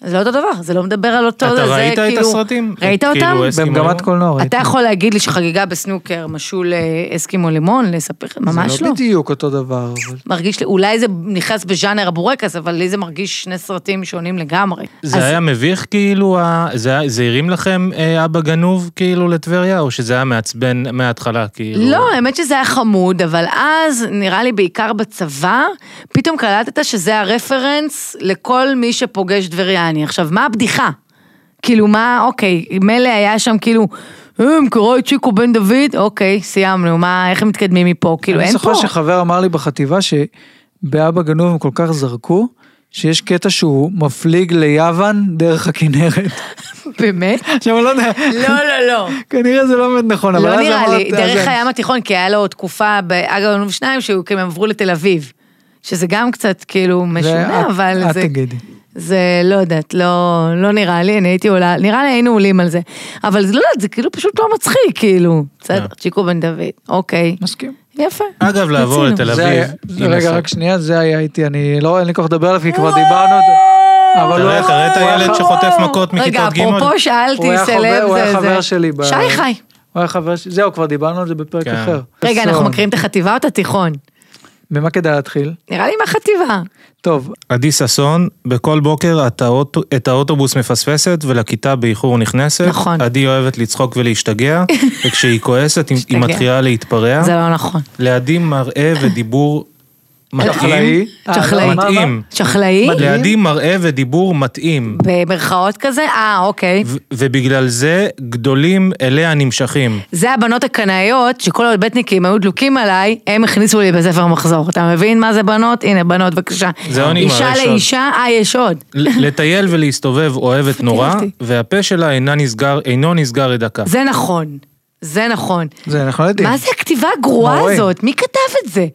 Speaker 2: זה לא אותו דבר, זה לא מדבר על אותו...
Speaker 3: אתה
Speaker 2: זה
Speaker 3: ראית את
Speaker 2: כאילו-
Speaker 3: הסרטים?
Speaker 2: ראית
Speaker 3: כאילו,
Speaker 2: אותם?
Speaker 3: אס- אסקימו
Speaker 1: במגמת
Speaker 3: לימון?
Speaker 1: קולנוע. לא, ראיתי.
Speaker 2: אתה יכול להגיד לי שחגיגה בסנוקר משול אה, אסקימו לימון? לספר? ממש
Speaker 1: זה
Speaker 2: לא.
Speaker 1: לא בדיוק אותו דבר. אבל-
Speaker 2: מרגיש לי, אולי זה נכנס בז'אנר הבורקס, אבל לי זה מרגיש שני סרטים שונים לגמרי. אז-
Speaker 3: זה היה מביך כאילו, ה- זה היה- זה הרים לכם אה, אבא גנוב כאילו לטבריה, או שזה היה מעצבן מההתחלה כאילו?
Speaker 2: לא, האמת שזה היה חמוד, אבל אז, נראה לי בעיקר בצבא, פתאום קלטת שזה הרפרנס לכל מי שפוגש טבריאני. עכשיו, מה הבדיחה? כאילו, מה, אוקיי, מילא היה שם כאילו, הם קורא את צ'יקו בן דוד, אוקיי, סיימנו, מה, איך הם מתקדמים מפה? כאילו,
Speaker 1: אני
Speaker 2: אין פה.
Speaker 1: זוכר שחבר אמר לי בחטיבה שבאבא גנוב הם כל כך זרקו, שיש קטע שהוא מפליג ליוון דרך הכנרת.
Speaker 2: באמת?
Speaker 1: עכשיו אני לא יודע,
Speaker 2: לא, לא, לא.
Speaker 1: כנראה זה לא באמת נכון, אבל
Speaker 2: לא
Speaker 1: אז
Speaker 2: נראה לי,
Speaker 1: אמרת- אז
Speaker 2: דרך
Speaker 1: אני-
Speaker 2: הים התיכון, כי היה לו תקופה באגב גנוב שניים, שהוא כאילו הם עברו לתל אביב. שזה גם קצת כאילו
Speaker 1: זה
Speaker 2: משונה,
Speaker 1: את-
Speaker 2: אבל
Speaker 1: את
Speaker 2: זה...
Speaker 1: תגידי.
Speaker 2: זה לא יודעת, לא, לא נראה לי, אני הייתי עולה, נראה לי היינו עולים על זה. אבל זה לא יודעת, זה כאילו פשוט לא מצחיק, כאילו. בסדר,
Speaker 3: כן.
Speaker 2: צ'יקו בן דוד, אוקיי.
Speaker 1: מסכים.
Speaker 2: יפה.
Speaker 3: אגב, לעבור
Speaker 2: רצינו.
Speaker 3: לתל
Speaker 1: זה היה-
Speaker 3: אביב.
Speaker 1: זה
Speaker 3: הנה,
Speaker 1: רגע,
Speaker 3: סע-
Speaker 1: רק שנייה, זה היה איתי, אני לא, אין לי כוח לדבר עליו, כי כבר דיברנו אותו. אבל הוא
Speaker 3: תראה,
Speaker 1: היה-
Speaker 3: תראה את
Speaker 1: הוא היה
Speaker 3: הילד
Speaker 1: ח-
Speaker 3: שחוטף מכות
Speaker 2: רגע,
Speaker 3: מכיתות ג'.
Speaker 2: אפרופו שאלתי,
Speaker 1: הוא היה
Speaker 2: סלב
Speaker 1: חבר-
Speaker 2: זה,
Speaker 1: הוא היה
Speaker 2: זה.
Speaker 1: חבר שלי ב-
Speaker 2: שי חי.
Speaker 1: הוא היה חבר שלי, זהו, כבר דיברנו על זה בפרק
Speaker 3: כן.
Speaker 1: אחר.
Speaker 2: רגע, אנחנו
Speaker 1: חסון.
Speaker 2: מקריאים את החטיבה או את התיכון?
Speaker 1: ממה כדאי להתחיל?
Speaker 2: נראה לי מהחטיבה.
Speaker 1: טוב,
Speaker 3: עדי ששון, בכל בוקר את האוטו- את האוטובוס מפספסת ולכיתה באיחור נכנסת.
Speaker 2: נכון.
Speaker 3: עדי אוהבת לצחוק ולהשתגע, וכשהיא כועסת היא- היא
Speaker 2: להשתגע.
Speaker 3: מתחילה
Speaker 1: כן.
Speaker 3: להתפרע.
Speaker 2: זה לא נכון.
Speaker 3: לידי מראה ודיבור מתאים.
Speaker 1: צ'חלאי. אה, לא,
Speaker 2: צ'חלאי.
Speaker 1: מה- מה-
Speaker 3: מתאים.
Speaker 2: צ'חלאי?
Speaker 1: מדהים.
Speaker 3: לידי מראה ודיבור מתאים.
Speaker 2: במרכאות כזה? אה, אוקיי.
Speaker 3: ו- ובגלל זה גדולים אליה נמשכים.
Speaker 2: זה הבנות הקנאיות, שכל הבטניקים היו דלוקים עליי, הם הכניסו לי בספר מחזור. אתה מבין מה זה בנות? הנה, בנות, בבקשה.
Speaker 3: זה עוני מר,
Speaker 2: אישה
Speaker 3: יש עוד.
Speaker 2: לאישה, אה, יש עוד.
Speaker 3: ל- לטייל ולהסתובב אוהבת נורא,
Speaker 2: אותי.
Speaker 3: והפה שלה אינה נסגר, אינו נסגר לדקה.
Speaker 2: זה נכון, זה נכון.
Speaker 1: זה אנחנו לא יודעים.
Speaker 2: מה זה הכתיבה הגרועה
Speaker 1: נוראי.
Speaker 2: הזאת? מי כתב את זה?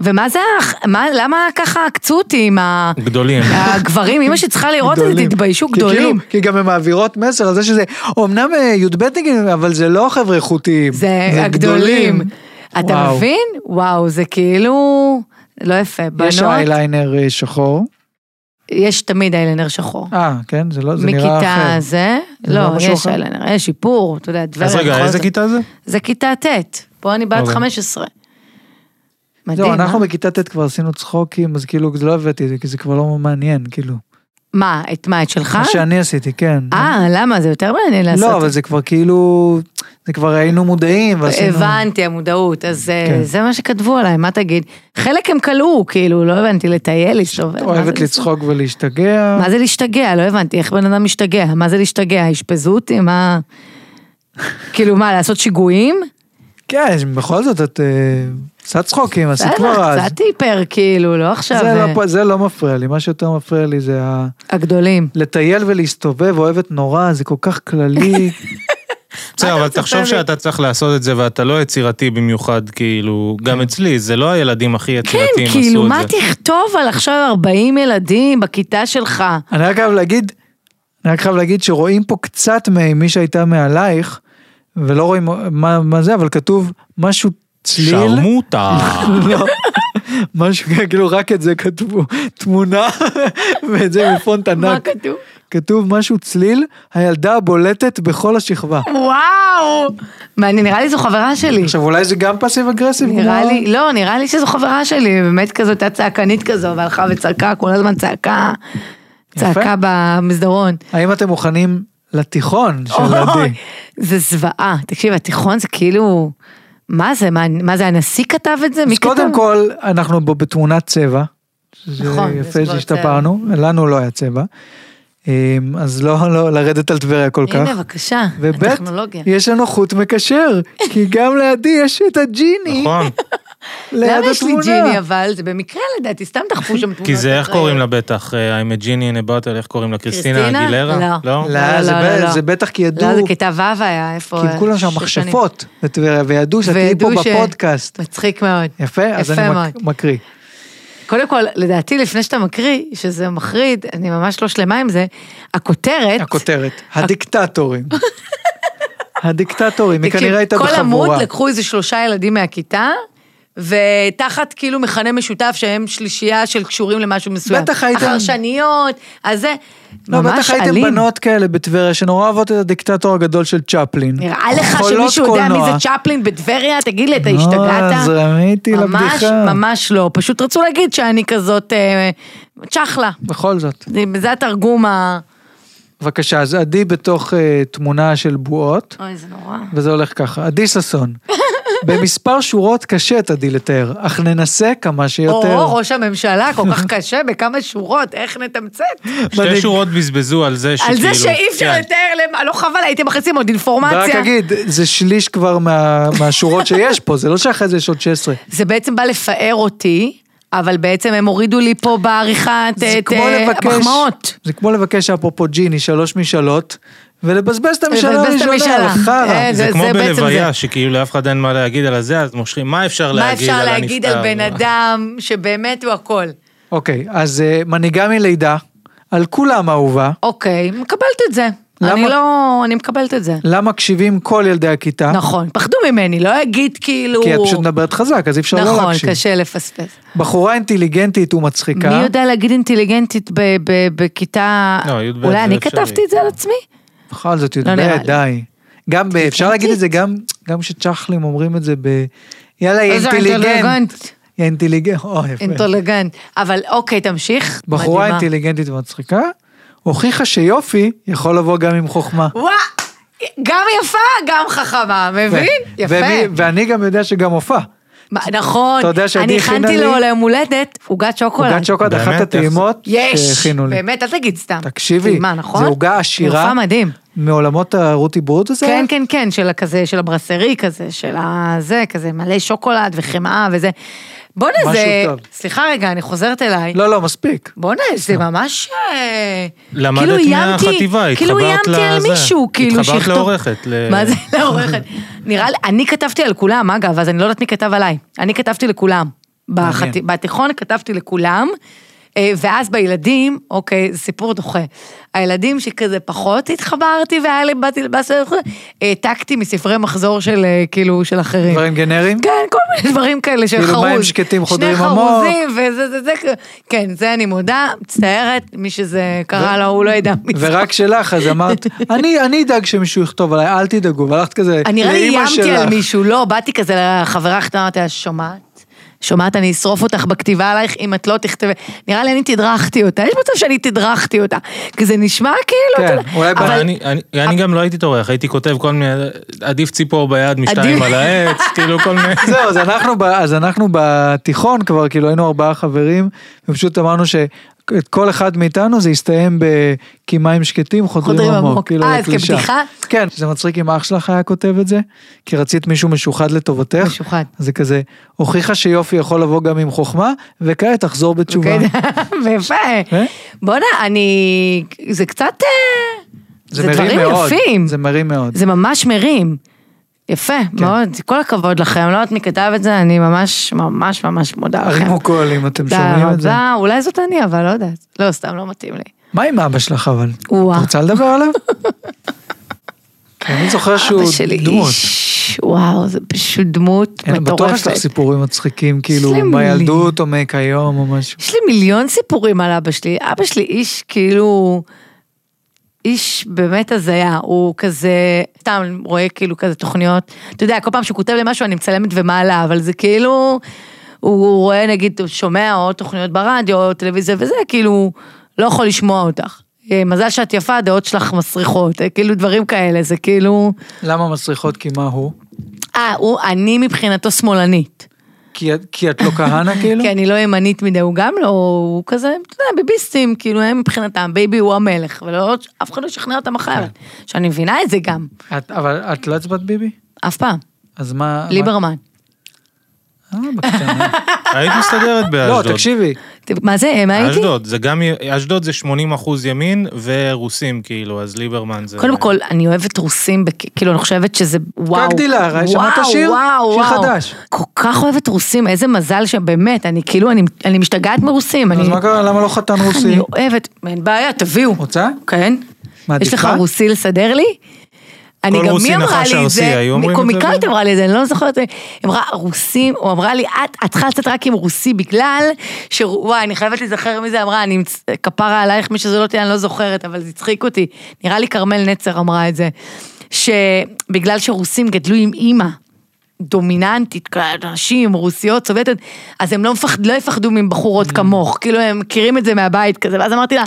Speaker 2: ומה זה, ה- מה, למה ככה עקצו אותי עם ה-
Speaker 3: גדולים.
Speaker 2: הגברים? אמא שצריכה לראות את זה,
Speaker 1: גדולים.
Speaker 2: תתביישו,
Speaker 1: כי כאילו-
Speaker 2: גדולים.
Speaker 1: כי גם הן מעבירות מסר על זה שזה, אמנם אה, י"בניקים, אבל זה לא חבר'ה איכותיים.
Speaker 2: זה הגדולים. אתה
Speaker 1: וואו.
Speaker 2: מבין? וואו, זה כאילו... לא יפה,
Speaker 1: יש
Speaker 2: בנות,
Speaker 1: אייליינר אה, שחור.
Speaker 2: יש תמיד איילנר שחור.
Speaker 1: אה, כן, זה לא, זה נראה אחר.
Speaker 2: מכיתה זה,
Speaker 1: זה
Speaker 2: לא,
Speaker 1: נראה משהו
Speaker 2: יש
Speaker 1: אחר.
Speaker 2: איילנר, יש שיפור, אתה יודע, דברים.
Speaker 3: אז רגע, איזה כיתה זה?
Speaker 2: זה כיתה ט', פה אני בת
Speaker 3: אוקיי.
Speaker 2: 15. מדהים,
Speaker 1: זהו, לא, אנחנו
Speaker 2: אה?
Speaker 1: בכיתה ט' כבר עשינו צחוקים, אז כאילו, זה לא הבאתי את זה, כי זה כבר לא מעניין, כאילו.
Speaker 2: מה, את מה, את שלך?
Speaker 1: מה שאני עשיתי, כן.
Speaker 2: אה, למה? זה יותר מעניין לעשות.
Speaker 1: לא, אבל זה כבר כאילו, זה כבר היינו מודעים, ועשינו...
Speaker 2: הבנתי, המודעות, אז אה,
Speaker 1: כן.
Speaker 2: זה מה שכתבו עליי, מה תגיד? חלק הם כלאו, כאילו, לא הבנתי, לטייל, להסתובב. מה זה
Speaker 1: אוהבת
Speaker 2: לעשות?
Speaker 1: לצחוק ולהשתגע.
Speaker 2: מה זה להשתגע? לא הבנתי, איך בן אדם משתגע? מה זה להשתגע? אשפזו אותי? מה... כאילו, מה, לעשות שיגועים?
Speaker 1: כן, בכל זאת, את אה, עושה צחוקים, עשית
Speaker 2: בסדר,
Speaker 1: כבר אז.
Speaker 2: קצת היפר, כאילו, לא עכשיו...
Speaker 1: זה
Speaker 2: אה,
Speaker 1: לא פה- זה לא מפריע לי, מה שיותר מפריע לי זה ה-
Speaker 2: הגדולים.
Speaker 1: לטייל ולהסתובב, אוהבת נורא, זה כל כך כללי.
Speaker 3: בסדר,
Speaker 2: אתה
Speaker 3: אבל
Speaker 2: מצפה
Speaker 3: תחשוב
Speaker 2: לי?
Speaker 3: שאתה צריך לעשות את זה ואתה לא יצירתי במיוחד, כאילו, גם אצלי, זה לא הילדים הכי יצירתיים עשו
Speaker 2: כן,
Speaker 3: את זה.
Speaker 2: כאילו, מה תכתוב על עכשיו 40 ילדים בכיתה שלך?
Speaker 1: אני רק חייב להגיד, אני רק חייב להגיד שרואים פה קצת ממי שהייתה מעלייך, ולא רואים מה, מה זה, אבל כתוב משהו צליל.
Speaker 3: שרמוטה.
Speaker 1: לא, משהו כאילו רק את זה כתבו, תמונה, ואת זה בפונט
Speaker 2: מה
Speaker 1: ענק.
Speaker 2: כתוב?
Speaker 1: כתוב משהו צליל, הילדה הבולטת בכל השכבה.
Speaker 2: וואו! מעניין, נראה לי זו חברה שלי.
Speaker 1: עכשיו אולי זה גם פאסיב אגרסיב?
Speaker 2: נראה
Speaker 1: כמו-
Speaker 2: לי, לא, נראה לי שזו חברה שלי, באמת כזו, הייתה צעקנית כזו, והלכה וצעקה, כל הזמן צעקה, צעקה במסדרון.
Speaker 1: האם אתם מוכנים לתיכון של
Speaker 2: אוי,
Speaker 1: עדי?
Speaker 2: זה זוועה. תקשיב, התיכון זה כאילו, מה זה, מה- מה זה, הנשיא כתב את זה? מי
Speaker 1: אז
Speaker 2: כתב?
Speaker 1: קודם כל, אנחנו בו בתמונת צבע.
Speaker 2: נכון,
Speaker 1: נכון.
Speaker 2: יש
Speaker 1: יפה
Speaker 2: כבר
Speaker 1: שהשתפרנו, לנו לא היה צבע. אמ, אז לא לא לרדת על טבריה כל כך.
Speaker 2: הנה, בבקשה,
Speaker 1: וב'
Speaker 2: הטכנולוגיה.
Speaker 1: יש לנו חוט מקשר, כי גם לידי יש את הג'יני
Speaker 3: נכון,
Speaker 1: ליד התמונה.
Speaker 2: למה יש לי ג'יני אבל? זה במקרה לדעתי, סתם דחפו שם תמונות.
Speaker 3: כי זה איך
Speaker 2: אחראיות.
Speaker 3: קוראים לה בטח, אה, I'm a genie in a bottle, איך קוראים לה? קריסטינה
Speaker 2: קריסטינה?
Speaker 3: אגילרה?
Speaker 2: לא.
Speaker 1: לא, זה
Speaker 2: לא,
Speaker 1: ב-
Speaker 2: לא, לא.
Speaker 1: זה בטח כי ידעו,
Speaker 2: לא, זה כיתה ו' היה, איפה...
Speaker 1: כי הם כולם שם
Speaker 2: שש שנים.
Speaker 1: מכשפות בטבריה, וידעו שאת תהיי פה
Speaker 2: וידעו ש-
Speaker 1: בפודקאסט.
Speaker 2: מצחיק מאוד.
Speaker 1: יפה, אז
Speaker 2: יפה
Speaker 1: אני מק-
Speaker 2: מאוד.
Speaker 1: מקריא.
Speaker 2: קודם כל, לדעתי, לפני שאתה מקריא, שזה מחריד, אני ממש לא שלמה עם זה, הכותרת...
Speaker 1: הכותרת, הדיקטטורים. הדיקטטורים, היא
Speaker 2: תקשיב,
Speaker 1: כנראה הייתה
Speaker 2: כל עמוד
Speaker 1: בחבורה.
Speaker 2: לקחו איזה שלושה ילדים מהכיתה, ותחת כאילו מכנה משותף שהם שלישייה של קשורים למשהו מסוים.
Speaker 1: בטח הייתם-
Speaker 2: החרשניות, אז זה
Speaker 1: לא,
Speaker 2: ממש
Speaker 1: בטח הייתם
Speaker 2: אלים.
Speaker 1: בנות כאלה בטבריה שנורא אוהבות את הדיקטטור הגדול של צ'פלין.
Speaker 2: נראה לך
Speaker 1: חולות
Speaker 2: שמישהו יודע מי
Speaker 1: קולנוע.
Speaker 2: זה צ'פלין בטבריה? תגיד לי, אתה
Speaker 1: אה,
Speaker 2: השתגעת?
Speaker 1: אז רמיתי
Speaker 2: ממש,
Speaker 1: לבדיחה.
Speaker 2: ממש לא. פשוט רצו להגיד שאני כזאת אה, צ'חלה.
Speaker 1: בכל זאת.
Speaker 2: זה- זה התרגום ה...
Speaker 1: בבקשה, אז עדי בתוך אה, תמונה של בועות,
Speaker 2: אוי, זה נורא.
Speaker 1: וזה הולך ככה. עדי ששון. במספר שורות קשה את עדי לתאר, אך ננסה כמה שיותר.
Speaker 2: או, ראש הממשלה, כל כך קשה, בכמה שורות, איך נתמצת?
Speaker 1: מדהים.
Speaker 3: שתי שורות בזבזו על זה
Speaker 2: על
Speaker 3: שכאילו...
Speaker 2: זה שאי אפשר
Speaker 3: כן.
Speaker 2: לתאר, להם- לא חבל, הייתם מכניסים עוד אינפורמציה.
Speaker 1: ורק אגיד, זה שליש כבר מה- מהשורות שיש פה, זה לא שאחרי זה יש עוד 16.
Speaker 2: זה בעצם בא לפאר אותי, אבל בעצם הם הורידו לי פה בעריכת
Speaker 1: זה
Speaker 2: את
Speaker 1: כמו
Speaker 2: אה,
Speaker 1: לבקש,
Speaker 2: המחמאות.
Speaker 1: זה כמו לבקש אפרופו ג'יני שלוש משאלות, ולבזבז את המשאלה
Speaker 2: לבזבז את
Speaker 1: הראשונה,
Speaker 2: המשאלה.
Speaker 1: על חרא.
Speaker 2: אה,
Speaker 1: זה-
Speaker 2: זה
Speaker 3: זה כמו
Speaker 2: בעצם
Speaker 3: בלוויה,
Speaker 2: זה.
Speaker 3: שכאילו לאף אחד אין מה להגיד על הזה, אז מושכים, מה אפשר
Speaker 2: מה
Speaker 3: להגיד על הנפטר?
Speaker 2: אפשר להגיד על בן
Speaker 1: אה.
Speaker 2: אדם שבאמת הוא הכל?
Speaker 1: אוקיי, אז אה, מנהיגה מלידה, על כולם אהובה,
Speaker 2: אוקיי, מקבלת את זה.
Speaker 1: למה?
Speaker 2: אני לא, אני מקבלת את זה.
Speaker 1: לה מקשיבים כל ילדי הכיתה,
Speaker 2: נכון, פחדו ממני, לא אגיד כאילו...
Speaker 1: כי את פשוט מדברת חזק, אז אי אפשר לא
Speaker 2: נכון,
Speaker 1: להקשיב.
Speaker 2: קשה לפספס.
Speaker 1: בחורה אינטליגנטית ומצחיקה.
Speaker 2: מי יודע להגיד אינטליגנטית ב- ב- בכיתה...
Speaker 3: לא, י"ב זה
Speaker 2: אולי אני
Speaker 3: אפשרי.
Speaker 2: כתבתי את זה על עצמי?
Speaker 1: בכל זאת,
Speaker 2: לא
Speaker 1: יודע,
Speaker 2: נראה לי.
Speaker 1: די. גם, ב- אפשר להגיד את זה גם, גם כשצ'חלים אומרים את זה ב... יאללה, היא
Speaker 2: איזה
Speaker 1: אינטליגנט.
Speaker 2: אינטליגנט.
Speaker 1: היא אינטליגנט. או, יפה.
Speaker 2: אינטליגנט. אבל אוקיי, תמשיך.
Speaker 1: בחורה
Speaker 2: מדהימה.
Speaker 1: אינטליגנטית ומצחיקה, הוכיחה שיופי יכול לבוא גם עם חוכמה.
Speaker 2: וואה, גם יפה, גם חכמה, מבין?
Speaker 1: ו-
Speaker 2: יפה.
Speaker 1: כן. ומי- ואני גם יודע שגם הופעה.
Speaker 2: מה, נכון,
Speaker 1: אתה יודע שעדי
Speaker 2: אני
Speaker 1: הכינה
Speaker 2: הכנתי
Speaker 1: לי-
Speaker 2: לו ליום הולדת עוגת שוקולד.
Speaker 1: עוגת שוקולד,
Speaker 3: באמת?
Speaker 1: אחת
Speaker 3: איך זה?
Speaker 1: הטעימות
Speaker 2: יש,
Speaker 1: שהכינו לי.
Speaker 2: באמת, אל תגיד סתם.
Speaker 1: תקשיבי,
Speaker 2: מה, נכון?
Speaker 1: זו עוגה עשירה.
Speaker 2: מופע מדהים.
Speaker 1: מעולמות הרותי ברוט הזה?
Speaker 2: כן, כן, כן, של הכזה, של הברסרי כזה, של הזה, כזה מלא שוקולד וחמאה וזה. בואנה
Speaker 1: משהו
Speaker 2: זה,
Speaker 1: טוב.
Speaker 2: סליחה רגע, אני חוזרת אליי.
Speaker 1: לא, לא, מספיק.
Speaker 2: בואנה, זה ממש... אה,
Speaker 3: למדת
Speaker 2: כאילו איימתי-
Speaker 3: מהחטיבה,
Speaker 2: כאילו
Speaker 3: התחברת
Speaker 2: איימתי על
Speaker 3: לזה.
Speaker 2: מישהו, כאילו
Speaker 3: התחברת
Speaker 2: שיכתוב-
Speaker 3: לעורכת, ל-
Speaker 2: מה זה לעורכת? נראה לי, אני כתבתי על כולם, אגב, אז אני לא יודעת מי כתב עליי. אני כתבתי לכולם. בחט-
Speaker 1: מעניין.
Speaker 2: בתיכון כתבתי לכולם, אה, ואז בילדים, אוקיי, זה סיפור דוחה. הילדים שכזה פחות התחברתי והיה לי, באתי לבאסל, העתקתי מספרי מחזור של אה, כאילו, של אחרים.
Speaker 1: דברים גנריים?
Speaker 2: כן, כל מיני דברים כאלה של
Speaker 1: כאילו,
Speaker 2: חרוז.
Speaker 1: מים שקטים חודרים
Speaker 2: שני
Speaker 1: עמוק.
Speaker 2: חרוזים וזה, זה, זה, כן, זה אני מודה, מצטערת, מי שזה קרה לו, הוא לא ידע מי זה.
Speaker 1: ורק שלך, אז אמרת, אני אני אדאג שמישהו יכתוב עליי, אל תדאגו, והלכת כזה
Speaker 2: אני נראה לי
Speaker 1: לאימא
Speaker 2: איימתי על
Speaker 1: שלך.
Speaker 2: מישהו, לא, באתי כזה לחברה הקטנה, אמרתי לה, שומעת? שומעת, אני אשרוף אותך בכתיבה עלייך אם את לא תכתבי. נראה לי אני תדרכתי אותה, יש מצב שאני תדרכתי אותה. כי זה נשמע כאילו,
Speaker 1: כן,
Speaker 2: אתה יודע,
Speaker 1: אולי
Speaker 2: אבל-
Speaker 1: אבל-
Speaker 3: אני- אני- אני גם לא הייתי טורח, הייתי כותב כל מיני, עדיף ציפור ביד
Speaker 2: עדיף-
Speaker 3: משתיים על העץ, כאילו כל מיני...
Speaker 1: זהו, אז אנחנו, ב- אז אנחנו בתיכון כבר, כאילו היינו ארבעה חברים, ופשוט אמרנו שאת כל אחד מאיתנו זה יסתיים ב... כי מים שקטים חודרים
Speaker 2: חודרים
Speaker 1: עמוק,
Speaker 2: עמוק.
Speaker 1: כאילו
Speaker 2: אה, אז
Speaker 1: לקלישה.
Speaker 2: כבדיחה?
Speaker 1: כן, זה מצחיק אם אח שלך היה כותב את זה, כי רצית מישהו משוחד לטובתך.
Speaker 2: משוחד.
Speaker 1: אז זה כזה, הוכיחה שיופי יכול לבוא גם עם חוכמה, וכעת תחזור בתשובה.
Speaker 2: אוקיי, יפה.
Speaker 1: אה?
Speaker 2: בואנה, אני... זה קצת... אה, זה
Speaker 1: מרים
Speaker 2: דברים
Speaker 1: מאוד,
Speaker 2: יפים.
Speaker 1: זה מרים מאוד.
Speaker 2: זה ממש מרים. יפה, כן. מאוד, כל הכבוד לכם, לא יודעת מי כתב את זה, אני ממש ממש ממש מודה לכם.
Speaker 1: הרימו קול אם אתם
Speaker 2: תודה
Speaker 1: שומעים את זה.
Speaker 2: רבה, אולי זאת אני, אבל לא יודעת. לא, סתם לא מתאים לי.
Speaker 1: מה עם אבא שלך אבל?
Speaker 2: וואו.
Speaker 1: את רוצה לדבר עליו? אני זוכר שהוא
Speaker 2: אבא שלי
Speaker 1: דמות.
Speaker 2: איש, וואו, זה פשוט דמות
Speaker 1: אין, בטוח יש לך
Speaker 2: מטורפת.
Speaker 1: סיפורים מצחיקים, כאילו,
Speaker 2: לי מילים.
Speaker 1: בילדות או מכיום או משהו.
Speaker 2: יש לי מיליון סיפורים על אבא שלי. אבא שלי איש כאילו, איש באמת הזיה. הוא כזה, סתם רואה כאילו כזה תוכניות. אתה יודע, כל פעם שהוא כותב לי משהו אני מצלמת ומעלה, אבל זה כאילו, הוא רואה נגיד, הוא שומע או תוכניות ברדיו או טלוויזיה וזה, כאילו, לא יכול לשמוע אותך. אה, מזל שאת יפה, הדעות שלך מסריחות, אה, כאילו דברים כאלה, זה כאילו...
Speaker 1: למה מסריחות? כי מה הוא?
Speaker 2: אה, הוא, אני מבחינתו שמאלנית.
Speaker 1: כי את- כי את לא כהנא כאילו?
Speaker 2: כי אני לא ימנית מדי, הוא גם לא, הוא כזה, אתה יודע, ביביסטים, כאילו הם מבחינתם, בייבי הוא המלך, ולא, אף אחד לא ישכנע אותם אחרת.
Speaker 1: כן.
Speaker 2: שאני מבינה את זה גם,
Speaker 1: את- אבל את לא הצבעת ביבי?
Speaker 2: אף פעם.
Speaker 1: אז אה, מה...
Speaker 2: ליברמן.
Speaker 1: מה- אה, בקטנה.
Speaker 3: היית מסתדרת
Speaker 1: לא,
Speaker 3: באשדוד.
Speaker 1: תקשיבי,
Speaker 2: ת- מה זה, מה הייתי?
Speaker 3: אשדוד, זה גם, אשדוד זה 80 אחוז ימין ורוסים כאילו, אז ליברמן זה...
Speaker 2: קודם כל, אני אוהבת רוסים, בכ- כאילו, אני חושבת שזה וואו.
Speaker 1: דילר, אה, שמעת
Speaker 2: וואו,
Speaker 1: שיר?
Speaker 2: וואו,
Speaker 1: שיר
Speaker 2: וואו.
Speaker 1: חדש.
Speaker 2: כל כך אוהבת רוסים, איזה מזל שבאמת, אני כאילו, אני- אני משתגעת מרוסים.
Speaker 1: אז
Speaker 2: אני-
Speaker 1: מה קרה? למה לא חתן רוסי?
Speaker 2: אני אוהבת, אין בעיה, תביאו.
Speaker 1: רוצה?
Speaker 2: כן.
Speaker 1: מעדיפה?
Speaker 2: יש לך רוסי לסדר לי? אני גם,
Speaker 3: רוסי
Speaker 2: מי אמרה
Speaker 3: נחש
Speaker 2: לי את
Speaker 3: הרסי, היו
Speaker 2: זה?
Speaker 3: אומרים את זה
Speaker 2: קומיקאית
Speaker 3: גם?
Speaker 2: אמרה לי את זה, אני לא זוכרת. היא אמרה, רוסים, או אמרה לי, את, את צריכה לצאת רק עם רוסי בגלל ש... וואי, אני חייבת להיזכר מי זה אמרה, אני מצ- כפרה עלייך, מי שזו לא תהיה, אני לא זוכרת, אבל זה הצחיק אותי. נראה לי כרמל נצר אמרה את זה. שבגלל שרוסים גדלו עם אימא. דומיננטית, כאלה, נשים, רוסיות, סובייטיות, אז הם לא, מפחד, לא יפחדו
Speaker 1: Mm.
Speaker 2: מבחורות כמוך, כאילו הם מכירים את זה מהבית כזה, ואז אמרתי לה,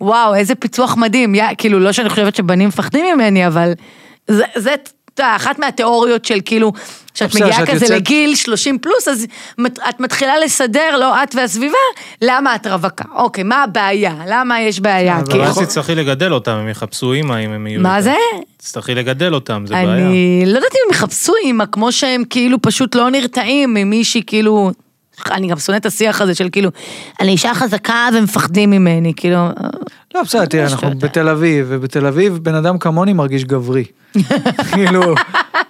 Speaker 2: וואו, איזה פיצוח מדהים, יא, כאילו, לא שאני חושבת שבנים מפחדים ממני, אבל זה, זה, אתה יודע, אחת מהתיאוריות של כאילו, כשאת
Speaker 1: בסדר,
Speaker 2: מגיעה
Speaker 1: שאת
Speaker 2: כזה
Speaker 1: יוצאת-
Speaker 2: לגיל 30 פלוס, אז מת- את מתחילה לסדר, לא את והסביבה, למה את רווקה, אוקיי, מה הבעיה, למה יש בעיה,
Speaker 1: אבל
Speaker 3: אבל
Speaker 2: כאילו,
Speaker 3: אז תצטרכי לגדל אותם, הם יחפשו אימא אם הם יהיו...
Speaker 2: מה
Speaker 3: איתה.
Speaker 2: זה?
Speaker 3: תצטרכי לגדל אותם, זה בעיה.
Speaker 2: אני לא יודעת אם הם יחפשו אימא, כמו שהם כאילו פשוט לא נרתעים ממישהי כאילו... אני גם שונאת את השיח הזה של כאילו, אני אישה חזקה ומפחדים ממני, כאילו...
Speaker 1: לא, בסדר, תראה,
Speaker 2: ממש לא
Speaker 1: אנחנו
Speaker 2: יודע.
Speaker 1: בתל אביב, ובתל אביב בן אדם כמוני מרגיש גברי. כאילו,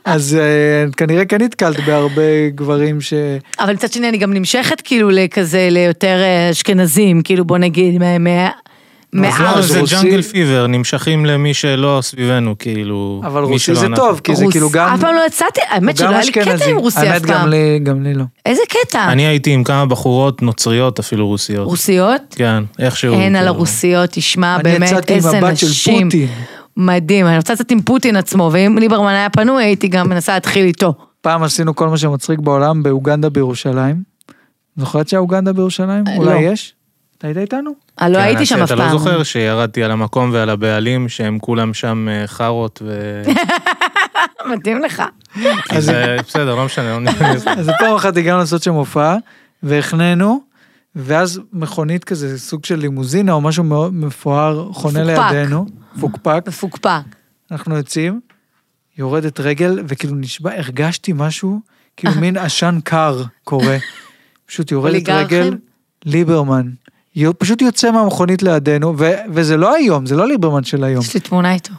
Speaker 1: אז אה, כנראה כן נתקלת בהרבה גברים ש...
Speaker 2: אבל מצד שני אני גם נמשכת כאילו לכזה, ליותר אה, אשכנזים, כאילו בוא נגיד, מה- מה-
Speaker 1: אז לא,
Speaker 2: מהארץ.
Speaker 1: אז
Speaker 3: זה
Speaker 1: רוסי-
Speaker 3: ג'אנגל פיבר, נמשכים למי שלא סביבנו, כאילו...
Speaker 1: אבל
Speaker 3: מי
Speaker 1: רוסי
Speaker 3: שלא
Speaker 1: זה
Speaker 3: אנחנו.
Speaker 1: טוב, כי זה
Speaker 2: רוס-
Speaker 1: כאילו גם...
Speaker 2: אף פעם לא יצאתי, האמת
Speaker 1: הוא
Speaker 2: שלא
Speaker 1: גם
Speaker 2: היה לי קטע
Speaker 1: אשכנזי.
Speaker 2: עם רוסי אף
Speaker 1: האמת, גם
Speaker 2: פעם.
Speaker 1: לי- גם לי לא.
Speaker 2: איזה קטע?
Speaker 3: אני הייתי עם כמה בחורות נוצריות, אפילו רוסיות.
Speaker 2: רוסיות?
Speaker 3: כן, איכשהו.
Speaker 2: אין על
Speaker 3: כאילו.
Speaker 2: הרוסיות, תשמע,
Speaker 1: אני
Speaker 2: באמת,
Speaker 1: יצאתי עם
Speaker 2: איזה
Speaker 1: הבת של
Speaker 2: נשים.
Speaker 1: פוטין.
Speaker 2: מדהים, אני רוצה לצאת עם פוטין עצמו, ואם ליברמן היה פנוי, הייתי גם מנסה להתחיל איתו.
Speaker 1: פעם עשינו כל מה שמצחיק בעולם באוגנדה בירושלים. זוכרת שהיה אוגנדה בירושלים?
Speaker 2: אה,
Speaker 1: אולי
Speaker 2: לא.
Speaker 1: יש? אתה היית איתנו?
Speaker 2: אה, לא
Speaker 3: כן,
Speaker 2: הייתי
Speaker 3: אז
Speaker 2: שם אף פעם.
Speaker 3: אתה לא זוכר שירדתי על המקום ועל הבעלים, שהם כולם שם אה, חארות ו...
Speaker 2: מתאים אה, לך.
Speaker 3: כי זה בסדר, לא משנה. לא ניכנס.
Speaker 1: אז פעם אחת הגענו לעשות שם הופעה, והחננו, ואז מכונית כזה, סוג של לימוזינה או משהו מאוד מפואר, חונה
Speaker 2: מפוקפק.
Speaker 1: לידינו, פוקפק,
Speaker 2: מפוקפק.
Speaker 1: אנחנו יוצאים, יורדת רגל, וכאילו נשבע, הרגשתי משהו, כאילו מין עשן קר קורה. פשוט יורדת
Speaker 2: אוליגרכים?
Speaker 1: רגל, ליברמן. יו- פשוט יוצא מהמכונית לידינו, ו- וזה לא היום, זה לא ליברמן של היום.
Speaker 2: יש לי תמונה איתו.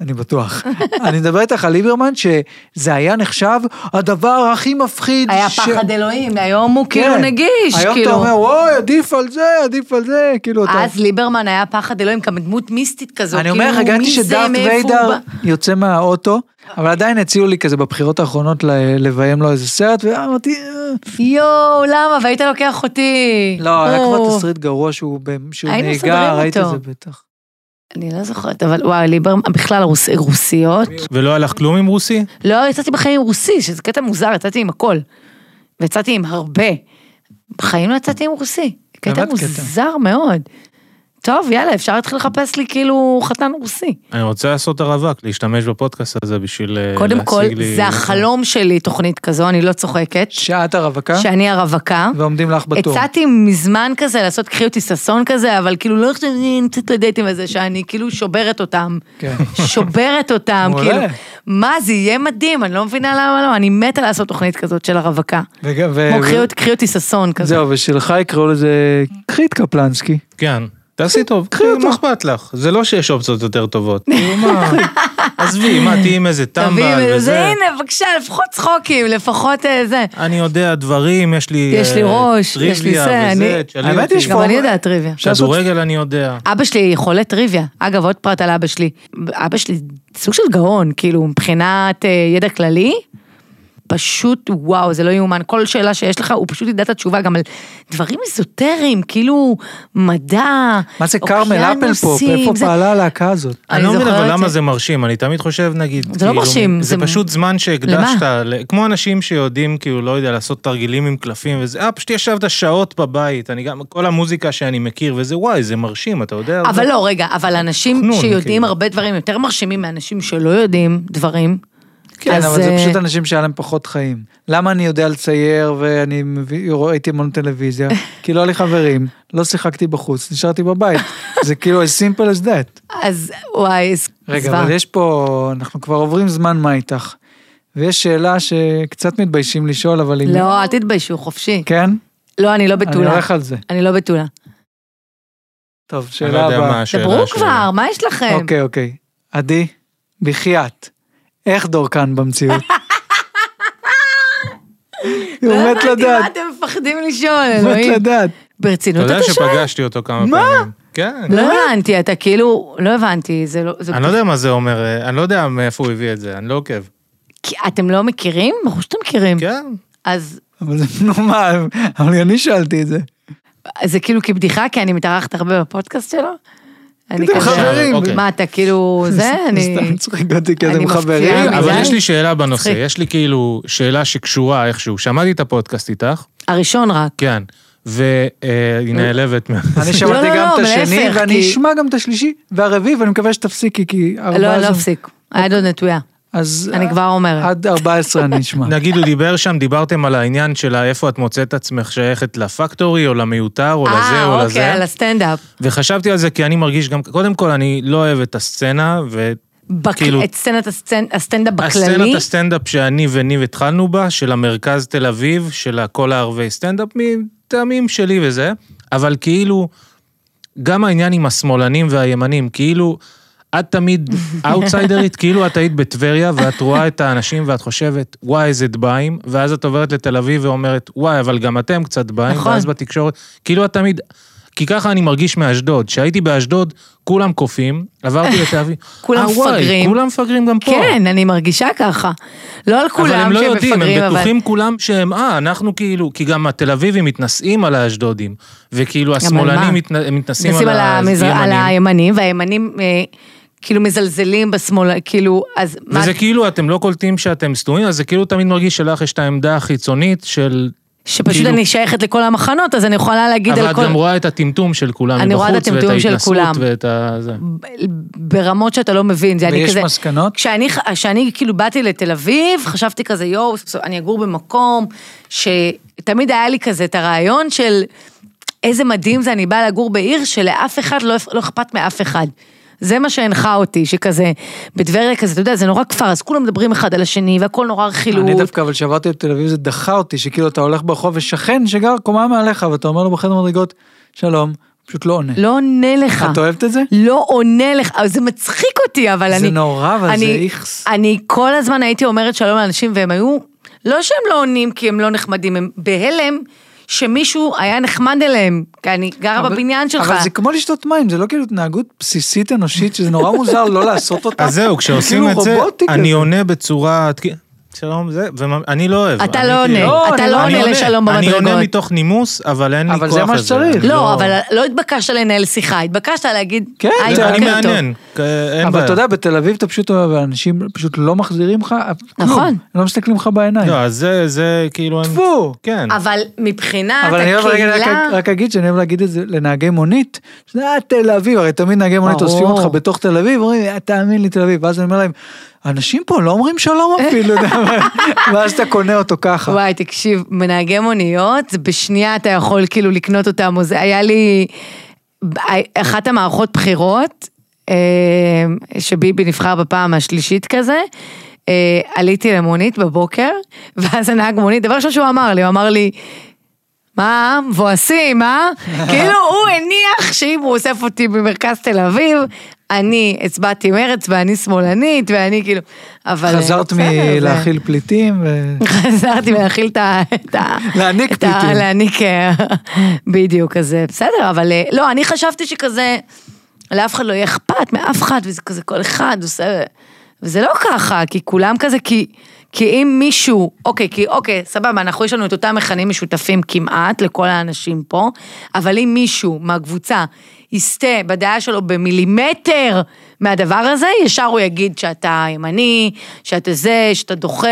Speaker 1: אני בטוח. אני מדבר איתך על ליברמן, שזה היה נחשב הדבר הכי מפחיד.
Speaker 2: היה
Speaker 1: ש-
Speaker 2: פחד אלוהים, היום הוא כאילו
Speaker 1: כן.
Speaker 2: נגיש,
Speaker 1: היום
Speaker 2: כאילו.
Speaker 1: אתה אומר, אוי, עדיף על זה, עדיף על זה, כאילו אתה...
Speaker 2: אז ליברמן היה פחד אלוהים, גם דמות מיסטית כזו.
Speaker 1: אני אומר לך,
Speaker 2: כאילו,
Speaker 1: הגעתי
Speaker 2: מי זה,
Speaker 1: שדארט
Speaker 2: מאיפה הוא
Speaker 1: ויידר
Speaker 2: בא?
Speaker 1: יוצא מהאוטו, אבל עדיין הציעו לי כזה בבחירות האחרונות ל- לביים לו איזה סרט, ואמרתי, "אה,
Speaker 2: יואו, למה? והיית לוקח אותי.
Speaker 1: לא, היה
Speaker 2: או.
Speaker 1: כבר תסריט גרוע שהוא ב- שהוא
Speaker 2: היינו
Speaker 1: נהיגה,
Speaker 2: סוגרים
Speaker 1: ראיתי את
Speaker 2: אותו.
Speaker 1: זה בטח.
Speaker 2: אני לא זוכרת, אבל וואי, ליברמן, בכלל הרוס- רוסיות.
Speaker 3: ולא הלך כלום עם רוסי?
Speaker 2: לא, יצאתי בחיים עם רוסי, שזה קטע מוזר, יצאתי עם הכל. ויצאתי עם הרבה. בחיים לא יצאתי עם רוסי. קטע
Speaker 1: באמת קטע.
Speaker 2: מוזר מאוד. טוב, יאללה, אפשר להתחיל לחפש לי כאילו חתן רוסי.
Speaker 3: אני רוצה לעשות הרווק, להשתמש בפודקאסט הזה בשביל אה,
Speaker 2: קודם
Speaker 3: להשיג
Speaker 2: כל,
Speaker 3: לי-
Speaker 2: זה החלום שלי, תוכנית כזו, אני לא צוחקת,
Speaker 1: שעת הרווקה,
Speaker 2: שאני הרווקה.
Speaker 1: ועומדים לך בתור.
Speaker 2: הצעתי מזמן כזה לעשות קחי אותי ששון כזה, אבל כאילו לא חושבת שאני נמצאת לדייטים הזה, שאני כאילו שוברת אותם.
Speaker 1: כן.
Speaker 2: שוברת אותם,
Speaker 1: מעולה.
Speaker 2: כאילו. מה, זה יהיה מדהים, אני לא מבינה למה לא, אני מתה לעשות תוכנית כזאת של הרווקה.
Speaker 1: וגם- ו-
Speaker 2: כמו
Speaker 1: ו-
Speaker 2: קחי אותי- קחי אותי ששון כזה.
Speaker 1: אה, זהו, ושלך יקראו לזה, קחי את קפלנסקי.
Speaker 3: כן. תעשי טוב,
Speaker 1: קחי אותו.
Speaker 3: מה אכפת לך? זה לא שיש אופציות יותר טובות. כאילו, מה? עזבי, מה, תהיי עם איזה טמבל
Speaker 2: תביאי, זה
Speaker 3: וזה.
Speaker 2: הנה, בבקשה, לפחות צחוקים, לפחות אה, זה.
Speaker 3: אני יודע דברים, יש לי...
Speaker 2: יש לי
Speaker 3: אה,
Speaker 2: ראש, יש לי
Speaker 3: טריוויה
Speaker 2: זה,
Speaker 3: וזה,
Speaker 2: אני-
Speaker 3: תשאלי
Speaker 1: האמת
Speaker 3: אותי.
Speaker 1: היא יש
Speaker 2: גם
Speaker 1: פה-
Speaker 2: אני יודעת טריוויה.
Speaker 1: אפשר לעשות-
Speaker 3: כדורגל אני יודע.
Speaker 2: אבא שלי חולה טריוויה. אגב, עוד פרט על אבא שלי. אבא שלי סוג של גאון, כאילו, מבחינת אה, ידע כללי, פשוט, וואו, זה לא יאומן. כל שאלה שיש לך, הוא פשוט ידע את התשובה גם על דברים איזוטריים, כאילו, מדע,
Speaker 1: מה זה כרמל אפלפופ?
Speaker 2: אוקיינוסים,
Speaker 1: איפה
Speaker 2: זה-
Speaker 1: פעלה הלהקה הזאת?
Speaker 3: אני
Speaker 2: אני
Speaker 3: לא מבין
Speaker 2: זוכרת
Speaker 3: אבל
Speaker 2: את
Speaker 3: למה
Speaker 2: זה.
Speaker 3: זה מרשים, אני תמיד חושב נגיד,
Speaker 2: זה לא
Speaker 3: כאילו,
Speaker 2: מרשים,
Speaker 3: זה
Speaker 2: זה-
Speaker 3: פשוט זמן שהקדשת,
Speaker 2: למה?
Speaker 3: ל- כמו אנשים שיודעים כאילו, לא יודע, לעשות תרגילים עם קלפים וזה, אה, פשוט ישבת שעות בבית, אני גם, כל המוזיקה שאני מכיר וזה, וואי, זה מרשים, אתה יודע,
Speaker 2: אבל לא, רגע, אבל אנשים
Speaker 3: חנון,
Speaker 2: שיודעים
Speaker 3: כאילו.
Speaker 2: הרבה דברים יותר מרשימים מאנשים שלא יודעים דברים.
Speaker 1: כן,
Speaker 2: אז,
Speaker 1: אבל זה
Speaker 2: אה,
Speaker 1: פשוט אנשים שהיה להם פחות חיים. למה אני יודע לצייר ואני מביא- ראיתי המון טלוויזיה? כי לא היה לי חברים, לא שיחקתי בחוץ, נשארתי בבית. זה כאילו as simple as that.
Speaker 2: אז וואי, אז-
Speaker 1: רגע,
Speaker 2: זוועה.
Speaker 1: אבל יש פה, אנחנו כבר עוברים זמן מה איתך. ויש שאלה שקצת מתביישים לשאול, אבל אם...
Speaker 2: לא, אל תתביישו, חופשי.
Speaker 1: כן?
Speaker 2: לא, אני לא
Speaker 1: אני
Speaker 2: בתולה.
Speaker 1: הולך על זה.
Speaker 2: אני לא בתולה.
Speaker 1: טוב,
Speaker 3: אני לא
Speaker 1: שאלה
Speaker 3: יודע מה
Speaker 1: הבאה.
Speaker 3: השאלה
Speaker 2: דברו
Speaker 3: שלי.
Speaker 2: כבר, מה יש לכם?
Speaker 1: אוקיי, אוקיי. עדי, בחייאת, איך דורקן במציאות? הוא
Speaker 2: לא
Speaker 1: מת
Speaker 2: הבנתי, מה
Speaker 1: לדעת,
Speaker 2: אתם מפחדים לשאול,
Speaker 1: הוא מת
Speaker 2: אלוהים?
Speaker 1: לדעת.
Speaker 3: אתה
Speaker 2: ברצינות
Speaker 3: יודע
Speaker 2: אתה שואל?
Speaker 3: שפגשתי אותו כמה
Speaker 1: מה?
Speaker 3: פעמים. כן.
Speaker 2: לא הבנתי, אתה כאילו, לא הבנתי, זה לא... זה
Speaker 3: אני לא יודע מה זה אומר, אה, אני לא יודע מאיפה הוא הביא את זה, אני לא עוקב.
Speaker 2: כי אתם לא מכירים? ברור שאתם מכירים.
Speaker 3: כן.
Speaker 2: אז
Speaker 1: אבל זה, נו מה, אבל אני שאלתי את זה.
Speaker 2: זה כאילו כבדיחה, כי אני מתארחת הרבה בפודקאסט שלו. אני
Speaker 1: אתם
Speaker 2: כזה-
Speaker 1: חברים.
Speaker 3: אוקיי.
Speaker 2: מה, אתה כאילו, זה, אני...
Speaker 1: סתם צוחק אותי כי
Speaker 2: אני
Speaker 1: אתם
Speaker 2: מפתיעה
Speaker 1: חברים.
Speaker 2: מדי.
Speaker 3: אבל יש לי שאלה בנושא,
Speaker 2: כן, מצחיק.
Speaker 3: יש לי כאילו שאלה שקשורה איכשהו. שמעתי את הפודקאסט איתך,
Speaker 2: הראשון רק.
Speaker 3: כן,
Speaker 2: אה,
Speaker 3: והיא נעלבת. מה-
Speaker 1: אני שמעתי
Speaker 2: לא,
Speaker 1: גם
Speaker 2: לא,
Speaker 1: את
Speaker 2: להפך,
Speaker 1: השני, ואני
Speaker 2: כי-
Speaker 1: אשמע גם את השלישי והרביעי, ואני מקווה שתפסיקי, כי...
Speaker 2: לא,
Speaker 1: ארבעה
Speaker 2: אני לא
Speaker 1: זה- אה,
Speaker 2: אפסיק. היד עוד נטויה.
Speaker 1: אז...
Speaker 2: אני כבר אומרת.
Speaker 1: עד 14 אני אשמע.
Speaker 3: נגיד הוא דיבר שם, דיברתם על העניין של איפה את מוצאת את עצמך שייכת לפקטורי, או למיותר, או לזה, או
Speaker 2: אה, אוקיי, על
Speaker 3: לזה.
Speaker 2: הסטנדאפ.
Speaker 3: וחשבתי על זה כי אני מרגיש גם, קודם כל, אני לא אוהב את הסצנה, ו...
Speaker 2: בק-
Speaker 3: כאילו-
Speaker 2: את סצנת הסצנ- הסטנדאפ בכללי.
Speaker 3: הסצנת הסטנדאפ שאני וניב התחלנו בה, של המרכז תל אביב, של כל הערבי סטנדאפ, מטעמים שלי וזה, אבל כאילו, גם העניין עם השמאלנים והימנים, כאילו, את תמיד אאוטסיידרית, כאילו את היית בטבריה ואת רואה את האנשים ואת חושבת, וואי, איזה דביים, ואז את עוברת לתל אביב ואומרת, וואי, אבל גם אתם קצת דביים,
Speaker 2: נכון.
Speaker 3: ואז בתקשורת, כאילו את תמיד... כי ככה אני מרגיש מאשדוד, כשהייתי באשדוד, כולם קופים, עברתי לתל אביב.
Speaker 2: כולם
Speaker 3: "אה, וואי,
Speaker 2: מפגרים."
Speaker 3: כולם מפגרים גם פה.
Speaker 2: כן, אני מרגישה ככה. לא על
Speaker 3: אבל
Speaker 2: כולם
Speaker 3: הם לא
Speaker 2: שהם
Speaker 3: יודעים,
Speaker 2: מפגרים,
Speaker 3: הם
Speaker 2: אבל...
Speaker 3: בטוחים כולם שהם, אה, אנחנו כאילו, כי גם התל אביבים מתנשאים על האשדודים, וכאילו
Speaker 2: מה?
Speaker 3: השמאלנים מת- מתנשאים
Speaker 2: נשים
Speaker 3: על
Speaker 2: על, המז... על
Speaker 3: הימנים.
Speaker 2: הימנים, והימנים אה, כאילו מזלזלים בשמאל, כאילו, אז מה...
Speaker 3: וזה כאילו, אתם לא קולטים שאתם סתומים, אז זה כאילו תמיד מרגיש שלך יש את העמדה החיצונית של...
Speaker 2: שפשוט
Speaker 3: כאילו-
Speaker 2: אני שייכת לכל המחנות, אז אני יכולה להגיד
Speaker 3: אבל
Speaker 2: על
Speaker 3: את
Speaker 2: כל...
Speaker 3: גם רואה את הטמטום של כולם
Speaker 2: אני רואה את
Speaker 3: מבחוץ, ואת
Speaker 2: הטמטום של
Speaker 3: ההתנסות
Speaker 2: כולם.
Speaker 3: ואת ה... זה.
Speaker 2: ברמות שאתה לא מבין, זה אני
Speaker 1: ויש
Speaker 2: כזה...
Speaker 1: מסקנות?
Speaker 2: כשאני, כשאני כאילו באתי לתל אביב, חשבתי כזה, יואו, סוף סוף אני אגור במקום, שתמיד היה לי כזה את הרעיון של איזה מדהים זה, אני באה לגור בעיר שלאף אחד לא, לא אכפת מאף אחד. זה מה שהנחה אותי, שכזה, בטבריה כזה, אתה יודע, זה נורא כפר, אז כולם מדברים אחד על השני, והכל נורא רכילות.
Speaker 1: אני דווקא, אבל כשעברתי לתל אביב זה דחה אותי, שכאילו אתה הולך ברחוב ושכן שגר קומה מעליך, ואתה אומר לו בחדר מדרגות, שלום, פשוט לא עונה.
Speaker 2: לא עונה לך.
Speaker 1: את אוהבת את זה?
Speaker 2: לא עונה לך, אבל זה מצחיק אותי, אבל
Speaker 1: זה
Speaker 2: אני...
Speaker 1: נורא, אבל זה
Speaker 2: אני-
Speaker 1: איכס.
Speaker 2: אני כל הזמן הייתי אומרת שלום לאנשים, והם היו, לא שהם לא עונים כי הם לא נחמדים, הם בהלם שמישהו היה נחמד אליהם, כי אני גרה
Speaker 1: אבל-
Speaker 2: לא, בבניין שלך.
Speaker 1: אבל זה כמו לשתות מים, זה לא כאילו התנהגות בסיסית אנושית, שזה נורא מוזר לא לעשות אותה.
Speaker 3: אז זהו,
Speaker 1: זה
Speaker 3: כשעושים את
Speaker 1: כאילו
Speaker 3: זה,
Speaker 1: רובוטי
Speaker 3: אני
Speaker 1: כזה.
Speaker 3: עונה בצורה... שלום, זה, ואני לא אוהב.
Speaker 2: אתה
Speaker 3: אני
Speaker 2: לא
Speaker 3: כאילו-
Speaker 1: לא,
Speaker 2: עונה, אתה
Speaker 1: אני
Speaker 2: לא
Speaker 1: לא
Speaker 2: עונה
Speaker 1: עונה.
Speaker 2: לשלום
Speaker 3: אני עונה
Speaker 2: במדרגות.
Speaker 3: מתוך נימוס, אבל אין לי כוח לזה.
Speaker 1: אבל זה מה שצריך.
Speaker 3: אני
Speaker 2: לא, אבל לא התבקשת לנהל שיחה, התבקשת להגיד,
Speaker 1: כן,
Speaker 2: היי,
Speaker 1: זה-
Speaker 2: בוקר
Speaker 3: אני
Speaker 2: טוב.
Speaker 3: מעניין, כ- אין
Speaker 1: אבל
Speaker 3: בעיה.
Speaker 1: אתה יודע, בתל אביב אתה פשוט אוהב, אנשים פשוט לא מחזירים לך, כלום.
Speaker 2: נכון.
Speaker 1: הם לא מסתכלים לך בעיניים.
Speaker 3: לא, אז זה, זה כאילו... אין-
Speaker 1: טפו.
Speaker 3: כן.
Speaker 2: אבל מבחינת
Speaker 1: אבל אני אוהב רגע רק,
Speaker 2: הקהילה,
Speaker 1: רק אגיד שאני אוהב להגיד את זה לנהגי מונית, שזה "אה, תל אביב, הרי תמיד נהגי מונית
Speaker 2: ברור.
Speaker 1: אוספים אותך בתוך תל אביב, אומרים, "אה, תאמין לי תל אביב, ואז אני אומר להם, אנשים פה לא אומרים שלום אפילו, אתה יודע, ואז אתה קונה אותו ככה.
Speaker 2: וואי, תקשיב, מנהגי מוניות, זה בשנייה אתה יכול כאילו לקנות אותם, או זה היה לי אה, אחת המערכות בחירות, אה, שביבי נבחר בפעם השלישית כזה, אה, עליתי למונית בבוקר, ואז הנהג מונית, דבר ראשון שהוא אמר לי, הוא אמר לי, מה, מבואסים, אה? כאילו, הוא הניח שאם הוא אוסף אותי במרכז תל אביב, אני הצבעתי מרץ ואני שמאלנית, ואני כאילו, אבל...
Speaker 1: חזרת
Speaker 2: בסדר, זה-
Speaker 1: מלהכיל פליטים, ו-
Speaker 2: חזרתי מלהכיל את ה... את ה-
Speaker 1: להעניק
Speaker 2: את ה-
Speaker 1: פליטים.
Speaker 2: להעניק, אה, בדיוק, אז אה, בסדר, אבל אה, לא, אני חשבתי שכזה, לאף אחד לא יהיה אכפת מאף אחד, וזה כזה כל אחד עושה... וזה לא ככה, כי כולם כזה, כי... כי אם מישהו, אוקיי, כי אוקיי, סבבה, אנחנו יש לנו את אותם מכנים משותפים כמעט לכל האנשים פה, אבל אם מישהו מהקבוצה יסטה בדעה שלו במילימטר מהדבר הזה, ישר הוא יגיד שאתה ימני, שאתה זה, שאתה דוחה,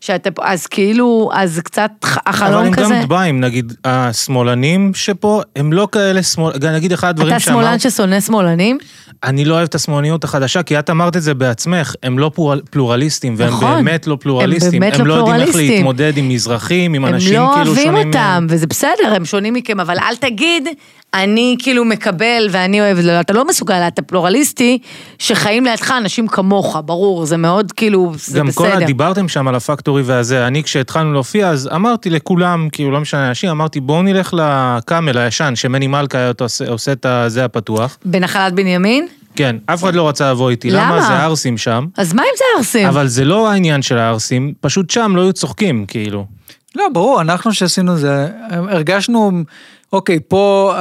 Speaker 2: שאתה... פה, אז כאילו, אז קצת ח-
Speaker 3: אבל
Speaker 2: החלום
Speaker 3: הם
Speaker 2: כזה.
Speaker 3: גם דביים, נגיד, השמאלנים שפה, הם לא כאלה שמאל... גם נגיד אחד הדברים
Speaker 2: אתה
Speaker 3: שאמרת,
Speaker 2: שמאלן ששונא שמאלנים?
Speaker 3: אני לא אוהב את השמאלניות החדשה, כי את אמרת את זה בעצמך, הם לא פלורל- פלורליסטים, והם
Speaker 2: נכון.
Speaker 3: באמת לא פלורליסטים.
Speaker 2: באמת לא
Speaker 3: הם לא יודעים איך
Speaker 2: פלורליסטים.
Speaker 3: להתמודד עם מזרחים, עם
Speaker 2: הם
Speaker 3: אנשים
Speaker 2: לא
Speaker 3: כאילו שונים.
Speaker 2: אוהבים אותם,
Speaker 3: מהם.
Speaker 2: וזה בסדר, הם שונים מכם, אבל אל תגיד, אני כאילו מקבל ואני אוהב, לא, אתה לא מסוגל, אתה פלורליסטי, שחיים לידך אנשים כמוך, ברור, זה מאוד כאילו, זה
Speaker 3: גם כל
Speaker 2: בסדר.
Speaker 3: ה... דיברתם שם על הפקטורי והזה, אני כשהתחלנו להופיע, אז אמרתי לכולם, כאילו לא משנה אנשים, אמרתי בואו נלך לקאמל הישן, שמני מלכה היה עושה- עושה את הזה הפתוח.
Speaker 2: בנחלת בנימין?
Speaker 3: כן, אף אחד לא רצה לבוא איתי.
Speaker 2: למה?
Speaker 3: למה? זה ערסים שם.
Speaker 2: אז מה אם זה ערסים?
Speaker 3: אבל זה לא העניין של הערסים, פשוט שם לא היו צוחקים, כאילו.
Speaker 1: לא, ברור, אנחנו שעשינו זה, הרגשנו אוקיי, פה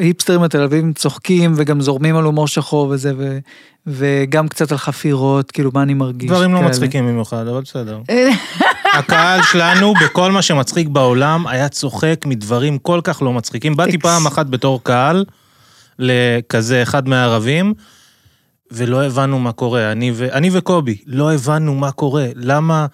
Speaker 1: ההיפסטרים התל אביבים צוחקים וגם זורמים על הומור שחור וזה, ו, וגם קצת על חפירות, כאילו מה אני מרגיש.
Speaker 3: דברים לא
Speaker 1: כאלה. אה,
Speaker 3: מצחיקים במיוחד, אבל בסדר. הקהל שלנו, בכל מה שמצחיק בעולם, היה צוחק מדברים כל כך לא מצחיקים. באתי
Speaker 2: אקס.
Speaker 3: פעם אחת בתור קהל, לכזה אחד מהערבים, ולא הבנו מה קורה. אני, ו... אני וקובי, לא הבנו מה קורה. למה...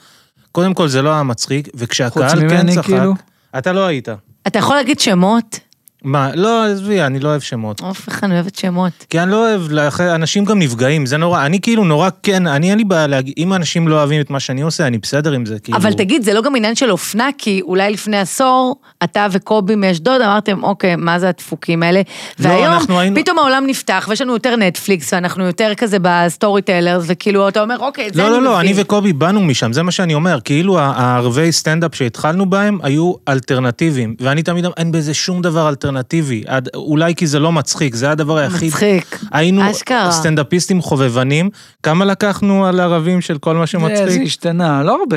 Speaker 3: קודם כל, זה לא היה מצחיק,
Speaker 1: חוץ
Speaker 3: וכשהקהל כן
Speaker 1: ממני,
Speaker 3: צחק...
Speaker 1: כאילו.
Speaker 3: אתה לא היית.
Speaker 2: אתה יכול להגיד שמות?
Speaker 3: מה, לא, עזבי, אני לא אוהב שמות.
Speaker 2: אוף, איך אני אוהבת שמות.
Speaker 3: כי אני לא אוהב, לאח- אנשים גם נפגעים, זה נורא, אני כאילו נורא כן, אני אין לי בעיה להגיד, אם אנשים לא אוהבים את מה שאני עושה, אני בסדר עם זה, כאילו.
Speaker 2: אבל תגיד, זה לא גם עניין של אופנה, כי אולי לפני עשור, אתה וקובי מאשדוד אמרתם, אוקיי, מה זה הדפוקים האלה?
Speaker 3: לא,
Speaker 2: והיום,
Speaker 3: אנחנו היינו-
Speaker 2: פתאום העולם נפתח, ויש לנו יותר נטפליקס, ואנחנו יותר כזה בסטורי טיילר, וכאילו, אתה אומר, אוקיי, את זה
Speaker 3: לא,
Speaker 2: אני
Speaker 3: לא,
Speaker 2: מבין.
Speaker 3: לא, אני וקובי באנו משם, זה מה שאני אומר. כאילו ה- הערבי סטנדאפ שהתחלנו בהם היו אלטרנטיביים, ואני תמיד אמר, אין בזה שום דבר אלטרנטיבי. עד- אולי כי זה לא מצחיק, זה הדבר היחיד.
Speaker 2: מצחיק.
Speaker 3: היינו
Speaker 2: אשכרה.
Speaker 3: סטנדאפיסטים חובבנים, כמה לקחנו על ערבים של כל מה
Speaker 1: זה, זה
Speaker 3: שמצחיק?
Speaker 1: השתנה, לא הרבה.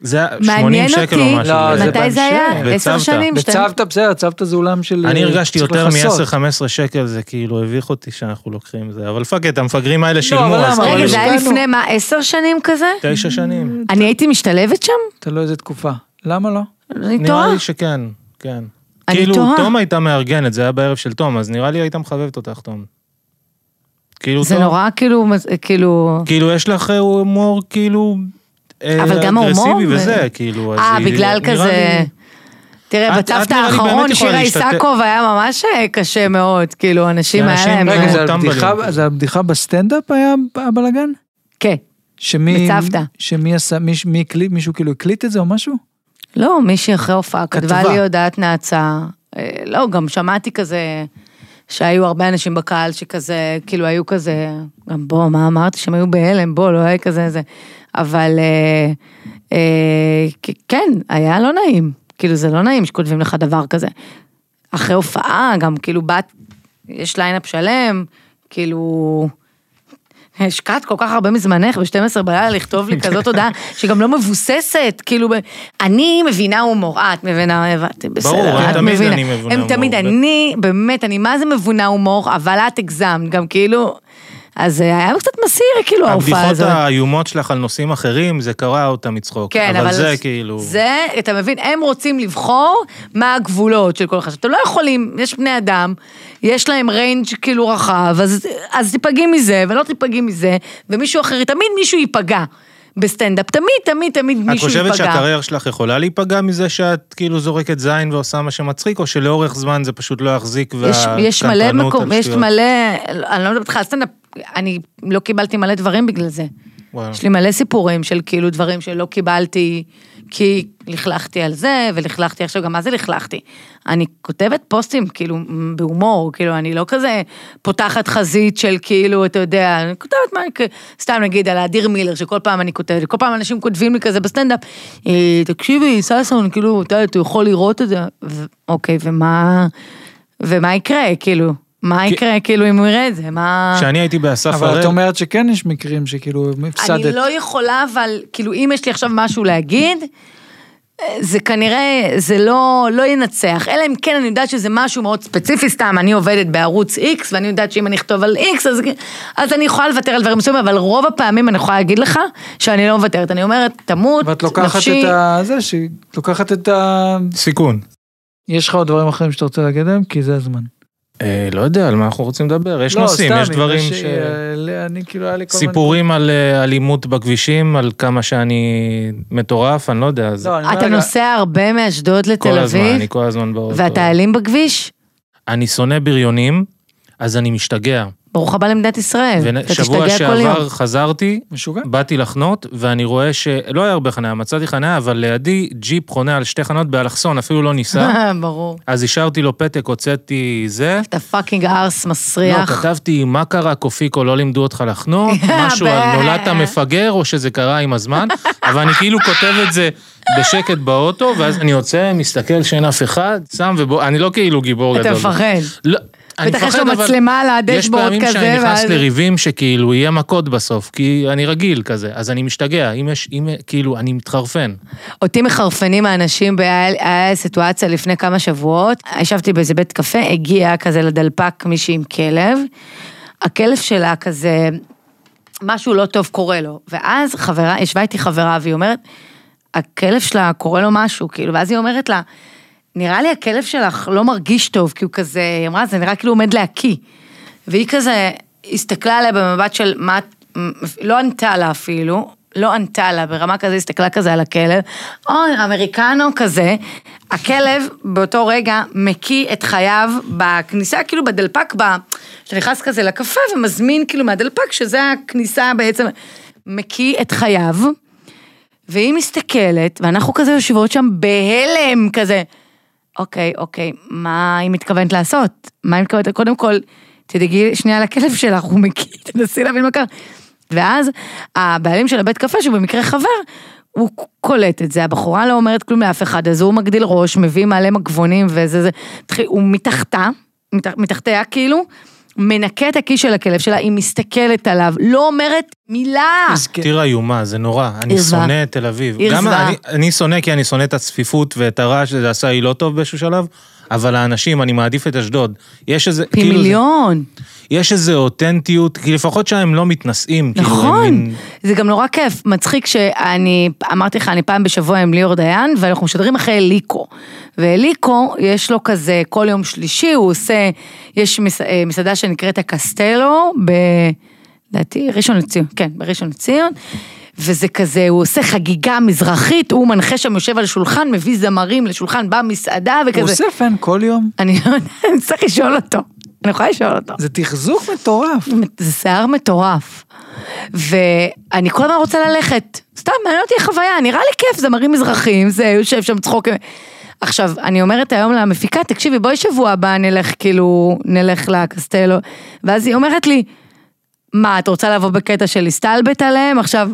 Speaker 3: זה היה 80
Speaker 2: מעניין
Speaker 3: שקל או
Speaker 2: אותי,
Speaker 3: משהו.
Speaker 1: לא,
Speaker 3: כזה.
Speaker 1: זה
Speaker 2: מתי זה
Speaker 1: בהמשך.
Speaker 2: היה? עשר
Speaker 3: בצוותא.
Speaker 2: שנים? שתיים?
Speaker 1: בצוותא, בסדר, צוותא זה עולם של...
Speaker 3: אני
Speaker 1: אה,
Speaker 3: הרגשתי
Speaker 1: צריך
Speaker 3: יותר
Speaker 1: לכסות.
Speaker 3: מ-10-15 שקל, זה כאילו הביך אותי שאנחנו לוקחים זה, אבל פאק את, המפגרים האלה
Speaker 1: אבל
Speaker 3: שילמו, אז
Speaker 1: למה?
Speaker 2: לא, רגע,
Speaker 3: כאילו,
Speaker 2: זה היה
Speaker 1: השקענו.
Speaker 2: לפני, מה, עשר שנים כזה?
Speaker 3: תשע שנים.
Speaker 2: אני הייתי משתלבת שם?
Speaker 1: תלוי איזה תקופה. למה לא?
Speaker 2: אני
Speaker 3: נראה
Speaker 2: טועה.
Speaker 3: לי שכן, כן.
Speaker 2: אני
Speaker 3: כאילו,
Speaker 2: תוהה.
Speaker 3: תום הייתה מארגנת, זה היה בערב של תום, אז נראה לי הייתה מחבבת אותך, תום. כאילו,
Speaker 2: זה
Speaker 3: תום-
Speaker 2: נורא כאילו, מז- כאילו...
Speaker 3: כאילו, יש לך אה, הומור, כאילו... אה,
Speaker 2: אבל גם ההומור
Speaker 3: אגרסיבי
Speaker 2: ו-
Speaker 3: וזה, כאילו, אז
Speaker 2: אה,
Speaker 3: היא-
Speaker 2: בגלל
Speaker 3: נראה
Speaker 2: כזה...
Speaker 3: לי-
Speaker 2: תראה,
Speaker 3: את- את
Speaker 2: בצוותא
Speaker 3: נראה לי באמת
Speaker 2: האחרון,
Speaker 3: יכולה
Speaker 2: שירה
Speaker 3: להשתתף.
Speaker 2: איסקוב היה ממש אה, קשה מאוד, כאילו, אנשים היה
Speaker 3: אנשים-
Speaker 2: להם...
Speaker 3: רגע,
Speaker 2: אה,
Speaker 1: רגע, זה
Speaker 3: טמבלים.
Speaker 1: הבדיחה- זה הבדיחה בסטנדאפ היה הבלאגן?
Speaker 2: כן.
Speaker 1: שמי...
Speaker 2: בצוותא.
Speaker 1: שמי עשה, מי, מי, הקליט- מישהו כאילו הקליט את זה או משהו?
Speaker 2: לא, מישהי אחרי הופעה כתבה
Speaker 3: כתבה.
Speaker 2: לי הודעת נאצה. אה, לא, גם שמעתי כזה, שהיו הרבה אנשים בקהל שכזה, כאילו היו כזה, גם בוא, מה אמרתי שהם היו בהלם, בוא, לא היה כזה זה. אבל אה, אה, כ- כן, היה לא נעים. כאילו זה לא נעים שכותבים לך דבר כזה. אחרי הופעה, גם כאילו בת, יש ליינאפ שלם, כאילו... השקעת כל כך הרבה מזמנך ב-12 בלילה לכתוב לי כזאת הודעה שגם לא מבוססת, כאילו, ב- אני מבינה הומור, אה, את מבינה, הבנתי, בסדר,
Speaker 3: ברור,
Speaker 2: את
Speaker 3: הם תמיד
Speaker 2: מבינה.
Speaker 3: אני מבינה
Speaker 2: הם
Speaker 3: הומור,
Speaker 2: תמיד,
Speaker 3: ב-
Speaker 2: אני, באמת, אני מה זה מבינה הומור, אבל את הגזמת, גם כאילו, אז אה, היה קצת מסעיר, כאילו, ההופעה
Speaker 3: הבדיחות
Speaker 2: הזאת.
Speaker 3: האיומות שלך על נושאים אחרים, זה קרע אותה מצחוק.
Speaker 2: כן, אבל...
Speaker 3: אבל זה כאילו...
Speaker 2: זה, אתה מבין, הם רוצים לבחור מה הגבולות של כל אחד. אתם לא יכולים, יש בני אדם, יש להם ריינג' כאילו רחב, אז, אז תיפגעי מזה, ולא תיפגעי מזה, ומישהו אחר, תמיד מישהו ייפגע. בסטנדאפ, תמיד, תמיד, תמיד מישהו
Speaker 3: את
Speaker 2: ייפגע.
Speaker 3: חושבת שהקריירה שלך יכולה להיפגע מזה שאת כאילו זורקת זין ועושה מה שמצחיק, או שלאורך זמן זה פשוט לא יחזיק
Speaker 2: יש,
Speaker 3: והקנטרנות
Speaker 2: יש מלא
Speaker 3: על
Speaker 2: מקום, יש
Speaker 3: שטויות?
Speaker 2: מלא, אני לא מדברת איתך על סטנדאפ, אני לא קיבלתי מלא דברים בגלל זה.
Speaker 3: וואלה.
Speaker 2: יש לי מלא סיפורים של כאילו דברים שלא קיבלתי, כי לכלכתי על זה, ולכלכתי עכשיו, גם מה זה לכלכתי? אני כותבת פוסטים, כאילו, מ, בהומור, כאילו, אני לא כזה פותחת חזית של כאילו, אתה יודע, אני כותבת מה, כ- סתם נגיד על האדיר מילר, שכל פעם אני כותבת, כל פעם אנשים כותבים לי כזה בסטנדאפ, "אה, תקשיבי, ששון, כאילו, אתה אתה יכול לראות את זה, ו- אוקיי, ומה, ומה יקרה, כאילו? מה יקרה, כאילו, אם הוא יראה את זה? מה...
Speaker 3: כשאני הייתי באסף
Speaker 1: אבל את
Speaker 3: הראל,
Speaker 1: אומרת שכן יש מקרים שכאילו הפסדת.
Speaker 2: אני לא יכולה, אבל כאילו, אם יש לי עכשיו משהו להגיד, זה כנראה, זה לא, לא ינצח. אלא אם כן אני יודעת שזה משהו מאוד ספציפי, סתם, אני עובדת בערוץ X, ואני יודעת שאם אני אכתוב על X, אז, אז אני יכולה לוותר על דברים מסוימים, אבל רוב הפעמים אני יכולה להגיד לך שאני לא מוותרת. אני אומרת, תמות,
Speaker 1: ואת לוקחת
Speaker 2: נפשי,
Speaker 1: את ה... זה, שהיא לוקחת את ה...
Speaker 3: סיכון.
Speaker 1: יש לך עוד דברים אחרים שאתה רוצה להגיד עליהם? כי זה הזמן.
Speaker 3: אה, לא יודע, על מה אנחנו רוצים לדבר? יש
Speaker 1: לא,
Speaker 3: נושאים,
Speaker 1: סתם,
Speaker 3: יש
Speaker 1: בגלל
Speaker 3: דברים
Speaker 1: ש-
Speaker 3: ש...
Speaker 1: אה, לא, אני כאילו היה לי כל מיני...
Speaker 3: סיפורים על אה, אלימות בכבישים, על כמה שאני מטורף, אני לא יודע, זה
Speaker 1: לא, אני אומר,
Speaker 2: אתה
Speaker 1: רגע,
Speaker 2: נוסע הרבה מאשדוד לתל
Speaker 3: כל הזמן,
Speaker 2: אביב,
Speaker 3: אני כל הזמן באוטו.
Speaker 2: ואתה אלים בכביש?
Speaker 3: אני שונא בריונים, אז אני משתגע.
Speaker 2: ברוך הבא למדינת ישראל, אתה
Speaker 3: ושבוע
Speaker 2: תשתגע כל יום.
Speaker 3: שעבר חזרתי,
Speaker 1: משוגע?
Speaker 3: באתי לחנות, ואני רואה שלא היה הרבה חניה, מצאתי חניה, אבל לידי ג'יפ חונה על שתי חנות באלכסון, אפילו לא ניסה.
Speaker 2: ברור.
Speaker 3: אז השארתי לו פתק, הוצאתי זה.
Speaker 2: אתה פאקינג ארס
Speaker 3: לא,
Speaker 2: מסריח.
Speaker 3: כתבתי, מה קרה, קופיקו, לא לימדו אותך לחנות, משהו על נולדת מפגר, או שזה קרה עם הזמן, אבל אני כאילו כותב את זה בשקט באוטו, ואז אני יוצא, מסתכל שאין אף אחד, שם ובוא, אני לא כאילו גיבור
Speaker 2: אתה
Speaker 3: גדול.
Speaker 2: מפחד.
Speaker 3: לא, אני
Speaker 2: בטח יש לו
Speaker 3: מפחד, אבל
Speaker 2: מצלמה על הדשבורד
Speaker 3: יש
Speaker 2: כזה,
Speaker 3: פעמים שאני נכנס
Speaker 2: ואז-
Speaker 3: לריבים שכאילו יהיה מכות בסוף, כי אני רגיל כזה, אז אני משתגע, אם יש, אם, כאילו, אני מתחרפן.
Speaker 2: אותי מחרפנים האנשים, והיה היה סיטואציה לפני כמה שבועות, ישבתי באיזה בית קפה, הגיע כזה לדלפק מישהי עם כלב, הכלב שלה כזה, משהו לא טוב קורה לו, ואז חברה, ישבה איתי חברה והיא אומרת, הכלב שלה קורה לו משהו, כאילו, ואז היא אומרת לה, נראה לי הכלב שלך לא מרגיש טוב, כי הוא כזה, היא אמרה, זה נראה כאילו הוא עומד להקיא. והיא כזה הסתכלה עליה במבט של מה, את-" לא ענתה לה אפילו, לא ענתה לה, ברמה כזה הסתכלה כזה על הכלב, אוי, אמריקנו כזה, הכלב באותו רגע מקיא את חייו בכניסה, כאילו בדלפק, ב... שאתה נכנס כזה לקפה ומזמין כאילו מהדלפק, שזה הכניסה בעצם, מקיא את חייו, והיא מסתכלת, ואנחנו כזה יושבות שם בהלם כזה. אוקיי, אוקיי, מה היא מתכוונת לעשות? מה היא מתכוונת? קודם כל, תדאגי שנייה לכלב שלך, הוא מכיר, תנסי להבין מה קרה. ואז הבעלים של הבית קפה, שהוא במקרה חבר, הוא קולט את זה, הבחורה לא אומרת כלום לאף אחד, אז הוא מגדיל ראש, מביא מלא מגבונים וזה זה, תחי- הוא מתחתה, מתח, מתחתיה כאילו, מנקה את הכיס של הכלב שלה, היא מסתכלת עליו, לא אומרת מילה.
Speaker 3: תראה איומה, זה נורא. אני
Speaker 2: עיר זוועה.
Speaker 3: שונא את תל אביב.
Speaker 2: עיר
Speaker 3: גם
Speaker 2: זוועה.
Speaker 3: אני- אני שונא כי אני שונא את הצפיפות ואת הרעש, זה עשה לי לא טוב באיזשהו שלב, אבל האנשים, אני מעדיף את אשדוד. יש איזה,
Speaker 2: פי
Speaker 3: כאילו, זה-
Speaker 2: מיליון.
Speaker 3: יש איזה אותנטיות, כי לפחות שהם לא מתנשאים. כאילו, הם
Speaker 2: נכון,
Speaker 3: מין-
Speaker 2: זה גם נורא כיף, מצחיק שאני, אמרתי לך, אני פעם בשבוע עם ליאור דיין, ואנחנו משדרים אחרי אליקו. ואליקו, יש לו כזה, כל יום שלישי הוא עושה, יש מס- אה, מסעדה שנקראת הקסטלו, ב... לדעתי, ראשון לציון, כן, בראשון לציון. וזה כזה, הוא עושה חגיגה מזרחית, הוא מנחה שם, יושב על שולחן, מביא זמרים לשולחן, בא מסעדה וכזה.
Speaker 1: הוא עושה פן כל יום.
Speaker 2: אני לא יודעת, אני צריך לשאול אותו. אני יכולה לשאול אותו.
Speaker 1: זה תחזוק מטורף.
Speaker 2: זה שיער מטורף. ואני כל הזמן רוצה ללכת. סתם, מעניין אותי החוויה, נראה לי כיף, זמרים מזרחים, זה, יושב שם צחוק. עכשיו, אני אומרת היום למפיקה, תקשיבי, בואי שבוע הבא נלך, כאילו, נלך לקסטלו. ואז היא אומרת לי, מה, את רוצה לבוא בקטע של להסתלבט עליהם? עכשיו,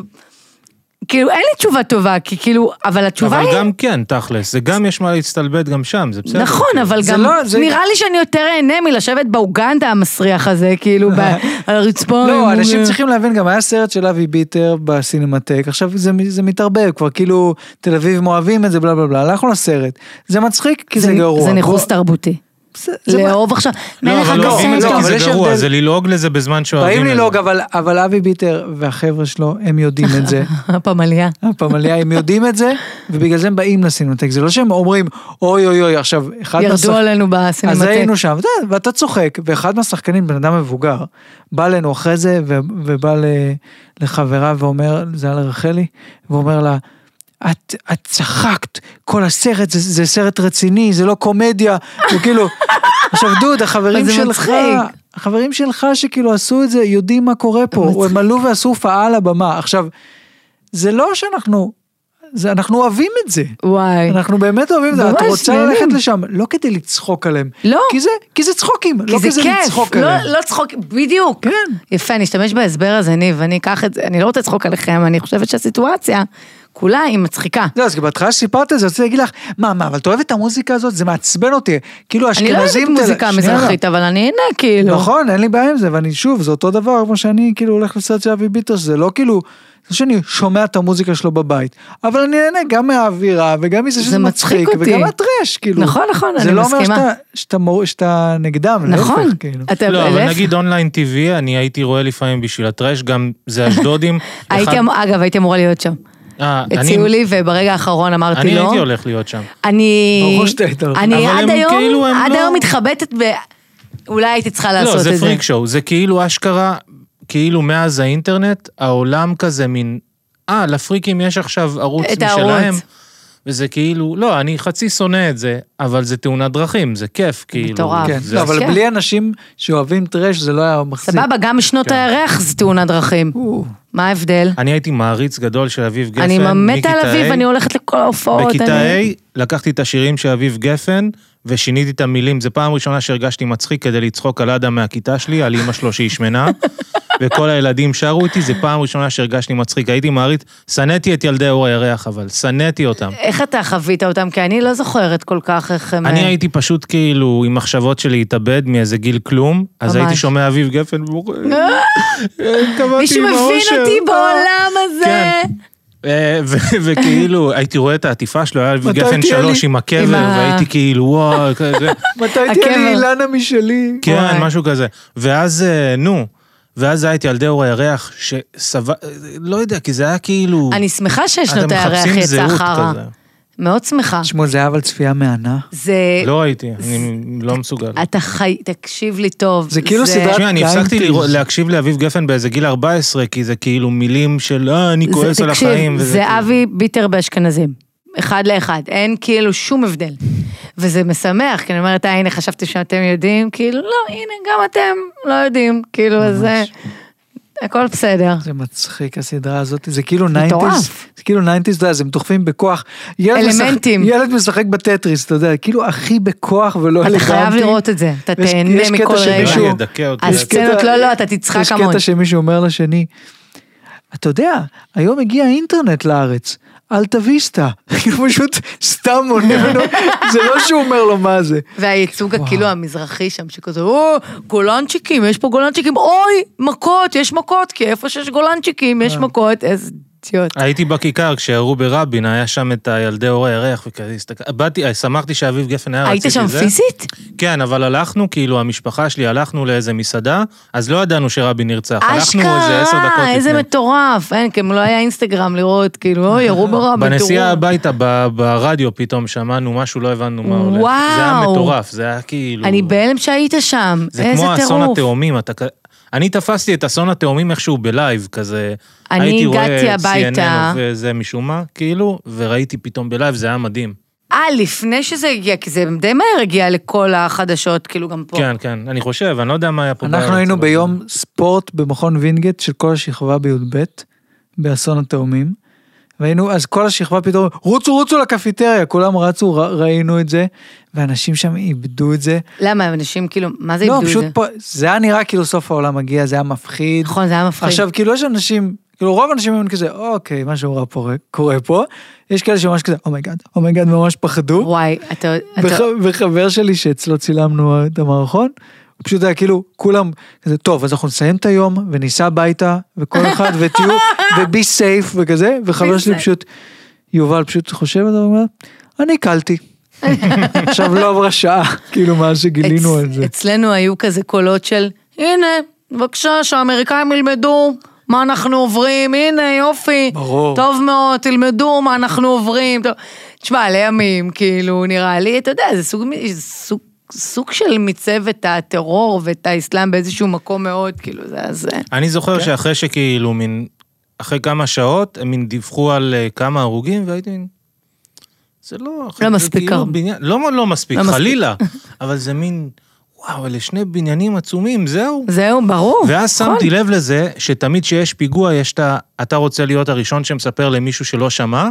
Speaker 2: כאילו, אין לי תשובה טובה, כי כאילו, אבל התשובה
Speaker 3: אבל
Speaker 2: היא...
Speaker 3: גם כן, תכלס, זה גם יש מה להצטלבט גם שם, זה בסדר. כאילו.
Speaker 2: נכון, אבל
Speaker 1: זה
Speaker 2: גם
Speaker 1: לא- זה-
Speaker 2: נראה לי שאני יותר אהנה מלשבת באוגנדה המסריח הזה, כאילו, ב- על הרצפה. עם
Speaker 1: לא, אנשים
Speaker 2: מורים.
Speaker 1: צריכים להבין, גם היה סרט של אבי ביטר בסינמטק, עכשיו זה, זה מתערבב, כבר כאילו תל אביב אוהבים את זה, בלה בלה בלה, הלכנו לסרט, זה מצחיק כי זה, גרוע.
Speaker 2: זה
Speaker 1: בוא-
Speaker 2: ניכוס תרבותי.
Speaker 1: זה- זה-
Speaker 2: לאהוב עכשיו,
Speaker 3: לא,
Speaker 2: מלך
Speaker 3: אבל לא אוהבים את זה
Speaker 1: לא,
Speaker 2: הקסם.
Speaker 3: כי
Speaker 1: אבל יש
Speaker 3: זה גרוע,
Speaker 1: הבדל.
Speaker 3: זה ללעוג לזה בזמן שאוהבים לא, את
Speaker 1: באים
Speaker 3: זה.
Speaker 1: ללעוג, אבל, אבל אבי ביטר והחבר'ה שלו, הם יודעים את זה.
Speaker 2: הפמליה.
Speaker 1: הפמליה, הם יודעים את זה, ובגלל זה הם באים לסינמטק, זה לא שהם אומרים, אוי אוי אוי, עכשיו, אחד
Speaker 2: ירדו
Speaker 1: מהשח-
Speaker 2: עלינו
Speaker 1: אז
Speaker 2: בסינמטק.
Speaker 1: היינו שם, אתה יודע, ואתה צוחק, ואחד מהשחקנים, בן אדם מבוגר, בא אלינו אחרי זה, ו- ובא ל- לחברה ואומר, זה היה לרחלי, ואומר לה, את, את צחקת, כל הסרט זה, זה סרט רציני, זה לא קומדיה, וכאילו, עכשיו דוד, החברים
Speaker 2: אבל זה
Speaker 1: שלך,
Speaker 2: מצחיק.
Speaker 1: החברים שלך שכאילו עשו את זה, יודעים מה קורה פה, הם עלו ועשו הופעה על הבמה. עכשיו, זה לא שאנחנו, זה, אנחנו אוהבים את זה.
Speaker 2: וואי.
Speaker 1: אנחנו באמת אוהבים את זה, את
Speaker 2: אוקיי. ממש
Speaker 1: רוצה
Speaker 2: נהנים.
Speaker 1: ללכת לשם, לא כדי לצחוק עליהם.
Speaker 2: לא.
Speaker 1: כי זה, כי זה צחוקים, לא
Speaker 2: כי זה
Speaker 1: כזה
Speaker 2: כיף,
Speaker 1: לצחוק
Speaker 2: לא-
Speaker 1: עליהם.
Speaker 2: לא צחוק, בדיוק.
Speaker 1: כן.
Speaker 2: יפה, אני אשתמש בהסבר הזה, ניב, אני אקח את זה, אני לא רוצה לצחוק עליכם, אני חושבת שהסיטואציה כולה היא מצחיקה.
Speaker 1: לא, אז בהתחלה שסיפרת את זה, רציתי להגיד לך, מה, מה, אבל אתה אוהב את המוזיקה הזאת? זה מעצבן אותי. כאילו
Speaker 2: אני
Speaker 1: האשכנזים...
Speaker 2: לא אוהבת
Speaker 1: תל-
Speaker 2: מוזיקה
Speaker 1: שנייה, לא.
Speaker 2: מזרחית, אבל אני הנה, כאילו.
Speaker 1: נכון, אין לי בעיה עם זה, ואני שוב, זה אותו דבר כמו שאני כאילו הולך לסרט של אבי ביטר, זה לא כאילו, זה שאני שומע את המוזיקה שלו בבית, אבל אני נהנה גם מהאווירה, וגם מזה שזה
Speaker 2: מצחיק
Speaker 1: מצחיק,
Speaker 2: אותי.
Speaker 1: וגם מהטרש, כאילו.
Speaker 2: נכון, נכון,
Speaker 1: זה
Speaker 2: אני
Speaker 1: לא אומר
Speaker 2: מסכימה.
Speaker 1: שאתה- שאתה מור- שאתה נגדם,
Speaker 2: נכון.
Speaker 1: להפך, כאילו.
Speaker 2: אתה-
Speaker 3: לא, אבל
Speaker 2: להפך.
Speaker 3: נגיד אונליין TV, אני הייתי רואה לפעמים בשביל הטרש, גם זה אשדודים.
Speaker 2: הייתי,
Speaker 3: אחד-
Speaker 2: אמ- אגב, הייתי אמורה להיות שם.
Speaker 3: אה, אני-
Speaker 2: הציעו לי, וברגע האחרון אמרתי לא.
Speaker 3: אני הייתי הולך להיות שם.
Speaker 2: אני...
Speaker 1: ברור שאתה היית הולכת.
Speaker 2: אני
Speaker 3: אבל
Speaker 2: עד
Speaker 3: הם כאילו
Speaker 2: היום,
Speaker 3: הם
Speaker 2: עד
Speaker 3: לא-
Speaker 2: היום מתחבטת ב... אולי הייתי צריכה לעשות
Speaker 3: לא,
Speaker 2: את זה.
Speaker 3: זה פריק שואו, זה כאילו אשכרה, כאילו מאז האינטרנט, העולם כזה מין, אה, לפריקים יש עכשיו ערוץ
Speaker 2: את
Speaker 3: משלהם.
Speaker 2: הערוץ.
Speaker 3: וזה כאילו, לא, אני חצי שונא את זה, אבל זה תאונת דרכים, זה כיף, כאילו.
Speaker 2: מטורף.
Speaker 1: כן,
Speaker 3: זה-
Speaker 1: לא, אבל
Speaker 2: כן.
Speaker 1: בלי אנשים שאוהבים טרש זה לא היה מחזיק.
Speaker 2: סבבה, גם שנות
Speaker 3: כן.
Speaker 2: הירח זה תאונת דרכים.
Speaker 1: או,
Speaker 2: מה ההבדל?
Speaker 3: אני הייתי מעריץ גדול של אביב גפן,
Speaker 2: אני מתה על
Speaker 3: מכיתה
Speaker 2: אביב,
Speaker 3: A.
Speaker 2: אני הולכת לכל ההופעות.
Speaker 3: בכיתה
Speaker 2: אני-
Speaker 3: A לקחתי את השירים של אביב גפן ושיניתי את המילים. זו פעם ראשונה שהרגשתי מצחיק כדי לצחוק על אדם מהכיתה שלי, על אימא שלו שהיא שמנה, וכל הילדים שרו איתי, זו פעם ראשונה שהרגשתי מצחיק. הייתי מעריץ, שנאתי את ילדי אור הירח, אבל שנאתי אותם.
Speaker 2: איך אתה חווית אותם? כי אני לא זוכרת כל כך איך הם...
Speaker 3: אני הייתי פשוט כאילו עם מחשבות של להתאבד מאיזה גיל כלום, אז
Speaker 2: ממש.
Speaker 3: הייתי שומע אביב גפן "אה, בורא.
Speaker 2: מישהו מבין אותי בעולם הזה.
Speaker 3: כן. אה, ו- וכאילו, הייתי רואה את העטיפה שלו, היה אביב
Speaker 1: מתי
Speaker 3: גפן
Speaker 1: תהיה לי?
Speaker 3: שלוש עם
Speaker 2: עם
Speaker 3: הקבר,
Speaker 2: ה-
Speaker 3: והייתי כאילו, וואו, כזה.
Speaker 1: מתי תהיה לי
Speaker 2: הקבר.
Speaker 1: אילנה משלי?
Speaker 3: כן,
Speaker 2: וואי.
Speaker 3: משהו כזה. ואז, אה, נו, ואז הייתי על דאור הירח, שסבל, לא יודע, כי זה היה כאילו...
Speaker 2: אני שמחה
Speaker 3: אתם
Speaker 2: ששנות הירח
Speaker 3: מחפשים
Speaker 2: יצא
Speaker 3: זהות
Speaker 2: חרא.
Speaker 3: כזה.
Speaker 2: מאוד שמחה.
Speaker 1: תשמעו, זה היה אבל צפייה מהנה.
Speaker 2: זה...
Speaker 3: לא ראיתי, אני
Speaker 2: אה,
Speaker 3: לא מסוגל.
Speaker 2: אתה חי... תקשיב לי טוב.
Speaker 1: זה כאילו סדרת-
Speaker 3: תשמע, אני הפסקתי
Speaker 1: 90s.
Speaker 3: לראות- להקשיב לאביב גפן באיזה גיל 14, כי זה כאילו מילים של אה, אני
Speaker 2: זה-
Speaker 3: כועס על
Speaker 2: תקשיב,
Speaker 3: החיים. וזה
Speaker 2: זה
Speaker 3: כאילו-
Speaker 2: אבי ביטר באשכנזים. אחד לאחד, אין כאילו שום הבדל. וזה משמח, כי אני אומרת, אה, הנה, חשבתי שאתם יודעים, כאילו, לא, הנה, גם אתם לא יודעים, כאילו, אז אה, הכל בסדר.
Speaker 3: לא
Speaker 1: זה מצחיק הסדרה הזאת, זה כאילו
Speaker 2: מטורף.
Speaker 1: ניינטיז, זה כאילו ניינטיז, אתה יודע, אז הם דוחפים בכוח. ילד משחק-
Speaker 2: אלמנטים.
Speaker 1: ילד משחק בטטריס, אתה יודע, כאילו הכי בכוח ולא
Speaker 2: אתה
Speaker 1: אלגנטי.
Speaker 2: חייב לראות את זה, אתה
Speaker 1: יש-
Speaker 2: תהנה
Speaker 1: יש קטע
Speaker 2: מכל
Speaker 1: שמישהו-
Speaker 2: רגע.
Speaker 1: מישהו-
Speaker 3: אני אדכא אותי.
Speaker 2: אז
Speaker 3: זה-
Speaker 2: כן. סצנות, לא, לא, אתה תצחק
Speaker 1: יש
Speaker 2: המון.
Speaker 1: קטע שמישהו אומר לשני, אתה יודע, היום הגיע האינטרנט לארץ, אלטה ויסטה. כאילו פשוט סתם עונה ממנו, זה לא שהוא אומר לו מה זה.
Speaker 2: והייצוג
Speaker 1: וואו.
Speaker 2: הכאילו המזרחי שם, שכזה, או, גולנצ'יקים, יש פה גולנצ'יקים, אוי, מכות, יש מכות, כי איפה שיש גולנצ'יקים,
Speaker 3: אה.
Speaker 2: יש מכות, איזה אידיוט.
Speaker 3: הייתי בכיכר כשהראו ברבין, היה שם את הילדי אור הירח וכזה הסתכל... באתי, אה, שמחתי שאביב גפן היה,
Speaker 2: היית
Speaker 3: רציתי
Speaker 2: שם
Speaker 3: זה.
Speaker 2: פיזית?
Speaker 3: כן, אבל הלכנו, כאילו, המשפחה שלי, הלכנו לאיזה מסעדה, אז לא ידענו שרבין נרצח. הלכנו איזה עשר דקות
Speaker 2: אשכרה,
Speaker 3: לפני.
Speaker 2: איזה מטורף. אין, כי אם לא היה אינסטגרם לראות, כאילו, אוי, ירו ברע,
Speaker 3: בנסיעה
Speaker 2: בטרור.
Speaker 3: הביתה, ב- ברדיו פתאום שמענו משהו, לא הבנו מה הולך.
Speaker 2: וואו.
Speaker 3: זה היה מטורף, זה היה כאילו...
Speaker 2: אני בהלם שהיית שם,
Speaker 3: זה
Speaker 2: איזה
Speaker 3: כמו אסון
Speaker 2: טירוף.
Speaker 3: התאומים, אתה... כ- אני תפסתי את אסון התאומים איכשהו בלייב כזה.
Speaker 2: אני
Speaker 3: הייתי רואה
Speaker 2: הגעתי הביתה.
Speaker 3: CNN וזה משום מה, כאילו, וראיתי פתאום בלייב, זה היה מדהים.
Speaker 2: אה, לפני שזה הגיע, כי זה די מהר הגיע לכל החדשות, כאילו גם פה.
Speaker 3: כן, כן, אני חושב, אני לא יודע מה היה פה.
Speaker 1: אנחנו
Speaker 3: בארץ,
Speaker 1: היינו
Speaker 3: אבל-
Speaker 1: ביום ספורט במכון וינגייט של כל השכבה בי"ב, באסון התאומים. והיינו, אז כל השכבה פתאום, רוצו, רוצו לקפיטריה, כולם רצו, ר, ראינו את זה, ואנשים שם איבדו את זה.
Speaker 2: למה, אנשים כאילו, מה זה
Speaker 1: לא,
Speaker 2: איבדו את
Speaker 1: פשוט
Speaker 2: זה?
Speaker 1: פה, זה היה נראה כאילו סוף העולם מגיע, זה היה מפחיד.
Speaker 2: נכון, זה היה מפחיד.
Speaker 1: עכשיו, כאילו יש אנשים, כאילו רוב האנשים הם כזה, אוקיי, משהו רע פה- קורה פה. יש כאלה שממש כזה, "Oh אומייגאד, אומייגאד, ממש פחדו.
Speaker 2: וואי, אתה... אתה-
Speaker 1: וח, וחבר שלי שאצלו צילמנו את המערכון, הוא פשוט היה כאילו, כולם, כזה, טוב, אז אנחנו נסיים את היום, וניסע הביתה, וכל אחד, ותהיו, ובי סייף וכזה, וחבר
Speaker 2: Be
Speaker 1: שלי
Speaker 2: safe.
Speaker 1: פשוט, יובל פשוט חושב על זה, הוא אומר, אני קלתי. עכשיו לא עברה שעה, כאילו, מאז שגילינו
Speaker 2: אצ-
Speaker 1: על זה.
Speaker 2: אצלנו היו כזה קולות של, הנה, בבקשה, שהאמריקאים ילמדו מה אנחנו עוברים, הנה, יופי.
Speaker 1: ברור.
Speaker 2: טוב מאוד, תלמדו מה אנחנו עוברים. טוב. תשמע, לימים, כאילו, נראה לי, אתה יודע, זה סוג, מ- סוג, סוג של מיצב את הטרור ואת האסלאם באיזשהו מקום מאוד, כאילו, זה היה זה.
Speaker 3: אני זוכר
Speaker 2: כן.
Speaker 3: שאחרי שכאילו, מין... אחרי כמה שעות, הם מין דיווחו על אה, כמה הרוגים, והייתי מין... זה לא... אחי,
Speaker 2: לא
Speaker 3: זה
Speaker 2: מספיק
Speaker 3: כאילו
Speaker 2: הרבה.
Speaker 3: בניין- לא לא מספיק,
Speaker 2: לא מספיק.
Speaker 3: חלילה. אבל זה מין... וואו, אלה שני בניינים עצומים, זהו.
Speaker 2: זהו, ברור.
Speaker 3: ואז
Speaker 2: נכון.
Speaker 3: שמתי לב לזה, שתמיד כשיש פיגוע, יש את ה... אתה רוצה להיות הראשון שמספר למישהו שלא שמע,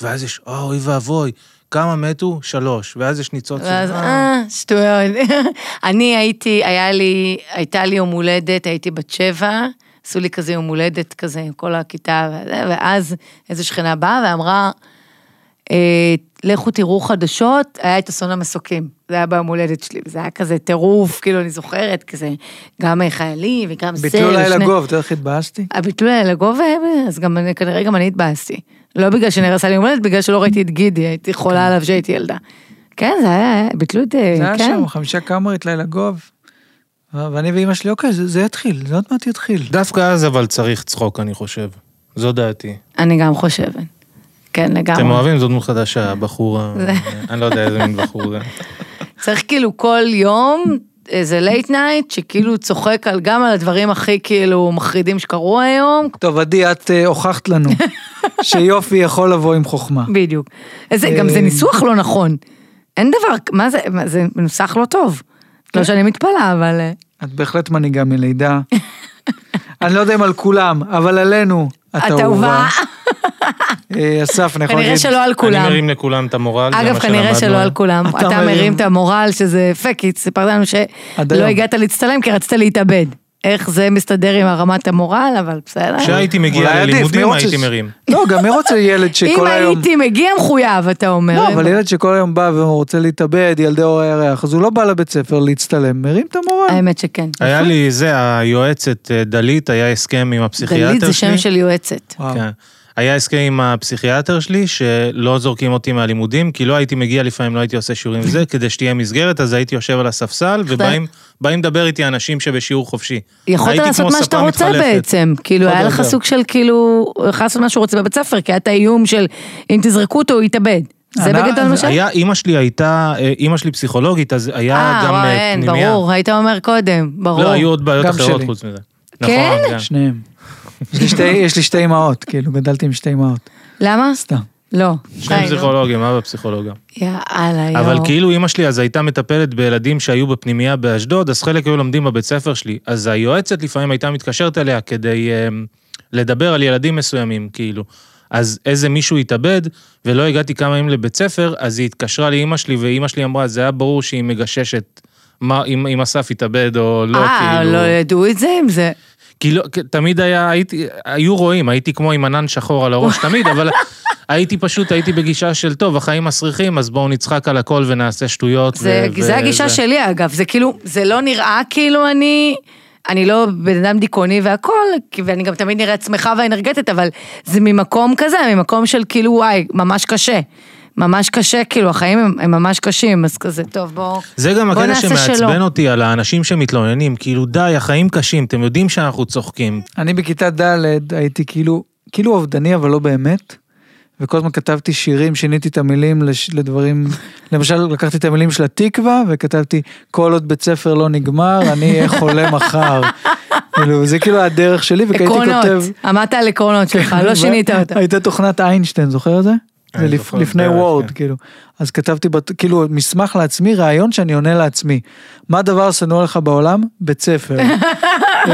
Speaker 3: ואז יש, "אה, אוי ואבוי, כמה מתו? שלוש. ואז יש ניצוץ של...
Speaker 2: ואז,
Speaker 3: "אה,
Speaker 2: אה, שטויות. אני הייתי, היה לי, הייתה לי יום הולדת, הייתי בת שבע, עשו לי כזה יום הולדת כזה עם כל הכיתה, וזה, ואז איזו שכנה באה ואמרה, אה, לכו תראו חדשות, היה את אסון המסוקים, זה היה ביום הולדת שלי, זה היה כזה טירוף, כאילו אני זוכרת, כזה, גם חיילים וגם זה.
Speaker 1: ביטלו לילה
Speaker 2: ושני-
Speaker 1: גוב, אתה יודע איך התבאסתי?
Speaker 2: הביטלו היה לגובה, אז גם אני, כנראה גם אני התבאסתי. לא בגלל שנהרסה לי יום הולדת, בגלל שלא ראיתי את גידי, הייתי חולה עליו שהייתי ילדה. כן, זה היה, ביטלו את,
Speaker 1: זה היה
Speaker 2: כן.
Speaker 1: שם, חמישה קאמרית, לילה גוב. ו- ואני ואימא שלי, אוקיי, זה זה יתחיל, זה עוד מעט יתחיל.
Speaker 3: דווקא אז אבל צריך צחוק, אני חושב. זו דעתי.
Speaker 2: אני גם חושבת. כן,
Speaker 3: אתם
Speaker 2: לגמרי.
Speaker 3: אוהבים זאת דמות חדשה, הבחור ה... אני לא יודע איזה מין בחור זה.
Speaker 2: צריך כאילו כל יום איזה לייט נייט, שכאילו צוחק על, גם על הדברים הכי כאילו מחרידים שקרו היום.
Speaker 1: טוב, עדי, את אה, הוכחת לנו שיופי יכול לבוא עם חוכמה.
Speaker 2: בדיוק. איזה, גם
Speaker 1: אה.
Speaker 2: זה ניסוח לא נכון. אין דבר, מה זה, מה, זה מנוסח לא טוב.
Speaker 1: כן.
Speaker 2: לא שאני מתפלאה, אבל... אה,
Speaker 1: את בהחלט מנהיגה מלידה. אני לא יודע אם על כולם, אבל עלינו. את
Speaker 2: את
Speaker 1: אהובה.
Speaker 2: אהובה.
Speaker 1: אה, אסף, אני יכול
Speaker 2: כנראה
Speaker 1: להגיד...
Speaker 2: שלא לא על
Speaker 3: אני
Speaker 2: כולם.
Speaker 3: מרים לכולם את המורל, זה
Speaker 2: אגב,
Speaker 3: מה
Speaker 2: כנראה
Speaker 3: שלמדנו.
Speaker 2: שלא על כולם.
Speaker 1: אתה
Speaker 2: אתה
Speaker 1: מרים.
Speaker 2: מרים את המורל, שזה פקיט, סיפרת לנו
Speaker 1: עד
Speaker 2: שלא
Speaker 1: היום.
Speaker 2: הגעת להצטלם כי רצית להתאבד. איך זה מסתדר עם הרמת המורל, אבל בסדר.
Speaker 3: כשהייתי
Speaker 1: אולי
Speaker 3: מגיע
Speaker 1: עדיף,
Speaker 3: ללימודים
Speaker 1: מי רוצה
Speaker 3: הייתי
Speaker 1: ש-
Speaker 3: מרים.
Speaker 1: לא, גם מי רוצה ילד
Speaker 2: אם
Speaker 1: שכל היום...
Speaker 2: הייתי מגיע מחויב, אתה אומר.
Speaker 1: לא, אבל ילד שכל היום בא ורוצה להתאבד, ילדי אור הירח, אז הוא לא בא לבית ספר להצטלם, מרים את המורה.
Speaker 2: האמת שכן.
Speaker 3: היה לי זה, היועצת אה, דלית, היה הסכם עם הפסיכיאטר שלי.
Speaker 2: דלית זה שם של יועצת.
Speaker 1: וואו.
Speaker 3: כן. היה הסכם עם הפסיכיאטר שלי, שלא זורקים אותי מהלימודים, כי לא הייתי מגיע לפעמים, לא הייתי עושה שיעורים וזה, כדי שתהיה מסגרת, אז הייתי יושב על הספסל, ובאים באים לדבר איתי אנשים שבשיעור חופשי.
Speaker 2: יכולת
Speaker 3: הייתי
Speaker 2: לעשות
Speaker 3: כמו
Speaker 2: מה שאתה
Speaker 3: ספה
Speaker 2: רוצה
Speaker 3: מתחלפת. לא,
Speaker 2: בעצם, כאילו
Speaker 3: פחות
Speaker 2: היה
Speaker 3: או
Speaker 2: לך
Speaker 3: יותר.
Speaker 2: סוג של כאילו, הוא יכול לעשות מה שהוא רוצה בבית ספר, כי היה את האיום של אם תזרקו אותו הוא יתאבד. זה
Speaker 1: אני-
Speaker 2: בגדול מה ש...
Speaker 3: היה, אימא שלי הייתה, אה, אימא שלי פסיכולוגית, אז היה
Speaker 2: אה,
Speaker 3: גם
Speaker 2: וואי,
Speaker 3: אה,
Speaker 2: אין,
Speaker 3: פנימייה.
Speaker 2: ברור, היית אומר קודם, ברור.
Speaker 3: לא, היו עוד בעיות
Speaker 1: גם
Speaker 3: אחרות
Speaker 1: שלי.
Speaker 3: חוץ מזה.
Speaker 2: כן?
Speaker 3: נכון, גם.
Speaker 1: שניהם. יש לי שתי- יש לי שתי אימהות, כאילו, גדלתי עם שתי אימהות.
Speaker 2: למה?
Speaker 1: סתם.
Speaker 2: לא.
Speaker 3: שני
Speaker 2: די, נו.
Speaker 3: פסיכולוגים, אבא פסיכולוגיה.
Speaker 2: יאללה, יואו.
Speaker 3: אבל כאילו אימא שלי אז הייתה מטפלת בילדים שהיו בפנימייה באשדוד, אז חלק היו לומדים בבית ספר שלי. אז היועצת לפעמים הייתה מתקשרת אליה כדי אמ, לדבר על ילדים מסוימים, כאילו. אז איזה מישהו התאבד, ולא הגעתי כמה ימים לבית ספר, אז היא התקשרה לאימא שלי, ואימא שלי אמרה, זה היה ברור שהיא מגששת מה, אם, אם אסף התאבד או לא,
Speaker 2: אה,
Speaker 3: כאילו.
Speaker 2: לא ידעו את זה אם זה...
Speaker 3: כי לא, כי תמיד היה, הייתי, היו רואים, הייתי כמו עם ענן שחור על הראש תמיד, אבל הייתי פשוט, הייתי בגישה של, טוב, החיים מסריחים, אז בואו נצחק על הכל ונעשה שטויות.
Speaker 2: זה,
Speaker 3: ו-
Speaker 2: זה
Speaker 3: ו-
Speaker 2: הגישה
Speaker 3: זה."
Speaker 2: שלי אגב, זה כאילו, זה לא נראה כאילו אני, אני לא בן אדם דיכאוני והכל, כי- ואני גם תמיד נראית שמחה ואנרגטית, אבל זה ממקום כזה, ממקום של כאילו וואי, ממש קשה. ממש קשה, כאילו, החיים הם, הם ממש קשים, אז כזה, טוב, בואו...
Speaker 3: זה גם
Speaker 2: בוא
Speaker 3: הקטע
Speaker 2: נעשה
Speaker 3: שמעצבן
Speaker 2: שלא.
Speaker 3: אותי על האנשים שמתלוננים, כאילו די, החיים קשים, אתם יודעים שאנחנו צוחקים.
Speaker 1: אני בכיתה ד' הייתי כאילו, כאילו אובדני, אבל לא באמת. וכל הזמן כתבתי שירים, שיניתי את המילים לש... לדברים, למשל לקחתי את המילים של התקווה וכתבתי כל עוד בית ספר לא נגמר, אני אהיה חולה מחר. כאילו, זה כאילו הדרך שלי, וכי הייתי
Speaker 2: עקרונות,
Speaker 1: כותב...
Speaker 2: עמדת על עקרונות שלך,
Speaker 3: כן,
Speaker 2: לא שינית אותם.
Speaker 1: הייתה תוכנת איינשטיין, זוכר את זה?
Speaker 3: אני
Speaker 1: זה לפ-
Speaker 3: זוכר,
Speaker 1: לפני
Speaker 3: בערך,
Speaker 1: וורד,
Speaker 3: כן.
Speaker 1: כאילו. אז כתבתי, בת- כאילו, מסמך לעצמי, רעיון שאני עונה לעצמי. מה הדבר השנוא עליך בעולם? בית ספר. אה,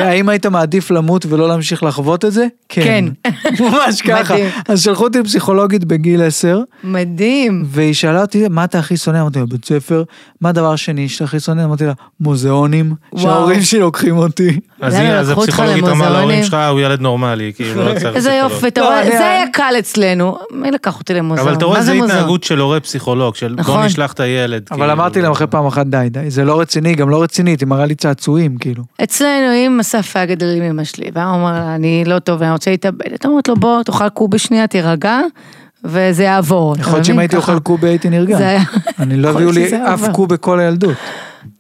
Speaker 1: האם היית מעדיף למות ולא להמשיך לחוות את זה? כן.
Speaker 2: כן.
Speaker 1: ממש ככה.
Speaker 2: מדהים.
Speaker 1: אז שלחו אותי לפסיכולוגית בגיל 10,
Speaker 2: מדהים.
Speaker 1: והיא שאלה אותי, מה אתה הכי שונא? אמרתי לה, בית ספר. מה הדבר השני שאתה הכי שונא? אמרתי לה, מוזיאונים,
Speaker 2: וואו.
Speaker 1: שההורים שלי לוקחים אותי.
Speaker 3: אז
Speaker 2: למה,
Speaker 3: היא, אז
Speaker 2: לקחו אותך
Speaker 3: הפסיכולוגית אמרה
Speaker 2: למוזיאונים?
Speaker 3: להורים שלך, הוא ילד נורמלי, כאילו, לא צריך פסיכולוג.
Speaker 2: איזה יופי, אתה
Speaker 1: לא,
Speaker 2: רואה,
Speaker 1: אני-
Speaker 2: זה היה קל אצלנו. מי לקח אותי למוזיאון?
Speaker 3: אבל אתה רואה,
Speaker 2: מה
Speaker 3: זה
Speaker 2: מוזיאון?
Speaker 3: התנהגות של הורה פסיכולוג, של בוא
Speaker 2: נכון.
Speaker 3: נשלח את הילד.
Speaker 1: אבל
Speaker 3: כאילו.
Speaker 1: אמרתי להם אחרי פעם אחת, די, די, זה לא רציני, גם לא רצינית, היא מראה לי צעצועים, כאילו.
Speaker 2: אצלנו, אם אסף היה גדל עם אמא שלי, והיה אומר לה, אני לא טוב, אני רוצה להתאבד, הייתה אומרת לו, בוא, תאכל קובי שנייה, תירגע, וזה יעבור. אתה
Speaker 1: יכול להיות שאם
Speaker 2: מבין?
Speaker 1: הייתי
Speaker 2: ככה.
Speaker 1: אוכל קובה הייתי נרגע.
Speaker 2: זה היה-
Speaker 1: אני לא
Speaker 2: יכול
Speaker 1: הביאו
Speaker 2: להיות שזה
Speaker 1: לי אף
Speaker 2: עבר.
Speaker 1: קוב בכל הילדות.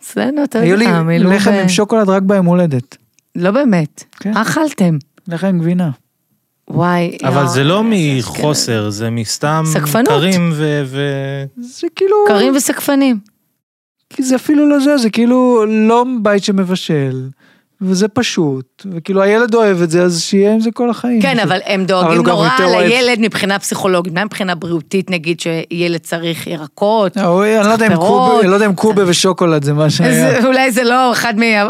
Speaker 2: אצלנו, אתה
Speaker 1: היו לי
Speaker 2: יודע, מילאו...
Speaker 1: לחם
Speaker 2: ב-
Speaker 1: עם שוקולד רק ביום הולדת.
Speaker 2: לא באמת.
Speaker 1: כן.
Speaker 2: מה אכלתם?
Speaker 1: לחם עם גבינה.
Speaker 2: וואי.
Speaker 3: אבל
Speaker 2: יואו, כן.
Speaker 3: זה לא
Speaker 2: איזה
Speaker 3: מחוסר, זה מסתם
Speaker 2: סקפנות.
Speaker 3: קרים ו- ו...
Speaker 1: זה כאילו...
Speaker 2: אשכנז. קרים וסקפנים.
Speaker 1: כי זה אפילו לא זה, זה כאילו לא בית שמבשל, וזה פשוט, וכאילו הילד אוהב את זה, אז שיהיה עם זה כל החיים.
Speaker 2: כן,
Speaker 1: זה-
Speaker 2: אבל הם
Speaker 1: אבל
Speaker 2: דואגים
Speaker 1: הוא גם
Speaker 2: נורא
Speaker 1: יותר אוהב-
Speaker 2: לילד מבחינה פסיכולוגית, מה מבחינה בריאותית, נגיד שילד צריך ירקות.
Speaker 1: ההוא- אני לא יודע אם
Speaker 2: פירות.
Speaker 1: קובה- אני לא יודע אם קובה ושוקולד זה מה שהיה.
Speaker 2: אז אולי זה לא אחד
Speaker 1: כן.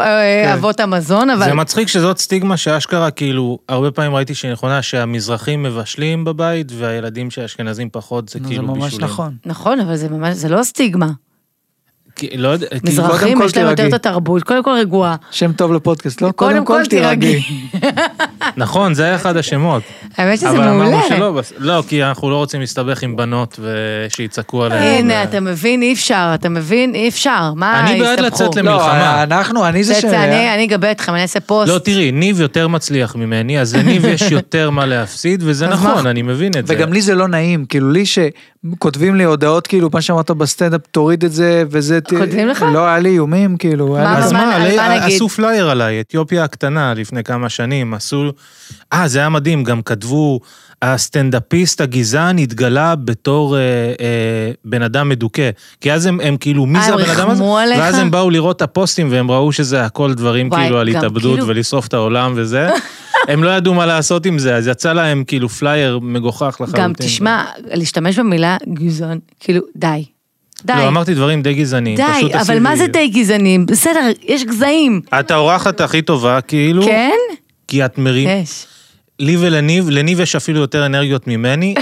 Speaker 2: מאבות המזון, אבל...
Speaker 3: זה מצחיק שזאת סטיגמה שאשכרה כאילו, הרבה פעמים ראיתי שהיא נכונה שהמזרחים מבשלים בבית והילדים שהאשכנזים פחות זה
Speaker 1: נו,
Speaker 3: כאילו
Speaker 1: זה
Speaker 3: בישולים.
Speaker 1: ממש נכון.
Speaker 2: נכון, אבל זה ממש, זה לא סטיגמה.
Speaker 3: כי- לא יודע, כאילו-
Speaker 1: קודם
Speaker 2: מזרחים
Speaker 1: כל
Speaker 2: יש להם יותר
Speaker 1: תירגעי.
Speaker 2: את התרבות, קודם כל רגועה.
Speaker 1: שם טוב לפודקאסט, לא?
Speaker 2: קודם כל תירגעי.
Speaker 3: נכון, זה היה אחד השמות.
Speaker 2: האמת שזה
Speaker 3: אבל אמרנו
Speaker 2: מעולה.
Speaker 3: שלא, בס- לא, כי אנחנו לא רוצים להסתבך עם בנות ושיצעקו עליהן.
Speaker 2: הנה,
Speaker 3: ו-
Speaker 2: אתה מבין, אי אפשר, אתה מבין, אי אפשר. מה,
Speaker 3: אני בעד
Speaker 2: הסתבכו?
Speaker 3: לצאת למ-
Speaker 1: לא,
Speaker 3: מלחמה.
Speaker 1: אנחנו, אני זה
Speaker 2: לצאת, אני
Speaker 1: שהיה.
Speaker 2: אני אגבה אתכם, אני אעשה פוסט.
Speaker 3: לא, תראי, ניב יותר מצליח ממני, אז לניב יש יותר מה להפסיד, וזה
Speaker 2: אז מה?
Speaker 3: נכון, אני מבין את זה.
Speaker 1: וגם לי זה לא נעים, כאילו לי שכותבים לי הודעות, כאילו מה שאמרת בסטנדאפ, תוריד את זה וזה... ת-
Speaker 2: כותבים לך?
Speaker 1: לא, היה לי איומים, כאילו. היה
Speaker 2: מה,
Speaker 1: לי-
Speaker 3: אז
Speaker 2: מה,
Speaker 3: מה,
Speaker 2: על
Speaker 3: עלי-
Speaker 2: מה נגיד?
Speaker 3: עשו פלייר עליי, אתיופיה הקטנה לפני כמה שנים, עשו... אה, זה היה מדהים, גם כתבו, הסטנדאפיסט הגזען התגלה בתור אה, אה, בן אדם מדוכא. כי אז הם, הם כאילו, מי
Speaker 2: אה,
Speaker 3: זה
Speaker 2: הם
Speaker 3: הבן אדם הזה?
Speaker 2: ריחמו עליך?
Speaker 3: ואז הם באו לראות את הפוסטים והם ראו שזה הכל דברים
Speaker 2: וואי,
Speaker 3: כאילו על
Speaker 2: גם
Speaker 3: התאבדות
Speaker 2: כאילו-
Speaker 3: ולשרוף את העולם וזה. הם לא ידעו מה לעשות עם זה, אז יצא להם כאילו פלייר מגוחך לחלוטין.
Speaker 2: גם תשמע, להשתמש במילה גזעון, כאילו, די. די.
Speaker 3: לא, אמרתי דברים די גזעניים,
Speaker 2: די,
Speaker 3: פשוט
Speaker 2: אבל
Speaker 3: עשיתי-
Speaker 2: מה זה די גזענים? בסדר, יש גזעים.
Speaker 3: את האורחת הכי טובה, כאילו,
Speaker 2: כן?
Speaker 3: כי את מרים...
Speaker 2: יש.
Speaker 3: לי ולניב, לניב יש אפילו יותר אנרגיות ממני,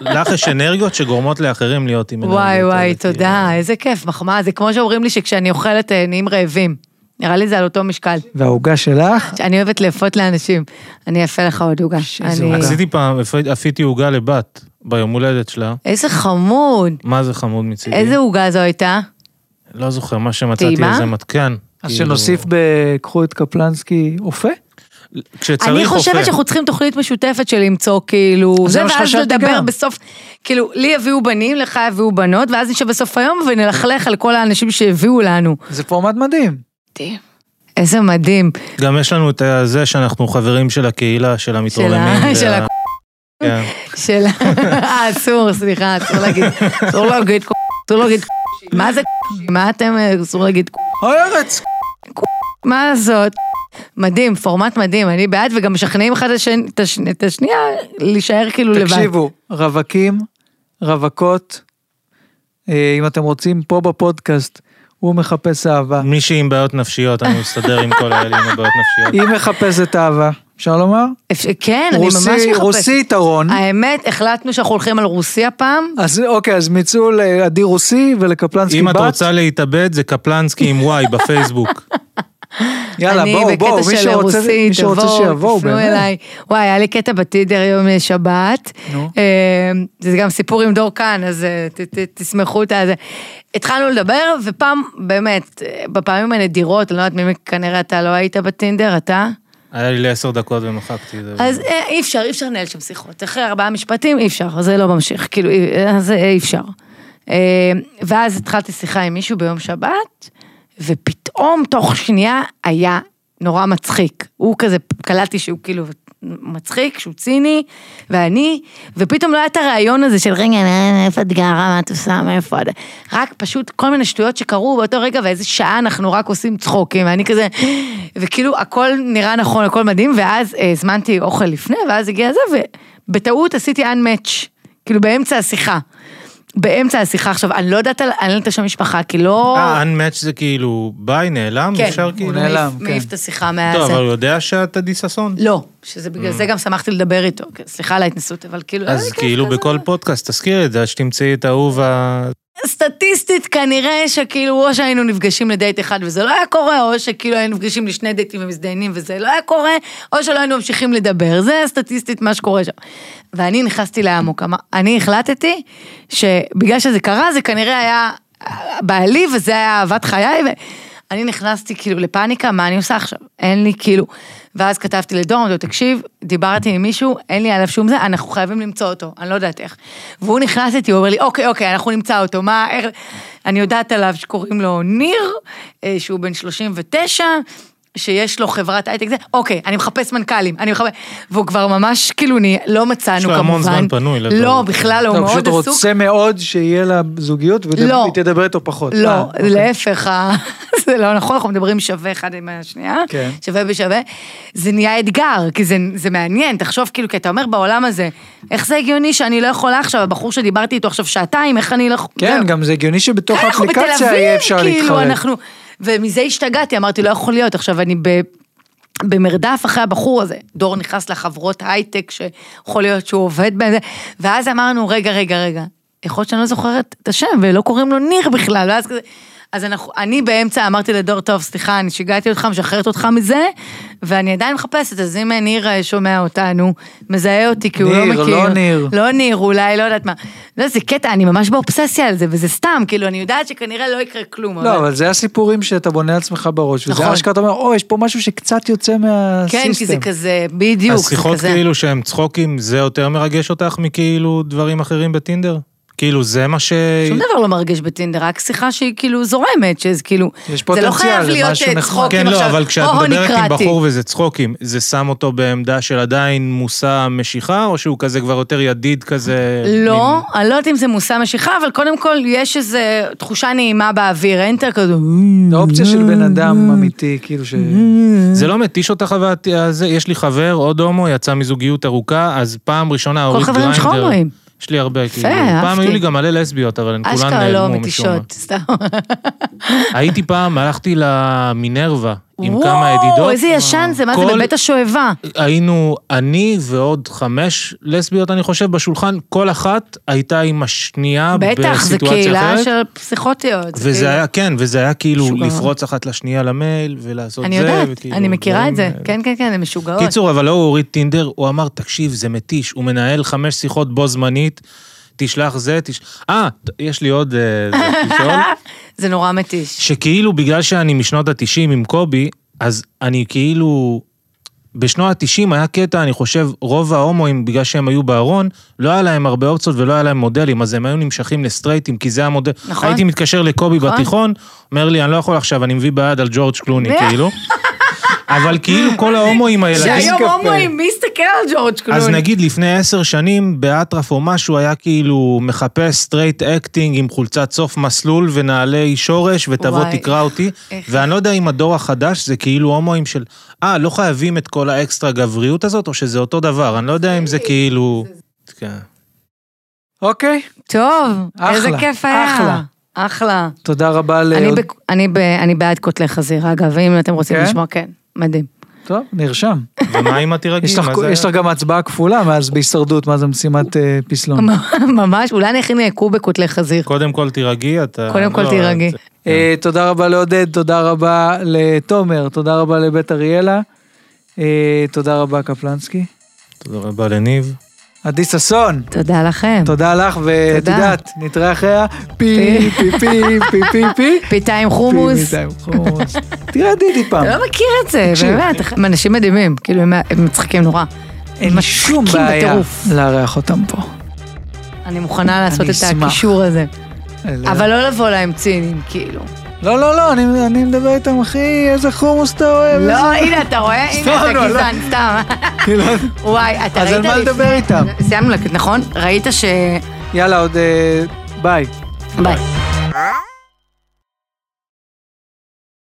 Speaker 3: לך יש אנרגיות שגורמות לאחרים להיות עם אנרגיות.
Speaker 2: וואי וואי,
Speaker 3: האלה, כאילו.
Speaker 2: תודה, איזה כיף, מחמאה. זה כמו שאומרים לי שכשאני אוכלת אה, נהיים רעבים. נראה לי זה על אותו משקל.
Speaker 1: והעוגה שלך,
Speaker 2: אני אוהבת לאפות לאנשים. אני אעשה לך עוד עוגה.
Speaker 1: שזה
Speaker 2: אני-
Speaker 1: עוגה.
Speaker 3: עשיתי פעם, אפ- אפיתי עוגה לבת ביום הולדת שלה,
Speaker 2: איזה חמוד.
Speaker 3: מה זה חמוד
Speaker 1: כן.
Speaker 3: מצידי.
Speaker 2: איזה עוגה זו הייתה?
Speaker 3: לא זוכר מה שמצאתי,
Speaker 2: טעימה?
Speaker 3: איזה מתקן.
Speaker 1: אז
Speaker 3: כאילו,
Speaker 1: שנוסיף ב... קחו את קפלנסקי, אופה?
Speaker 3: כשצריך
Speaker 2: אני חושבת
Speaker 3: אופה.
Speaker 2: שאנחנו צריכים תוכנית משותפת של למצוא כאילו,
Speaker 1: זה
Speaker 2: זה
Speaker 1: מה
Speaker 2: ואז
Speaker 1: שחשבתי
Speaker 2: נדבר
Speaker 1: גם.
Speaker 2: בסוף, כאילו, לי הביאו בנים, לך הביאו בנות, ואז נשב בסוף היום ונלכלך על כל האנשים שהביאו לנו.
Speaker 1: זה פורמט מדהים.
Speaker 2: איזה מדהים.
Speaker 3: גם יש לנו את זה שאנחנו חברים של הקהילה, של המתרוממים.
Speaker 2: של
Speaker 3: וה-
Speaker 2: ה-
Speaker 3: כן.
Speaker 2: של... אה, אסור, סליחה, אסור להגיד, אסור להגיד, אסור להגיד, מה זה, מה אתם, אה, אסור להגיד,
Speaker 1: אוי ארץ!
Speaker 2: מה זאת? מדהים, פורמט מדהים, אני בעד, וגם משכנעים אחד את השני- את השני- את השנייה להישאר כאילו לבד.
Speaker 1: תקשיבו, רווקים, רווקות, אה, אם אתם רוצים, פה בפודקאסט, הוא מחפש אהבה,
Speaker 3: מישהי עם בעיות נפשיות, אני מסתדר עם כל האלה עם הבעיות נפשיות.
Speaker 1: היא מחפשת אהבה, אפשר לומר?
Speaker 2: אפשר- כן, אני ממש
Speaker 1: רוסי,
Speaker 2: מחפשת. אה,
Speaker 1: רוסי יתרון.
Speaker 2: האמת, החלטנו שאנחנו הולכים על רוסי הפעם.
Speaker 1: אז אוקיי, אז מיצו לעדי רוסי ולקפלנסקי
Speaker 3: אם את
Speaker 1: בת.
Speaker 3: רוצה להתאבד, זה קפלנסקי עם וואי בפייסבוק.
Speaker 1: יאללה,
Speaker 2: אני
Speaker 1: בואו,
Speaker 2: בקטע
Speaker 1: בואו, מי
Speaker 2: של
Speaker 1: שרוצה
Speaker 2: רוסי,
Speaker 1: מי שרוצה
Speaker 2: תבואו,
Speaker 1: שיבואו,
Speaker 2: תפנו
Speaker 1: באמת.
Speaker 2: אליי. וואי, היה לי קטע בטידר יום שבת.
Speaker 1: נו.
Speaker 2: אה, זה גם סיפור עם דור כאן, אז אה, ת- ת- תשמחו את זה. התחלנו לדבר, ופעם, באמת, אה, בפעמים הנדירות, אני לא יודעת מי, כנראה אתה לא היית בטינדר, אתה?
Speaker 3: היה לי לעשר דקות ומחקתי את זה.
Speaker 2: אז אה, אי אפשר, אי אפשר לנהל שם שיחות. אחרי ארבעה משפטים, אי אפשר, זה לא ממשיך, כאילו, אי- אה, זה אי אפשר. אה, ואז התחלתי שיחה עם מישהו ביום שבת, ופתאום תוך שנייה היה נורא מצחיק. הוא כזה, קלטתי שהוא כאילו מצחיק, שהוא ציני, ואני, ופתאום לא היה את הרעיון הזה של רגע, אה, איפה את גרה, מה את עושה, מאיפה את... רק פשוט כל מיני שטויות שקרו באותו רגע, ואיזה שעה אנחנו רק עושים צחוקים, ואני כזה, וכאילו הכל נראה נכון, הכל מדהים, ואז אה, הזמנתי אוכל לפני, ואז הגיע זה, ובטעות עשיתי unmatch, כאילו באמצע השיחה. באמצע השיחה עכשיו, אני לא יודעת על, אני לא יודעת שם משפחה, כי לא...
Speaker 3: אה, Unmatch זה כאילו, ביי, נעלם,
Speaker 2: כן,
Speaker 3: אפשר כאילו.
Speaker 1: הוא נעלם,
Speaker 2: מעיף-
Speaker 1: כן.
Speaker 2: מעיף את השיחה מהזה.
Speaker 3: טוב, אבל הוא יודע שאתה דיססון?
Speaker 2: לא, שזה בגלל זה גם שמחתי לדבר איתו, כן, סליחה על ההתנסות, אבל כאילו... היה לי
Speaker 3: אז
Speaker 2: כיף
Speaker 3: כאילו
Speaker 2: כזה.
Speaker 3: בכל פודקאסט תזכיר את זה, עד שתמצאי את האהוב ה...
Speaker 2: סטטיסטית כנראה שכאילו או שהיינו נפגשים לדייט אחד וזה לא היה קורה, או שכאילו היינו נפגשים לשני דייטים ומזדיינים וזה לא היה קורה, או שלא היינו ממשיכים לדבר, זה סטטיסטית מה שקורה שם. ואני נכנסתי לעמוק, אמר- אני החלטתי שבגלל שזה קרה זה כנראה היה בעלי וזה היה אהבת חיי. ו... אני נכנסתי כאילו לפאניקה, מה אני עושה עכשיו? אין לי כאילו... ואז כתבתי לדור, אמרתי לו, תקשיב, דיברתי עם מישהו, אין לי עליו שום זה, אנחנו חייבים למצוא אותו, אני לא יודעת איך. והוא נכנס איתי, הוא אומר לי, אוקיי, אוקיי, אנחנו נמצא אותו, מה, איך... אני יודעת עליו שקוראים לו ניר, אה, שהוא בן 39, שיש לו חברת הייטק זה, אוקיי, אני מחפש מנכ"לים, אני מחפש... והוא כבר ממש, כאילו, אני, לא מצאנו
Speaker 3: יש
Speaker 2: כמובן.
Speaker 3: לו המון זמן פנוי לדור.
Speaker 2: לא, בכלל לא, הוא
Speaker 1: אתה
Speaker 2: מאוד
Speaker 1: פשוט
Speaker 2: עסוק.
Speaker 1: רוצה מאוד שיהיה לה זוגיות
Speaker 2: לא.
Speaker 1: והיא תדבר איתו פחות.
Speaker 2: לא,
Speaker 1: אה, אוקיי.
Speaker 2: להפך, ה- זה לא נכון, אנחנו מדברים שווה אחד עם השנייה,
Speaker 1: כן.
Speaker 2: שווה בשווה. זה נהיה אתגר, כי זה, זה מעניין, תחשוב כאילו, כי אתה אומר בעולם הזה, איך זה הגיוני שאני לא יכולה עכשיו, הבחור שדיברתי איתו עכשיו שעתיים, איך אני לא... יכול-"
Speaker 1: כן,
Speaker 2: זהו.
Speaker 1: גם זה הגיוני שבתוך
Speaker 2: כן, אנחנו בתל
Speaker 1: האפליקציה
Speaker 2: אביב,
Speaker 1: יהיה אפשר
Speaker 2: כאילו,
Speaker 1: להתחרט.
Speaker 2: אנחנו... ומזה השתגעתי, אמרתי, לא יכול להיות, עכשיו אני ב... במרדף אחרי הבחור הזה, דור נכנס לחברות הייטק שיכול להיות שהוא עובד בהן, ואז אמרנו, רגע, רגע, רגע, יכול להיות שאני לא זוכרת את השם, ולא קוראים לו ניר בכלל, ואז כזה, אז אנחנו, אני באמצע אמרתי לדור, טוב, סליחה, אני שיגעתי אותך, משחררת אותך מזה, ואני עדיין מחפשת, אז אם ניר אה, שומע אותנו, מזהה אותי, כי הוא לא
Speaker 1: ניר,
Speaker 2: מכיר.
Speaker 1: לא ניר.
Speaker 2: לא ניר, אולי, לא יודעת מה. לא, זה קטע, אני ממש באובססיה על זה, וזה סתם, כאילו, אני יודעת שכנראה לא יקרה כלום.
Speaker 1: לא, אבל זה הסיפורים שאתה בונה לעצמך בראש,
Speaker 2: נכון.
Speaker 1: וזה אשכרה אתה אומר, או, יש פה משהו שקצת יוצא מהסיסטם.
Speaker 2: כן, כי זה כזה, בדיוק, זה
Speaker 3: השיחות
Speaker 2: כזה.
Speaker 3: כאילו שהן צחוקים, זה יותר מרגש אותך מכאילו דברים אחרים בטינדר? כאילו זה מה ש...
Speaker 2: שום דבר לא מרגש בטינדר, רק שיחה שהיא כאילו זורמת, שזה כאילו,
Speaker 1: יש
Speaker 2: זה לא
Speaker 1: פוטנציאל,
Speaker 2: חייב
Speaker 1: זה
Speaker 2: להיות
Speaker 1: משהו
Speaker 2: אה,
Speaker 1: נחמד.
Speaker 2: צחוקים
Speaker 3: כן, לא,
Speaker 2: עכשיו,
Speaker 3: אבל כשאת
Speaker 2: "הו, הו,
Speaker 3: מדברת עם
Speaker 2: נקרעתי".
Speaker 3: בחור וזה צחוקים, זה שם אותו בעמדה של עדיין מושא משיכה, או שהוא כזה כבר יותר ידיד כזה?
Speaker 2: לא,
Speaker 3: מין-
Speaker 2: אני לא יודעת אם זה מושא משיכה, אבל קודם כל יש איזו תחושה נעימה באוויר, אין יותר כזה...
Speaker 3: לא,
Speaker 1: זה אופציה של בן אדם אמיתי, כאילו ש...
Speaker 3: זה לא מתיש אותך אבל את- הזה? יש לי חבר, עוד הומו, יצא מזוגיות ארוכה, אז פעם ראשונה אורית גריינדר...
Speaker 2: החברים שלך הומואים.
Speaker 3: יש לי הרבה, כאילו. פעם
Speaker 2: אהבתי.
Speaker 3: היו לי גם מלא לסביות, אבל הן כולן
Speaker 2: אשכרה לא
Speaker 3: נעלמו משום מה.
Speaker 2: מתישות, סתם.
Speaker 3: הייתי פעם, הלכתי למינרווה. עם
Speaker 2: וואו,
Speaker 3: כמה ידידות.
Speaker 2: איזה ישן זה, מה זה,
Speaker 3: כל-
Speaker 2: בבית השואבה.
Speaker 3: היינו אני ועוד חמש לסביות, אני חושב, בשולחן, כל אחת הייתה עם השנייה בסיטואציה
Speaker 2: בטח,
Speaker 3: אחרת.
Speaker 2: זה קהילה של פסיכוטיות. זה
Speaker 3: וזה
Speaker 2: כאילו-
Speaker 3: היה, כן, וזה היה כאילו
Speaker 2: משוגע.
Speaker 3: לפרוץ אחת לשנייה למייל ולעשות
Speaker 2: אני
Speaker 3: זה.
Speaker 2: יודעת,
Speaker 3: וכאילו,
Speaker 2: אני מכירה את זה.
Speaker 3: דברים, אה,
Speaker 2: כן, כן, כן, הן משוגעות.
Speaker 3: קיצור, אבל לא הוא הוריד טינדר, הוא אמר, תקשיב, זה מתיש, הוא מנהל חמש שיחות בו זמנית, תשלח זה, תש... אה, ת- יש לי עוד אה, זה, לשאול,
Speaker 2: זה נורא מתיש.
Speaker 3: שכאילו בגלל שאני משנות התשעים עם קובי, אז אני כאילו... בשנות התשעים היה קטע, אני חושב, רוב ההומואים, בגלל שהם היו בארון, לא היה להם הרבה אופציות ולא היה להם מודלים, אז הם היו נמשכים לסטרייטים, כי זה המודל.
Speaker 2: נכון.
Speaker 3: הייתי מתקשר לקובי
Speaker 2: נכון.
Speaker 3: בתיכון, אומר לי, אני לא יכול עכשיו, אני מביא ביד על ג'ורג' קלוני, כאילו. אבל כאילו כל ההומואים, הילדים...
Speaker 2: שהיום
Speaker 1: קפה.
Speaker 2: הומואים, מי יסתכל על ג'ורג'
Speaker 3: אז
Speaker 2: קלוני?
Speaker 3: נגיד לפני עשר שנים, באטרף או משהו, היה כאילו מחפש סטרייט אקטינג עם חולצת סוף מסלול ונעלי שורש, ותבוא
Speaker 2: וואי,
Speaker 3: תקרא אותי.
Speaker 2: איך-
Speaker 3: ואני לא יודע אם הדור החדש זה כאילו הומואים של, אה, לא חייבים את כל האקסטרה גבריות הזאת, או שזה אותו דבר, אני לא יודע אם זה כאילו... כן.
Speaker 1: אוקיי,
Speaker 2: טוב,
Speaker 1: אחלה,
Speaker 2: איזה כיף היה.
Speaker 1: אחלה.
Speaker 2: אחלה.
Speaker 1: תודה רבה ל...
Speaker 2: אני ב- אני ב- אני בעד קוטלי חזיר, אגב, אם אתם רוצים
Speaker 1: כן?
Speaker 2: לשמוע, כן. מדהים.
Speaker 1: טוב, נרשם.
Speaker 3: ומה אם תירגעי?
Speaker 1: יש לך-
Speaker 3: מה זה-
Speaker 1: יש לך גם הצבעה כפולה מאז בהישרדות, מה זה משימת אה, פסלון.
Speaker 2: ממש, אולי אני אכין קובה קוטלי חזיר.
Speaker 3: קודם כל תירגעי, אתה...
Speaker 2: קודם כל
Speaker 3: לא,
Speaker 2: תירגעי.
Speaker 3: את-
Speaker 1: אה, תודה רבה לעודד, תודה רבה לתומר, תודה רבה לבית אריאלה, אה, תודה רבה קפלנסקי.
Speaker 3: תודה רבה לניב.
Speaker 1: עדי ששון,
Speaker 2: תודה לכם.
Speaker 1: תודה לך, ואת
Speaker 2: תודה.
Speaker 1: יודעת, נתראה אחריה, פי, פי, פי, פי, פי, פי.
Speaker 2: פיתה עם חומוס.
Speaker 1: פי, מידיים, חומוס. תראה דידי פעם,
Speaker 2: אתה לא מכיר את זה,
Speaker 1: אה, תקשיב.
Speaker 2: באמת, הם אנשים מדהימים, כאילו הם- הם מצחיקים נורא.
Speaker 1: אין לי שום
Speaker 2: מצחיקים
Speaker 1: בעיה
Speaker 2: בטירוף.
Speaker 1: לארח אותם פה.
Speaker 2: אני מוכנה לעשות
Speaker 1: אני
Speaker 2: את
Speaker 1: אשמח.
Speaker 2: הקישור הזה.
Speaker 1: אלה-
Speaker 2: אבל לא לבוא להם ציניים, כאילו.
Speaker 1: לא, לא, לא, אני- אני מדבר איתם, אחי, איזה חומוס אתה אוהב.
Speaker 2: לא,
Speaker 1: איזה-
Speaker 2: הנה, אתה רואה? הנה,
Speaker 1: סתם,
Speaker 2: אתה
Speaker 1: לא,
Speaker 2: גזען, סתם.
Speaker 1: כאילו,
Speaker 2: וואי, אתה ראית...
Speaker 1: אז על מה
Speaker 2: לפני-
Speaker 1: לדבר איתם?
Speaker 2: סיימנו, להקליט, נכון? ראית ש...
Speaker 1: יאללה, עוד אה, ביי.
Speaker 2: ביי.